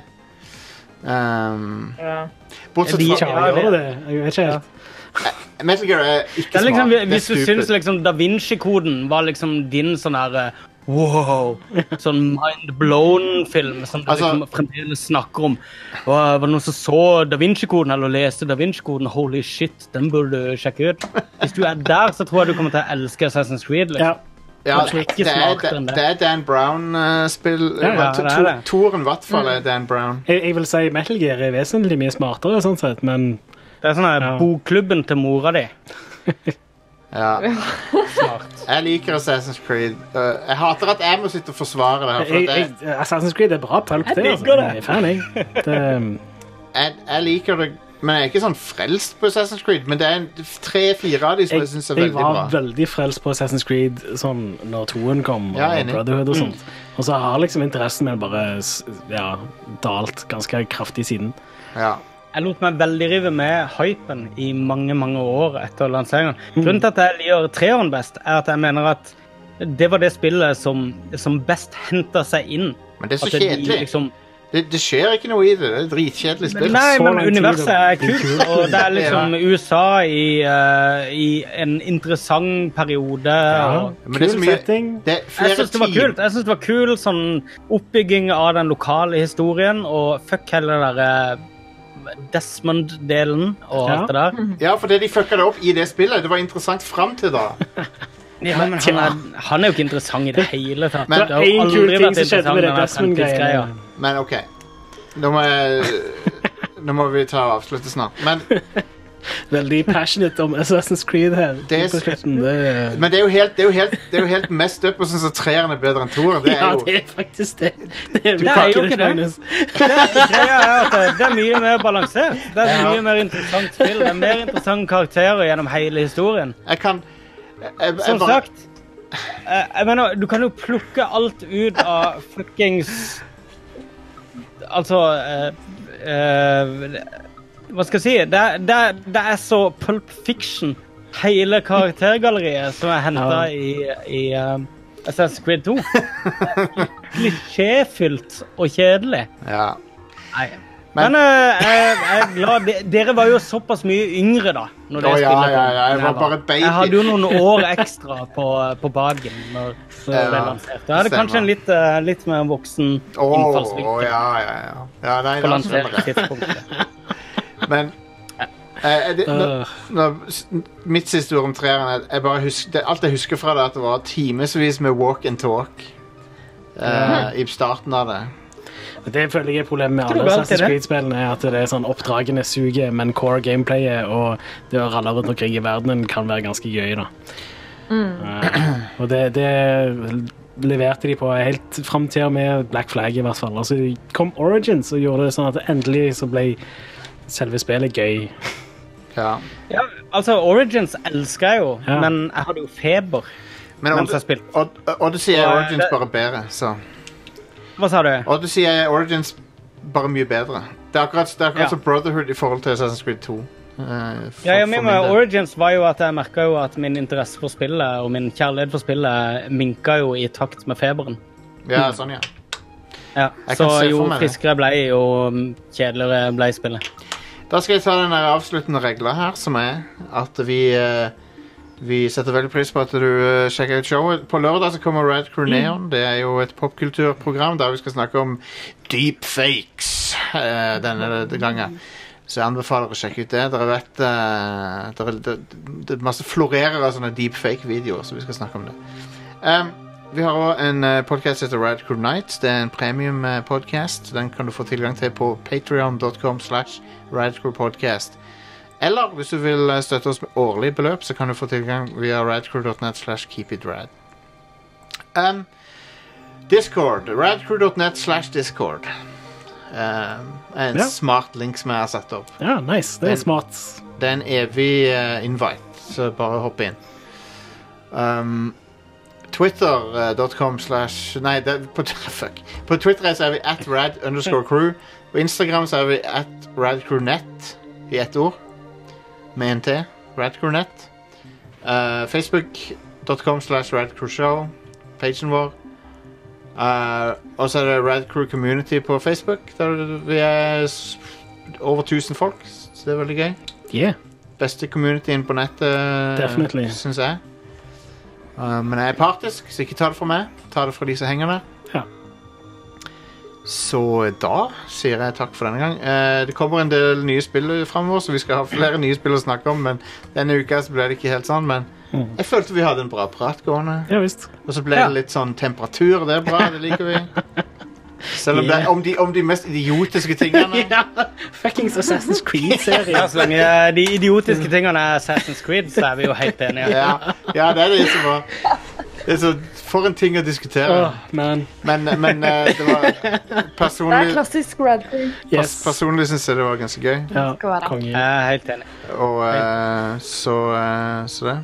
S1: Um,
S4: Ja.
S1: bortsett
S3: De-
S1: fra
S2: Ja, gjør det. Jeg vet ikke helt.
S1: Metal Gear er
S3: Det
S1: ikke
S3: er liksom,
S1: smart. Det er
S3: hvis du syns
S1: stupid.
S3: liksom Da Vinci-koden var liksom din sånn her eh, Wow! Sånn mind-blown-film som du
S1: Altså-
S3: liksom fremdeles snakker om. Og, eh, var det noen som så Da Vinci-koden eller leste Da Vinci-koden? Holy shit, den burde du sjekke ut. Hvis du er der, så tror jeg du kommer til å elske Assassin's Creed.
S2: Ja.
S3: Liksom.
S1: Ja,
S3: det er ikke
S1: det, er,
S3: smartere enn det.
S1: det er Dan eh, Brown-spill.
S3: Ja, ja, det er det.
S1: Toren, i hvert fall, er Dan Brown.
S2: Jeg, jeg vil si Metal Gear er vesentlig mye smartere, sånn sett, men
S3: Det er sånn her
S2: Ja.
S3: bokklubben til mora di.
S1: Ja. Jeg liker Assassin's Creed. Uh, jeg hater at jeg må sitte og forsvare det. her for
S2: jeg,
S1: at jeg,
S2: jeg, Assassin's Creed er bra pulp,
S3: Jeg
S2: det. altså.
S3: digger det.
S2: Jeg er fan, jeg. Det, um,
S1: jeg, jeg liker det Men jeg er ikke sånn frelst på Assassin's Creed, men det er en- tre-fire av de som jeg,
S2: jeg,
S1: synes er
S2: jeg
S1: veldig
S2: var
S1: bra.
S2: veldig frelst på Assassin's Creed sånn, når toen kom, og
S1: Ja, enig.
S2: Brotherhood og sånt. Og så har liksom interessen min bare s- ja, dalt ganske kraftig siden.
S1: Ja.
S3: Jeg lot meg veldig rive med hypen i mange mange år etter lanseringen. Grunnen til at jeg liker treeren best, er at jeg mener at det var det spillet som, som best henta seg inn.
S1: Men det er så
S3: At de
S1: kjedelig.
S3: liksom-
S1: Det, det skjer ikke noe i det. Det er et dritkjedelig spill.
S3: Nei,
S2: så
S3: men
S2: lang tid,
S3: universet
S2: da.
S3: er kult, og det er liksom USA i, eh, i en interessant periode. og-
S1: men det er så
S2: Kul
S1: mye-
S2: setting.
S1: Det er
S3: Jeg
S1: flere
S3: syns det var
S1: team.
S3: kult. Jeg synes det var kul sånn oppbygging av den lokale historien, og fuck hele den der eh, Desmond-delen og alt det der.
S1: Ja, fordi de fucka det opp i det spillet. Det var interessant fram til da.
S3: Ja, men han er, han er jo ikke interessant i det hele tatt.
S1: Men-
S2: Det var én kul ting som skjedde med det Desmond-greia.
S1: Men OK. Nå må jeg Nå må vi ta og avslutte snart. Men,
S2: Veldig passionate om Assassin's Creed her.
S1: Det er-
S2: på slutten. Det, er-
S1: men det er jo helt Det er jo helt, det er jo helt messed up å synes at treeren er bedre enn toeren. Det
S2: ja,
S1: er jo
S2: det er faktisk det. Det er,
S3: Det er jo
S2: faktisk
S3: ikke det.
S2: Magnus.
S3: Greia er at det er mye mer balansert. Det er mye mer interessant spill. Det er mer interessante karakterer gjennom hele historien.
S1: Jeg kan jeg, jeg, jeg
S3: Som
S1: bare,
S3: sagt, eh, jeg mener, du kan jo plukke alt ut av fuckings Altså eh, eh, Hva skal jeg si? Det, er- det, er- det er så pulp fiction. Hele karaktergalleriet som er henta i, i eh, Assassin's Creed 2. Klisjéfylt og kjedelig.
S1: ja.
S3: Nei.
S1: Men-
S3: Men, eh, jeg, jeg er glad de, Dere var jo såpass mye yngre, da. Når
S1: Å,
S3: det
S1: ja,
S3: spillet
S1: ja,
S3: kom.
S1: ja, jeg var bare baby.
S3: Jeg hadde jo noen år ekstra på, på bagen. Når, når
S1: Ja,
S3: det ble lansert. Jeg hadde kanskje
S1: stemmer.
S3: en litt, eh, litt mer voksen
S1: Å,
S3: innfallsvinkel
S1: å, ja, ja, ja. ja nei,
S3: på
S1: det er
S3: lansert
S1: sånn,
S3: tidspunkt.
S1: Men eh, det, nå,
S2: Øh,
S1: nå- s- Mitt siste ord om treeren er at jeg bare husker, det, Alt jeg husker fra det, er at det var timevis med walk and talk eh, i starten av det.
S2: det føler jeg er problemet med alle
S3: du alltid
S2: Assassin's
S3: det?
S2: Creed-spillene. er At det er sånn oppdragene suger, men core gameplayet og det å ralle rundt omkring i verdenen kan være ganske gøy. da. Eh, og det, det leverte de på helt fram til og med Black Flag, i hvert fall. Altså, de kom Origins og gjorde det sånn at endelig så ble selve spillet gøy.
S1: Ja.
S3: Ja, altså, Origins elsker jeg jo,
S2: Ja.
S3: men jeg hadde jo feber.
S1: Men
S3: Mens jeg
S1: Odd-
S3: spilte.
S1: Odd- Odyssey er
S3: Og, eh,
S1: Origins
S3: det-
S1: bare bedre, så
S3: Hva sa du?
S1: Odyssey er Origins bare mye bedre. Det er akkurat, det er akkurat
S3: Ja.
S1: som Brotherhood i forhold til Assassin's Creed 2. eh, for-
S3: Ja, jeg
S1: for
S3: mener,
S1: min del.
S3: Origins var jo at jeg merka jo at min interesse for spillet og min kjærlighet for spillet minka jo i takt med feberen.
S1: ja, sånn, ja.
S3: Ja,
S1: Jeg kan
S3: så
S1: se for
S3: jo
S1: meg det.
S3: friskere jeg ble, jo kjedeligere ble spillet.
S1: Da skal jeg ta den der avsluttende regla her, som er at vi eh, Vi setter veldig pris på at du eh, sjekker ut showet. På lørdag så kommer Rad Crew Neon. Det er jo et popkulturprogram der vi skal snakke om deepfakes eh, denne gangen. Så jeg anbefaler å sjekke ut det. Dere vet eh, dere, det, det er masse florerer av sånne deepfake-videoer, så vi skal snakke om det. Em, vi har òg en eh, podcast som heter Rad Crew Nights. Det er en premium eh, podcast. Den kan du få tilgang til på patreon.com slash radcrewpodcast. Eller hvis du vil eh, støtte oss med årlig beløp, så kan du få tilgang via radcrew.net slash keepitrad. Um, Discord. Radcrew.net slash discord. Eh, en
S2: Ja.
S1: smart link som jeg har satt opp.
S2: Ja, nice. Det
S1: Men-
S2: er smart.
S1: Det er en evig eh, invite, så bare hopp inn. Um, Twitter.com slash Nei, det, på, fuck. på Twitter så er vi at rad underscore crew. På Instagram så er vi at radcrewnet i ett ord. Med en T. Radcrewnet. Uh, Facebook.com slash radcrewshow. Pagen vår. Uh, og så er det Radcrew Community på Facebook. Der vi er s- over 1000 folk, så det er veldig gøy
S2: Yeah.
S1: beste communityen på nettet,
S2: Definitely.
S1: syns jeg. Uh, men jeg er partisk, så ikke ta det fra meg. Ta det fra de som henger der.
S2: Ja.
S1: Så da sier jeg takk for denne gang. Eh, det kommer en del nye spill fremover, så vi skal ha flere nye spill å snakke om. Men denne uka så ble det ikke helt sånn. Men
S2: Mm.
S1: jeg følte vi hadde en bra prat gående.
S2: Ja visst.
S1: Og så ble
S3: Ja.
S1: det litt sånn temperatur. Det er bra, det liker vi. Selv om det er om de, om de mest idiotiske tingene.
S2: ja. Fuckings Assassin's
S3: Ja,
S2: Creed-serie.
S3: så lenge de idiotiske tingene er Assassin's Creed, så er vi jo helt enige.
S1: Ja, ja det er det som var det er så, For en ting å diskutere.
S2: Åh, man.
S1: Men, men eh, det var
S4: Det er
S1: personlig,
S4: klassisk Radcrew.
S1: pers
S2: Yes.
S1: personlig syns jeg det var ganske gøy.
S2: Ja,
S4: Skal være.
S3: Jeg
S2: konge.
S3: er helt enig.
S1: Og eh, så, eh, så det.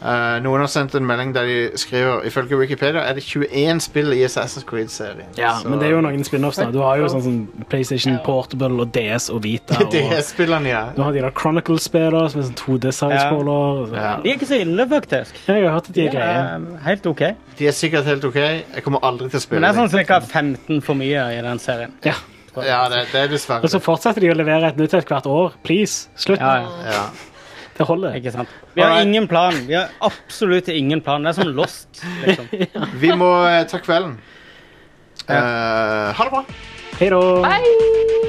S1: Eh, noen har sendt en melding der de skriver ifølge Wikipedia er det 21 spill i Assassin's Creed-serien.
S2: Ja,
S1: Så-
S2: men det er jo noen spin-offs. da. Du har jo sånn som PlayStation Portable og DS og Vita. Og
S1: Det er spillene, ja.
S2: du har de der Chronicle-spillene som er sånn 2D-sidescroller.
S1: ja.
S3: De er ikke så ille, faktisk.
S2: Jeg har hørt at de er greie.
S3: Eh, Helt OK.
S1: De er sikkert helt OK. Jeg kommer aldri til å spille
S3: Men det er sånn ca. 15 for mye i den serien.
S2: Ja.
S1: dem. Ja, det, det er dessverre
S2: Og så fortsetter de å levere et nytt et hvert år. Please, slutt.
S3: Ja, ja.
S1: Ja.
S2: Det holder.
S3: Ikke sant? Vi har
S1: Alright.
S3: ingen plan. Vi har absolutt ingen plan. Det er sånn lost, liksom.
S1: Vi må eh, ta kvelden. Eh, ha det bra.
S2: Hei da.
S4: Hei!